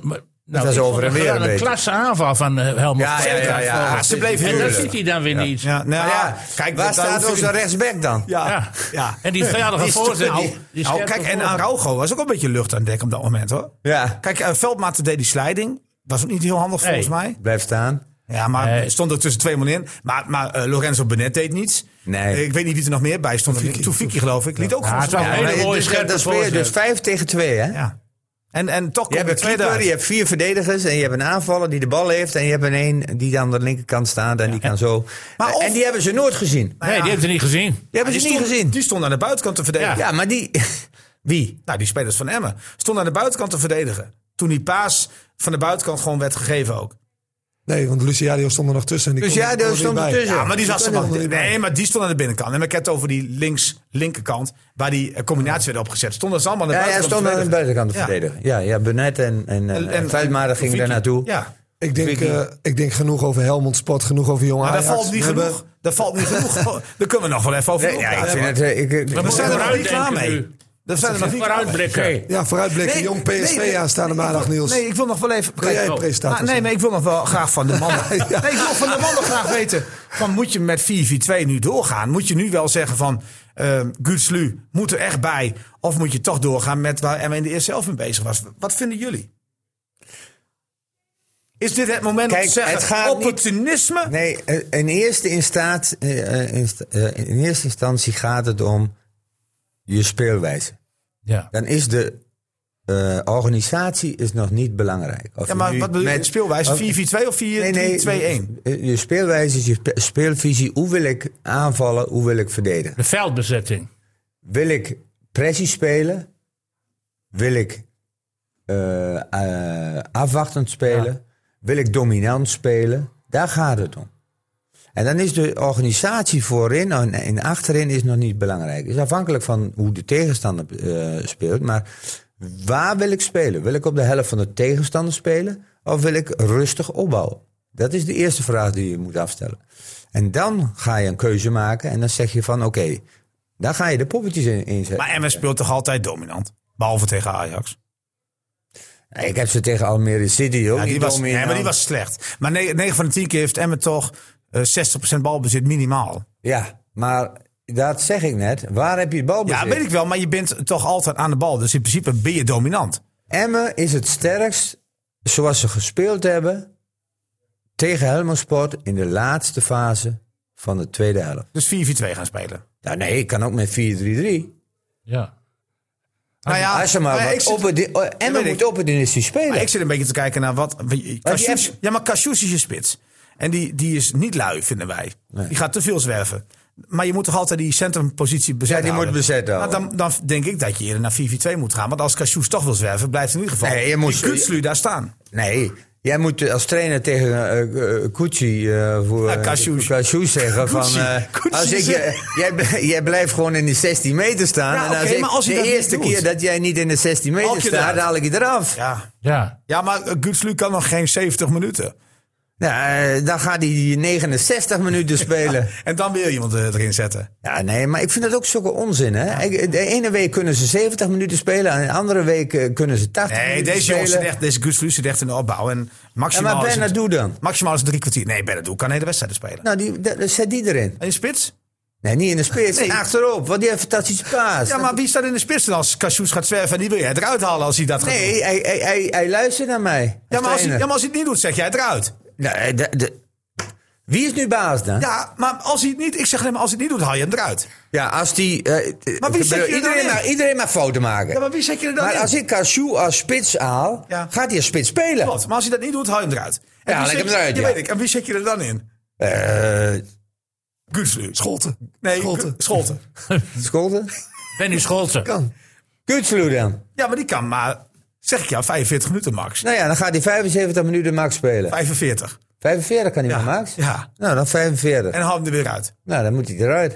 Speaker 2: Nou,
Speaker 1: was
Speaker 2: ik
Speaker 1: over
Speaker 2: vond
Speaker 1: en
Speaker 2: het
Speaker 1: weer
Speaker 2: gewoon
Speaker 1: een
Speaker 2: een
Speaker 1: beetje.
Speaker 2: klasse aanval van eh, Helmond.
Speaker 1: Ja, ja, ja, ja.
Speaker 7: Ja, ze bleven
Speaker 2: En dat
Speaker 7: huurlijk.
Speaker 2: ziet hij dan weer niet.
Speaker 7: Ja, nou,
Speaker 1: Maar ja,
Speaker 7: kijk,
Speaker 1: waar
Speaker 7: dat- dat
Speaker 1: staat
Speaker 7: hoef je-
Speaker 1: onze rechtsback dan?
Speaker 2: Ja.
Speaker 7: Ja, ja.
Speaker 2: En die vijandige
Speaker 1: Die is toch-
Speaker 2: voorzet.
Speaker 1: nou,
Speaker 2: die- die
Speaker 7: Nou,
Speaker 2: scherpe
Speaker 7: kijk, en
Speaker 2: voorzet.
Speaker 7: Araujo was ook een beetje lucht aan dek op dat moment, hoor.
Speaker 1: Ja.
Speaker 7: Kijk, eh, Veldmaat deed die slijding. Was ook niet heel handig,
Speaker 2: Nee.
Speaker 7: volgens mij.
Speaker 1: Blijf staan.
Speaker 7: Ja, maar
Speaker 2: Nee.
Speaker 7: stond er tussen twee man in. Maar, maar eh, Lorenzo Benet deed niets.
Speaker 1: Nee.
Speaker 7: Eh, Ik weet niet wie er nog meer bij stond. Toefiki, geloof ik. Liet ook
Speaker 2: het
Speaker 7: gewoon
Speaker 2: is wel
Speaker 7: zijn-
Speaker 2: een
Speaker 1: Maar
Speaker 2: hele
Speaker 1: je-
Speaker 2: mooie
Speaker 1: dus, dat-
Speaker 2: scherpe
Speaker 1: dat speel je dus
Speaker 2: voorzet.
Speaker 1: vijf tegen twee, hè?
Speaker 7: Ja. En, en toch
Speaker 1: Je
Speaker 7: komt
Speaker 1: hebt
Speaker 7: de
Speaker 1: een
Speaker 7: tweede
Speaker 1: keeper,
Speaker 7: uit.
Speaker 1: je hebt vier verdedigers en je hebt een aanvaller die de bal heeft. En je hebt er een die aan de linkerkant staat en die kan zo.
Speaker 7: Maar of-
Speaker 1: en die hebben ze nooit gezien. Die
Speaker 2: Nee, die heeft hij niet gezien.
Speaker 1: hebben
Speaker 7: Die
Speaker 1: ze niet
Speaker 7: stond-
Speaker 1: gezien.
Speaker 7: Die stond aan de buitenkant te verdedigen.
Speaker 1: Ja, maar die... Wie?
Speaker 7: Nou, die spelers van Emmen stonden aan de buitenkant te verdedigen. Toen die paas van de buitenkant gewoon werd gegeven ook.
Speaker 6: Nee, want Luciadio stond er nog tussen. en die
Speaker 1: Dus
Speaker 6: kon-
Speaker 1: ja,
Speaker 6: kon er
Speaker 1: daar
Speaker 6: niet
Speaker 1: stond
Speaker 6: bij.
Speaker 1: ertussen.
Speaker 7: Ja, maar die zag ze
Speaker 6: kan
Speaker 7: maar.
Speaker 6: helemaal niet
Speaker 7: Nee, maar die stond aan de binnenkant. En ik heb het over die links linkerkant, waar die eh, combinatie werd opgezet. Stonden ze allemaal aan de
Speaker 1: Ja, hij
Speaker 7: buitenkant.
Speaker 1: stond aan de
Speaker 7: te verdedigen.
Speaker 1: buitenkant te verdedigen. Ja, ja Benet en, en, en, en Veldmaarden gingen daar
Speaker 7: Vicky.
Speaker 1: naartoe.
Speaker 7: Ja.
Speaker 6: Ik denk, eh, ik denk genoeg over Helmond Sport, genoeg over Jong
Speaker 7: Maar daar
Speaker 6: Ajax.
Speaker 7: valt niet
Speaker 6: We hebben-
Speaker 7: genoeg. Daar valt niet genoeg. Daar kunnen we nog wel even over
Speaker 1: Nee, ja, ik
Speaker 7: doorpraten.
Speaker 1: vind het... eh, Ik, eh,
Speaker 7: We zijn er nog niet
Speaker 2: Vooruitdenken
Speaker 7: klaar mee.
Speaker 2: nu.
Speaker 7: We zijn er nog niet klaar mee.
Speaker 2: Vooruitblikken.
Speaker 6: Ja, vooruitblikken.
Speaker 7: Nee,
Speaker 6: Jong PSV
Speaker 7: nee,
Speaker 6: aanstaande
Speaker 7: nee, ik
Speaker 6: maandag,
Speaker 7: wil-
Speaker 6: Niels.
Speaker 7: Nee, ik wil nog wel even.
Speaker 6: Wil jij een presentator
Speaker 7: Ah, nee,
Speaker 6: zijn?
Speaker 7: maar ik wil nog wel graag van de mannen. Nee, ik wil van de mannen graag weten. Van, moet je met 4-4-2 nu doorgaan? Moet je nu wel zeggen van. eh Gutslu moet er echt bij. Of moet je toch doorgaan met waar Emma in de eerste helft mee bezig was? Wat vinden jullie? Is dit het moment om
Speaker 1: Kijk,
Speaker 7: te zeggen:
Speaker 1: het gaat niet-
Speaker 7: opportunisme?
Speaker 1: Nee, eh, in eerste, instaat, eh, eh, inst- eh, in eerste instantie gaat het om je speelwijze.
Speaker 2: Ja.
Speaker 1: Dan is de eh, organisatie is nog niet belangrijk. Of
Speaker 7: ja, maar
Speaker 1: nu
Speaker 7: wat bedoel je? Oh.
Speaker 1: met-
Speaker 7: Speelwijze
Speaker 1: of-
Speaker 7: 4-4-2 of 4-3-2-1?
Speaker 1: eh, Je speelwijze is je spe- speelvisie. Hoe wil ik aanvallen? Hoe wil ik verdedigen?
Speaker 2: De veldbezetting.
Speaker 1: Wil ik pressie spelen? Wil ik eh, eh, afwachtend spelen? Wil ik dominant spelen? Daar gaat het om. En dan is de organisatie voorin en, en achterin is nog niet belangrijk. Het is afhankelijk van hoe de tegenstander eh, speelt. Maar waar wil ik spelen? Wil ik op de helft van de tegenstander spelen? Of wil ik rustig opbouwen? Dat is de eerste vraag die je moet afstellen. En dan ga je een keuze maken en dan zeg je van oké, Daar ga je de poppetjes in, in zetten.
Speaker 7: Maar Emmen speelt toch altijd dominant? Behalve tegen Ajax.
Speaker 1: Ik heb ze tegen Almere City ook.
Speaker 7: Ja, die
Speaker 1: niet
Speaker 7: was,
Speaker 1: dominant.
Speaker 7: nee, maar die was slecht. Maar 9 van de 10 keer heeft Emmen toch eh, 60% balbezit minimaal.
Speaker 1: Ja, maar dat zeg ik net. Waar heb je balbezit?
Speaker 7: Ja, weet ik wel, maar je bent toch altijd aan de bal. Dus in principe ben je dominant.
Speaker 1: Emmen is het sterkst zoals ze gespeeld hebben tegen Helmond Sport in de laatste fase van de tweede helft.
Speaker 7: Dus 4-4-2 gaan spelen.
Speaker 1: Nou, nee, ik kan ook met 4-3-3.
Speaker 2: Ja.
Speaker 7: Nou ja,
Speaker 1: Als je maar
Speaker 7: nou ja,
Speaker 1: wat
Speaker 7: ik zit-
Speaker 1: opportu- oh, Emmen
Speaker 7: weet ik.
Speaker 1: moet opportunistisch spelen.
Speaker 7: Maar ik zit een beetje te kijken naar wat. Cassius-
Speaker 1: hebt-
Speaker 7: ja, maar Cassius is je spits. En die, die is niet lui, vinden wij. Die gaat te veel zwerven. Maar je moet toch altijd die centrumpositie bezetten.
Speaker 1: die moet
Speaker 7: houden?
Speaker 1: bezet houden.
Speaker 7: Nou, dan, dan denk ik dat je eerder naar 4-4-2 moet gaan. Want als Cassius toch wil zwerven, blijft in ieder geval
Speaker 1: Nee, je moet-
Speaker 7: die Kutslu daar staan.
Speaker 1: Nee, jij moet eh, als trainer tegen eh, eh eh, Koetsi eh, voor
Speaker 7: Ja,
Speaker 1: eh,
Speaker 7: Kasjoes.
Speaker 1: Kasjoes zeggen van
Speaker 7: Koetsi.
Speaker 1: eh,
Speaker 7: Koetsi
Speaker 1: als ik
Speaker 7: zegt-
Speaker 1: je- jij, bl- jij blijft gewoon in de 16 meter staan
Speaker 7: Ja,
Speaker 1: en als
Speaker 7: oké,
Speaker 1: ik
Speaker 7: maar als je
Speaker 1: de
Speaker 7: dat niet
Speaker 1: eerste
Speaker 7: doet-
Speaker 1: keer dat jij niet in de 16 meter
Speaker 7: Haal je
Speaker 1: staat,
Speaker 7: eruit.
Speaker 1: haal ik je eraf.
Speaker 7: Ja,
Speaker 2: Ja.
Speaker 7: ja maar eh, Kutslu kan nog geen 70 minuten.
Speaker 1: Nou, eh, dan gaat hij die 69 minuten spelen.
Speaker 7: En dan weer iemand eh, erin zetten.
Speaker 1: Ja, nee, maar ik vind dat ook zulke onzin. Hè? Ik- De ene week kunnen ze 70 minuten spelen en de andere week eh, kunnen ze 80
Speaker 7: Nee,
Speaker 1: minuten
Speaker 7: deze
Speaker 1: spelen.
Speaker 7: jongens zit echt, deze Kutslu zit echt in de opbouw. En
Speaker 1: Ja,
Speaker 7: maximaal,
Speaker 1: maar
Speaker 7: is, het,
Speaker 1: Bernardo dan?
Speaker 7: maximaal is het drie kwartier. Nee, Bernardo kan hele wedstrijden spelen.
Speaker 1: Nou, die, dat- zet die erin.
Speaker 7: En je spits?
Speaker 1: Nee, niet in de spits,
Speaker 7: Nee.
Speaker 1: achterop, want die heeft een fantastische paas.
Speaker 7: Ja, maar wie staat in de spits dan als Cassius gaat zwerven en die wil jij eruit halen als hij dat gaat doen?
Speaker 1: Nee, hij, hij, hij, hij luistert naar mij.
Speaker 7: Ja maar, als hij, ja,
Speaker 1: trainer.
Speaker 7: maar als hij het niet doet, zeg jij het eruit.
Speaker 1: Nee, de- de- Wie is nu baas dan? Ja,
Speaker 7: Ja, maar als hij het niet, ik zeg alleen maar als hij het niet doet, haal je hem eruit.
Speaker 1: als die... eh, eh,
Speaker 7: Maar wie zet je er
Speaker 1: iedereen,
Speaker 7: dan in?
Speaker 1: mag, iedereen mag fouten maken.
Speaker 7: Ja,
Speaker 1: maar
Speaker 7: maar wie zet je er dan in?
Speaker 1: als ik Cashew als spits haal,
Speaker 7: Ja.
Speaker 1: gaat hij als spits spelen.
Speaker 7: Klopt, maar als hij dat niet doet, haal je hem eruit. En
Speaker 1: Ja,
Speaker 7: wie
Speaker 1: laat
Speaker 7: zet
Speaker 1: ik hem
Speaker 7: je-
Speaker 1: eruit,
Speaker 7: Ja,
Speaker 1: ja.
Speaker 7: weet ik. En wie zet je er dan in?
Speaker 1: Eh,
Speaker 7: Gutslu.
Speaker 6: Scholten.
Speaker 7: Nee,
Speaker 6: Scholten.
Speaker 7: Scholten. Scholten.
Speaker 1: Scholten?
Speaker 2: Benny Scholten.
Speaker 1: Kutsloe dan.
Speaker 7: Ja, maar die kan maar, zeg ik jou, 45 minuten max.
Speaker 1: Nou ja, dan gaat hij 75 minuten max spelen.
Speaker 7: 45.
Speaker 1: 45 kan hij
Speaker 7: Ja,
Speaker 1: maar max.
Speaker 7: ja.
Speaker 1: Nou, dan 45.
Speaker 7: En haal hem er weer uit.
Speaker 1: Nou, dan moet hij eruit.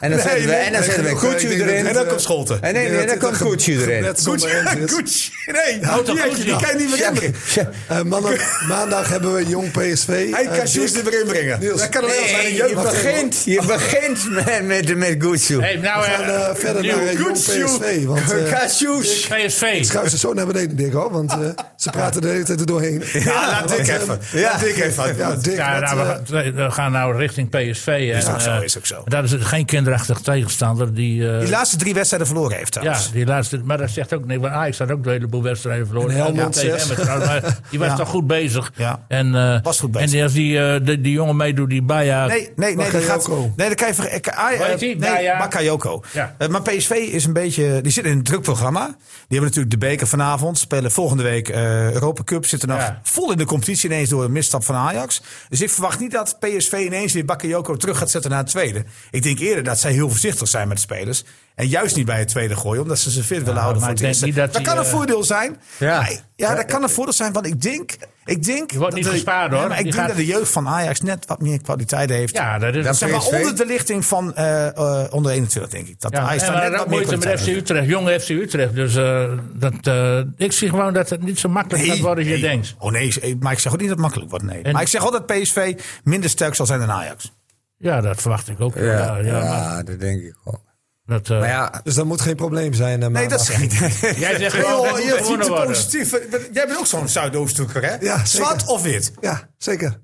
Speaker 1: En dan zetten we, en dan zetten we Koetje erin.
Speaker 7: En dan komt Scholten.
Speaker 1: En nee, nee, dan komt Koetje erin.
Speaker 7: Gucci, Gucci. Nee, houd die
Speaker 2: Gucci
Speaker 7: eentje, die
Speaker 2: dan.
Speaker 7: kan je niet meer inbrengen.
Speaker 6: Eh, mannen, maandag hebben we Jong PSV.
Speaker 7: Hij
Speaker 6: Eh,
Speaker 7: kan Cassius
Speaker 6: Dick,
Speaker 7: er weer inbrengen.
Speaker 6: Niels.
Speaker 7: Dat kan alleen maar zijn een
Speaker 1: Nee, je
Speaker 7: jeugd.
Speaker 1: begint, je begint met, met, met Gucci.
Speaker 2: Hey, nou,
Speaker 6: we gaan
Speaker 2: eh,
Speaker 6: eh, verder
Speaker 2: Nieuw
Speaker 6: naar eh, Jong
Speaker 2: Gucci.
Speaker 6: PSV. Want eh,
Speaker 1: Cashews.
Speaker 2: PSV.
Speaker 6: schuif ze zo naar beneden, Dick, hoor. Want eh, ze praten de hele tijd er doorheen. eh,
Speaker 7: Ja, laat Dick even. Laat Dick even.
Speaker 6: Ja, Dick,
Speaker 2: Ja,
Speaker 6: wat,
Speaker 2: nou, we,
Speaker 6: eh,
Speaker 2: gaan, we- we gaan nou richting PSV. en,
Speaker 7: ook zo,
Speaker 2: eh,
Speaker 7: is ook zo.
Speaker 2: Daar is het geen kinderachtig tegenstander. Die, eh,
Speaker 7: Die laatste drie wedstrijden verloren heeft
Speaker 2: ja,
Speaker 7: trouwens.
Speaker 2: die laatste, maar dat zegt ook niks. Want Ajax had ook een heleboel wedstrijden verloren.
Speaker 6: En Helmond
Speaker 2: Ja, tegen
Speaker 6: zes.
Speaker 2: Emmen trouwens, maar die was
Speaker 7: Ja.
Speaker 2: toch goed bezig.
Speaker 7: Ja.
Speaker 2: En, eh,
Speaker 7: Was goed bezig.
Speaker 2: En als die, eh, die, die jongen meedoet, die Baja.
Speaker 7: Nee, nee, nee, die gaat,
Speaker 6: Bakayoko.
Speaker 7: nee, dan kan je ver- eh, ah, eh,
Speaker 2: Hoe heet die?
Speaker 7: nee,
Speaker 2: Nou ja.
Speaker 7: Bakayoko.
Speaker 2: Ja.
Speaker 7: Eh, maar PSV is een beetje, die zit in een druk programma. Die hebben natuurlijk de beker vanavond, spelen volgende week eh, Europa Cup, zitten nog
Speaker 2: Ja.
Speaker 7: vol in de competitie ineens door een misstap van Ajax. Dus ik verwacht niet dat PSV ineens weer Bakayoko terug gaat zetten naar het tweede. Ik denk eerder dat zij heel voorzichtig zijn met de spelers en juist niet bij het tweede gooien, omdat ze ze fit willen houden
Speaker 2: maar
Speaker 7: voor het
Speaker 2: ik denk
Speaker 7: eerste.
Speaker 2: niet dat
Speaker 7: dat
Speaker 2: die,
Speaker 7: kan een
Speaker 2: eh,
Speaker 7: voordeel zijn.
Speaker 1: Ja.
Speaker 7: Maar- ja, dat kan een voordeel zijn, want ik denk, ik denk.
Speaker 2: Je wordt
Speaker 7: dat
Speaker 2: niet
Speaker 7: de-
Speaker 2: gespaard,
Speaker 7: Ja,
Speaker 2: hoor.
Speaker 7: maar ik
Speaker 2: Die
Speaker 7: denk
Speaker 2: gaat-
Speaker 7: dat de jeugd van Ajax net wat meer kwaliteit heeft.
Speaker 2: Ja, dat is
Speaker 1: Dat
Speaker 7: Zeg maar
Speaker 1: PSV?
Speaker 7: onder de lichting van eh, eh, onder 21, denk ik. Dat
Speaker 2: Ja,
Speaker 7: hij
Speaker 2: en
Speaker 7: is daar
Speaker 2: we
Speaker 7: net
Speaker 2: hadden
Speaker 7: wat
Speaker 2: ook
Speaker 7: meer
Speaker 2: moeite met
Speaker 7: kwaliteit
Speaker 2: FC
Speaker 7: in.
Speaker 2: Utrecht, jonge FC Utrecht. Dus eh, dat, eh, ik zie gewoon dat het niet zo makkelijk gaat worden als je
Speaker 7: nee.
Speaker 2: denkt.
Speaker 7: Oh nee, maar ik zeg ook niet dat het makkelijk wordt. Nee.
Speaker 2: En-
Speaker 7: maar ik zeg wel dat PSV minder sterk zal zijn dan Ajax.
Speaker 2: Ja, dat verwacht ik ook. Ja, ja,
Speaker 1: Ja,
Speaker 2: maar
Speaker 1: ja, dat denk ik ook.
Speaker 2: dat, eh,
Speaker 1: Maar ja,
Speaker 6: eh, Dus dat moet geen probleem zijn. eh,
Speaker 7: Nee,
Speaker 6: maandag.
Speaker 7: dat zeg ik niet.
Speaker 2: Jij zegt gewoon, dat moet gewonnen worden.
Speaker 7: positief. Jij bent ook zo'n Zuidoosthoeker, hè?
Speaker 6: Ja, zeker.
Speaker 7: Zwart of wit?
Speaker 6: Ja, zeker.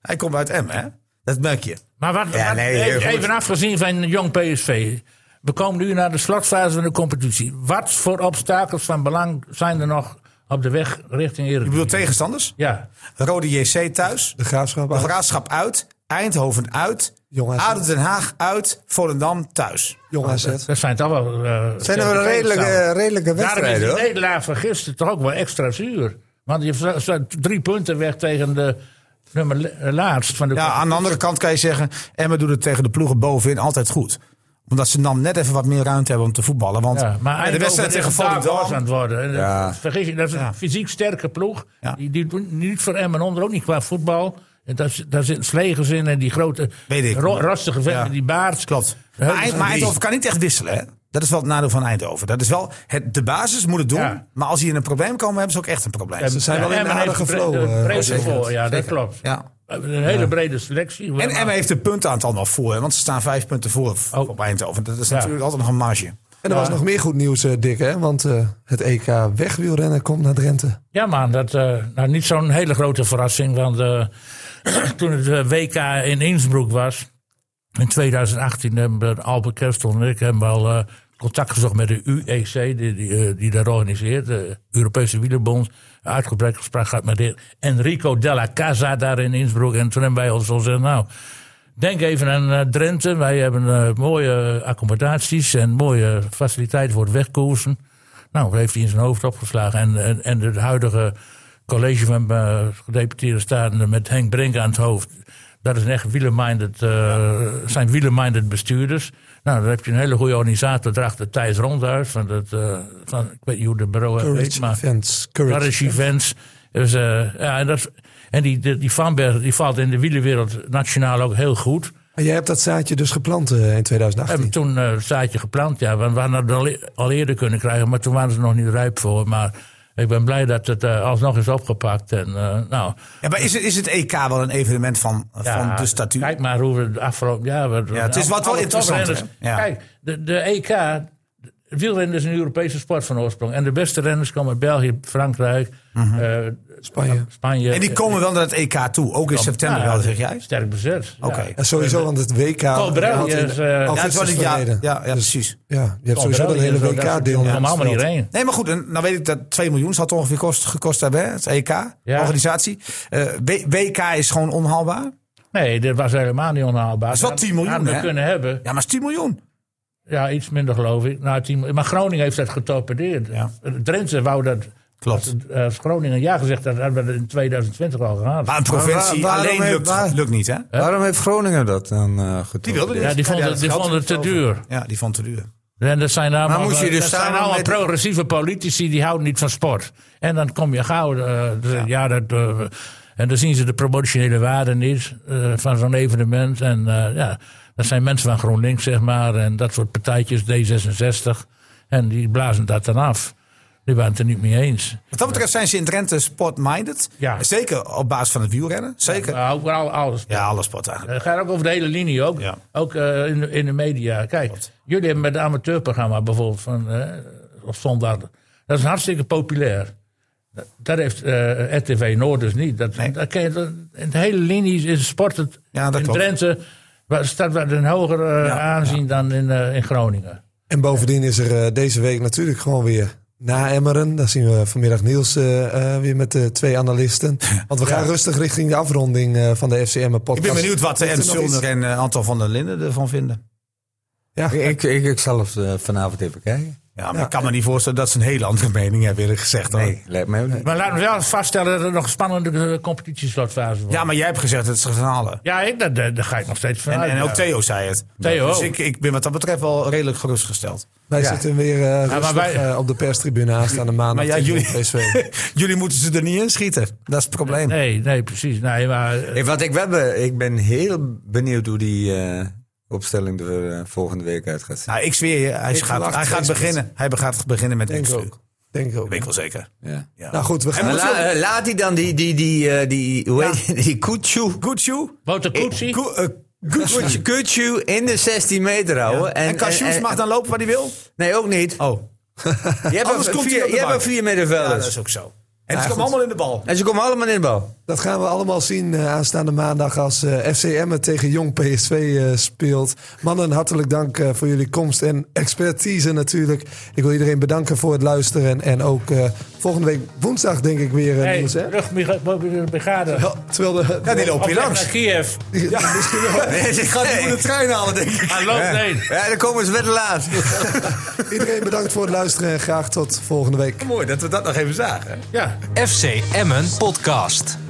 Speaker 7: Hij komt uit M, hè? Dat merk je.
Speaker 2: Maar wat,
Speaker 1: Ja,
Speaker 2: wat-
Speaker 1: nee, heel
Speaker 2: even,
Speaker 1: goed.
Speaker 2: even afgezien van jong PSV. We komen nu naar de slotfase van de competitie. Wat voor obstakels van belang zijn er nog op de weg richting
Speaker 7: Ik bedoel
Speaker 2: Eredivisie?
Speaker 7: tegenstanders.
Speaker 2: Ja,
Speaker 7: Rode JC thuis.
Speaker 6: De graafschap.
Speaker 7: De
Speaker 6: uit.
Speaker 7: Graafschap uit. Eindhoven uit.
Speaker 6: Jong AZ.
Speaker 7: Aden Den Haag uit. Volendam thuis.
Speaker 6: Jong AZ.
Speaker 2: dat zijn toch wel... eh,
Speaker 1: zijn er wel redelijke, redelijke
Speaker 2: Daarom is
Speaker 1: wedstrijden
Speaker 2: de
Speaker 1: hoor.
Speaker 2: nederlaag van gisteren toch ook wel extra zuur. Want je staat- staat drie punten weg tegen de nummer la- laatst van de
Speaker 7: Ja, aan de andere kant kan je zeggen, Emmen doet het tegen de ploegen bovenin altijd goed. Omdat ze dan net even wat meer ruimte hebben om te voetballen. Want
Speaker 2: Ja, maar
Speaker 7: de wedstrijd tegen
Speaker 2: was aan
Speaker 7: Volendam...
Speaker 2: het worden. En dat-
Speaker 1: Ja.
Speaker 2: Vergis je, dat is een
Speaker 7: Ja.
Speaker 2: fysiek sterke ploeg.
Speaker 7: Ja.
Speaker 2: Die, die doen niet voor Emmen onder, ook niet qua voetbal. En daar, zit- daar zitten slegers in en die grote,
Speaker 7: Weet ik.
Speaker 2: ro- rastige vent
Speaker 7: Ja.
Speaker 2: met die baard.
Speaker 7: Klopt.
Speaker 2: Ja,
Speaker 7: Maar,
Speaker 2: dat is
Speaker 7: Eind- maar
Speaker 2: een
Speaker 7: Eindhoven kan niet echt wisselen. Hè? Dat is wel het nadeel van Eindhoven. Dat is wel het, de basis moet het doen.
Speaker 2: Ja.
Speaker 7: Maar als die in een probleem komen, hebben ze ook echt een probleem.
Speaker 2: En-
Speaker 6: zijn wel in
Speaker 2: Emmen
Speaker 6: een
Speaker 2: heeft
Speaker 6: aardige
Speaker 2: pre-
Speaker 6: flow,
Speaker 2: de
Speaker 6: eh,
Speaker 2: pre-
Speaker 6: zeker.
Speaker 2: voor, ja, dat klopt.
Speaker 7: Ja.
Speaker 2: We hebben een hele brede selectie. We
Speaker 7: En
Speaker 2: hebben-
Speaker 7: Emmen heeft het puntaantal nog voor, hè, want ze staan vijf punten voor v-
Speaker 2: Oh.
Speaker 7: op Eindhoven. Dat is
Speaker 2: Ja.
Speaker 7: natuurlijk altijd nog een marge.
Speaker 6: En er was nog meer goed nieuws, eh, Dick, hè? Want eh, het EK wegwielrennen komt naar Drenthe.
Speaker 2: Ja, maar dat, eh, nou, niet zo'n hele grote verrassing. Want eh, toen het eh, WK in Innsbruck was, in 2018, hebben Albert Kerstel en ik hebben al eh, contact gezocht met de UEC, die, die, eh, die dat organiseert, de Europese Wielerbond. Uitgebreid gesprek gehad met de heer Enrico Della Casa daar in Innsbruck. En toen hebben wij ons al gezegd, nou, Denk even aan eh, Drenthe. Wij hebben eh, mooie accommodaties en mooie faciliteiten voor het wegkoersen. Nou, dat heeft hij in zijn hoofd opgeslagen. En, en, en het huidige college van eh, gedeputeerde staten met Henk Brink aan het hoofd. Dat is een echt wielerminded, eh, zijn wielerminded bestuurders. Nou, dan heb je een hele goede organisator erachter, Thijs Rondhuis. Van het, eh, van, ik weet niet hoe de bureau heet,
Speaker 6: Courage
Speaker 2: maar...
Speaker 6: events. Courage.
Speaker 2: Courage events. Dus, eh, ja, en dat, is- en die, die, die Vanberg die valt in de wielerwereld nationaal ook heel goed.
Speaker 6: En jij hebt dat zaadje dus geplant eh, in
Speaker 2: We
Speaker 6: 2018.
Speaker 2: hebben toen eh, het zaadje geplant, ja. Want we hadden het al, e- al eerder kunnen krijgen, maar toen waren ze nog niet rijp voor. Maar ik ben blij dat het eh, alsnog is opgepakt. En, eh, nou,
Speaker 7: Ja, maar is het, is het EK wel een evenement van,
Speaker 2: ja,
Speaker 7: van de statuur?
Speaker 2: Kijk maar hoe we de afgelopen jaar... we-
Speaker 7: dus Ja, het is wat wel
Speaker 2: alle
Speaker 7: interessant,
Speaker 2: toprenners-
Speaker 7: hè? Ja.
Speaker 2: Kijk, de, de EK... Wielrennen is een Europese sport van oorsprong. En de beste renners komen uit België, Frankrijk, eh,
Speaker 6: Spanje.
Speaker 2: Spanje.
Speaker 7: Mhm. En die komen wel naar het EK toe, ook in september
Speaker 2: eh, Ja,
Speaker 7: wel, zeg jij? Oké.
Speaker 2: Sterk bezet. ja.
Speaker 6: Ja, sowieso, want het WK.
Speaker 2: Breuil
Speaker 6: had in
Speaker 2: is, eh,
Speaker 7: Ja, het
Speaker 6: augustus
Speaker 7: was het jaar. Ja,
Speaker 6: verleden.
Speaker 7: ja, precies.
Speaker 6: Ja, je hebt sowieso dat
Speaker 2: Breuil
Speaker 6: hele
Speaker 2: is wel dat
Speaker 6: WK-deel.
Speaker 2: soort- Allemaal maar iedereen.
Speaker 7: Nee, maar goed, en nou weet ik dat 2 miljoen zal het ongeveer kost, gekost hebben, hè? het EK, organisatie. Eh, W- WK is gewoon onhaalbaar.
Speaker 2: Nee, dit was helemaal niet onhaalbaar.
Speaker 7: is wel
Speaker 2: Dat
Speaker 7: 10 miljoen,
Speaker 2: hadden we
Speaker 7: hè?
Speaker 2: kunnen hebben.
Speaker 7: Ja, maar het is 10 miljoen.
Speaker 2: Ja, iets minder geloof ik. Nou, 10 miljoen. maar Groningen heeft dat getorpedeerd.
Speaker 7: Ja.
Speaker 2: Drenthe wou dat...
Speaker 7: Klopt.
Speaker 2: Als Groningen ja gezegd had, hadden we dat in 2020 al gehad.
Speaker 7: Maar een provincie
Speaker 1: waar- waarom
Speaker 7: alleen
Speaker 1: heeft-
Speaker 7: lukt,
Speaker 1: waar-
Speaker 7: lukt niet, hè?
Speaker 1: Waarom heeft Groningen dat dan eh getroffen?
Speaker 7: Die wilde
Speaker 2: ja, die
Speaker 7: Ja,
Speaker 2: vonden
Speaker 7: dat
Speaker 2: die
Speaker 7: geld
Speaker 2: vonden het
Speaker 7: is
Speaker 2: te
Speaker 7: over.
Speaker 2: duur.
Speaker 7: Ja, die vond te duur.
Speaker 2: En dat zijn allemaal,
Speaker 1: moet je dus
Speaker 2: dat zijn
Speaker 1: samen
Speaker 2: allemaal
Speaker 1: met-
Speaker 2: progressieve politici die houden niet van sport. En dan kom je gauw. eh, dus, ja. dat, eh, en dan zien ze de promotionele waarde niet eh, van zo'n evenement. En eh, ja, dat zijn mensen van GroenLinks, zeg maar. En dat soort partijtjes, D66. En die blazen dat dan af. Die waren het er niet mee eens.
Speaker 7: Wat dat betreft zijn ze in Drenthe sport-minded.
Speaker 2: Ja.
Speaker 7: Zeker op basis van het wielrennen. Zeker. Ja,
Speaker 2: Maar ook voor al- alles.
Speaker 7: alle sport eigenlijk.
Speaker 2: Het gaat Eh, ook over de hele linie, ook,
Speaker 7: Ja.
Speaker 2: ook eh, in, de- in de media. Kijk, jullie hebben met het amateurprogramma bijvoorbeeld van eh, op zondag. Dat is hartstikke populair. Dat- Dat heeft eh, RTV Noord dus niet. Dat,
Speaker 7: Nee.
Speaker 2: dat ken je, dat- in de hele linie is sport het,
Speaker 7: Ja, dat
Speaker 2: in
Speaker 7: klopt.
Speaker 2: Drenthe wa- staat wat een hoger eh,
Speaker 7: Ja,
Speaker 2: aanzien dan in, eh, in Groningen.
Speaker 6: En bovendien is er eh, deze week natuurlijk gewoon weer na Emmeren. Daar zien we vanmiddag Niels eh, eh, weer met de twee analisten. Want we gaan rustig richting de afronding eh, van de FCM-podcast.
Speaker 7: Ik ben benieuwd wat eh,
Speaker 6: Heeft
Speaker 7: Ed
Speaker 6: er nog
Speaker 7: Zulner en eh, Anton van der Linden ervan vinden.
Speaker 6: Ja,
Speaker 1: Ik, ik, ik zal het eh, vanavond even kijken.
Speaker 7: Ja, maar ik kan me niet voorstellen dat ze een hele andere mening hebben, eerlijk gezegd. hoor.
Speaker 1: Lijkt mij ook niet.
Speaker 2: Maar laten we wel vaststellen dat er nog een spannende eh, competitieslotfase wordt.
Speaker 7: Ja, maar jij hebt gezegd dat ze gaan halen.
Speaker 2: Ja, ik, daar, daar daar ga ik nog steeds
Speaker 7: En,
Speaker 2: vanuit.
Speaker 7: en ook
Speaker 2: Ah, ja.
Speaker 7: Theo zei het.
Speaker 2: Theo
Speaker 7: Dus
Speaker 2: ook.
Speaker 7: ik, ik ben wat dat betreft wel redelijk gerustgesteld.
Speaker 6: wij
Speaker 1: Ja.
Speaker 6: zitten weer eh, rustig,
Speaker 2: wij-
Speaker 6: eh, op de perstribune aanstaande maandag
Speaker 7: Maar ja,
Speaker 6: tegen
Speaker 7: jullie-
Speaker 6: PSV.
Speaker 7: Jullie moeten ze er niet in schieten. Dat is het probleem.
Speaker 2: Nee, nee, precies. Nee, maar, eh,
Speaker 1: Hey, wat ik, wel ben, ik ben heel benieuwd hoe die eh, opstelling er eh, volgende week uit gaat zien.
Speaker 7: Nou, ik zweer je, hij, gaat,
Speaker 6: verwacht
Speaker 7: hij gaat
Speaker 6: steeds
Speaker 7: beginnen. Hij gaat beginnen met
Speaker 6: Denk
Speaker 7: Wiksu.
Speaker 6: ook. Denk
Speaker 7: Dat
Speaker 6: ook.
Speaker 7: weet ik wel zeker.
Speaker 1: Ja.
Speaker 6: Nou goed, we gaan...
Speaker 1: Maar la- eh, laat hij dan die, die, die, eh, die, hoe heet die, die Kutsu,
Speaker 7: Gucci.
Speaker 2: Wouter Koetsie?
Speaker 7: Gu- eh,
Speaker 1: Kutsu- Kutsu in de 16 meter houden.
Speaker 7: En, Cashews mag dan lopen waar hij wil?
Speaker 1: Nee, ook niet.
Speaker 7: Oh,
Speaker 1: Je hebt
Speaker 7: anders
Speaker 1: een
Speaker 7: komt hij
Speaker 1: vier-
Speaker 7: op de
Speaker 1: je hebt
Speaker 7: bank.
Speaker 1: een vier
Speaker 7: ja, dat
Speaker 1: middenvelders.
Speaker 7: is ook zo. En ze komen allemaal in de bal.
Speaker 1: en ze komen allemaal in de bal.
Speaker 6: Dat gaan we allemaal zien eh, aanstaande maandag als eh FC Emmen tegen Jong PSV eh, speelt. Mannen, hartelijk dank eh, voor jullie komst en expertise natuurlijk. Ik wil iedereen bedanken voor het luisteren. En ook eh, volgende week woensdag denk ik weer, eh,
Speaker 2: Hey,
Speaker 6: Niels, hè?
Speaker 2: brigade.
Speaker 6: Ja, terwijl de...
Speaker 7: Ja, die lopen hier
Speaker 2: Naar
Speaker 7: langs.
Speaker 2: Kiev.
Speaker 6: Ja, misschien wel.
Speaker 1: Ik ga
Speaker 7: die moeten
Speaker 1: trein halen, denk ik.
Speaker 2: Hij loopt heen.
Speaker 1: Ja, dan komen ze weer te laat.
Speaker 6: Iedereen bedankt voor het luisteren en graag tot volgende week.
Speaker 7: Mooi dat we dat nog even zagen.
Speaker 2: Ja.
Speaker 3: FC Emmen Podcast.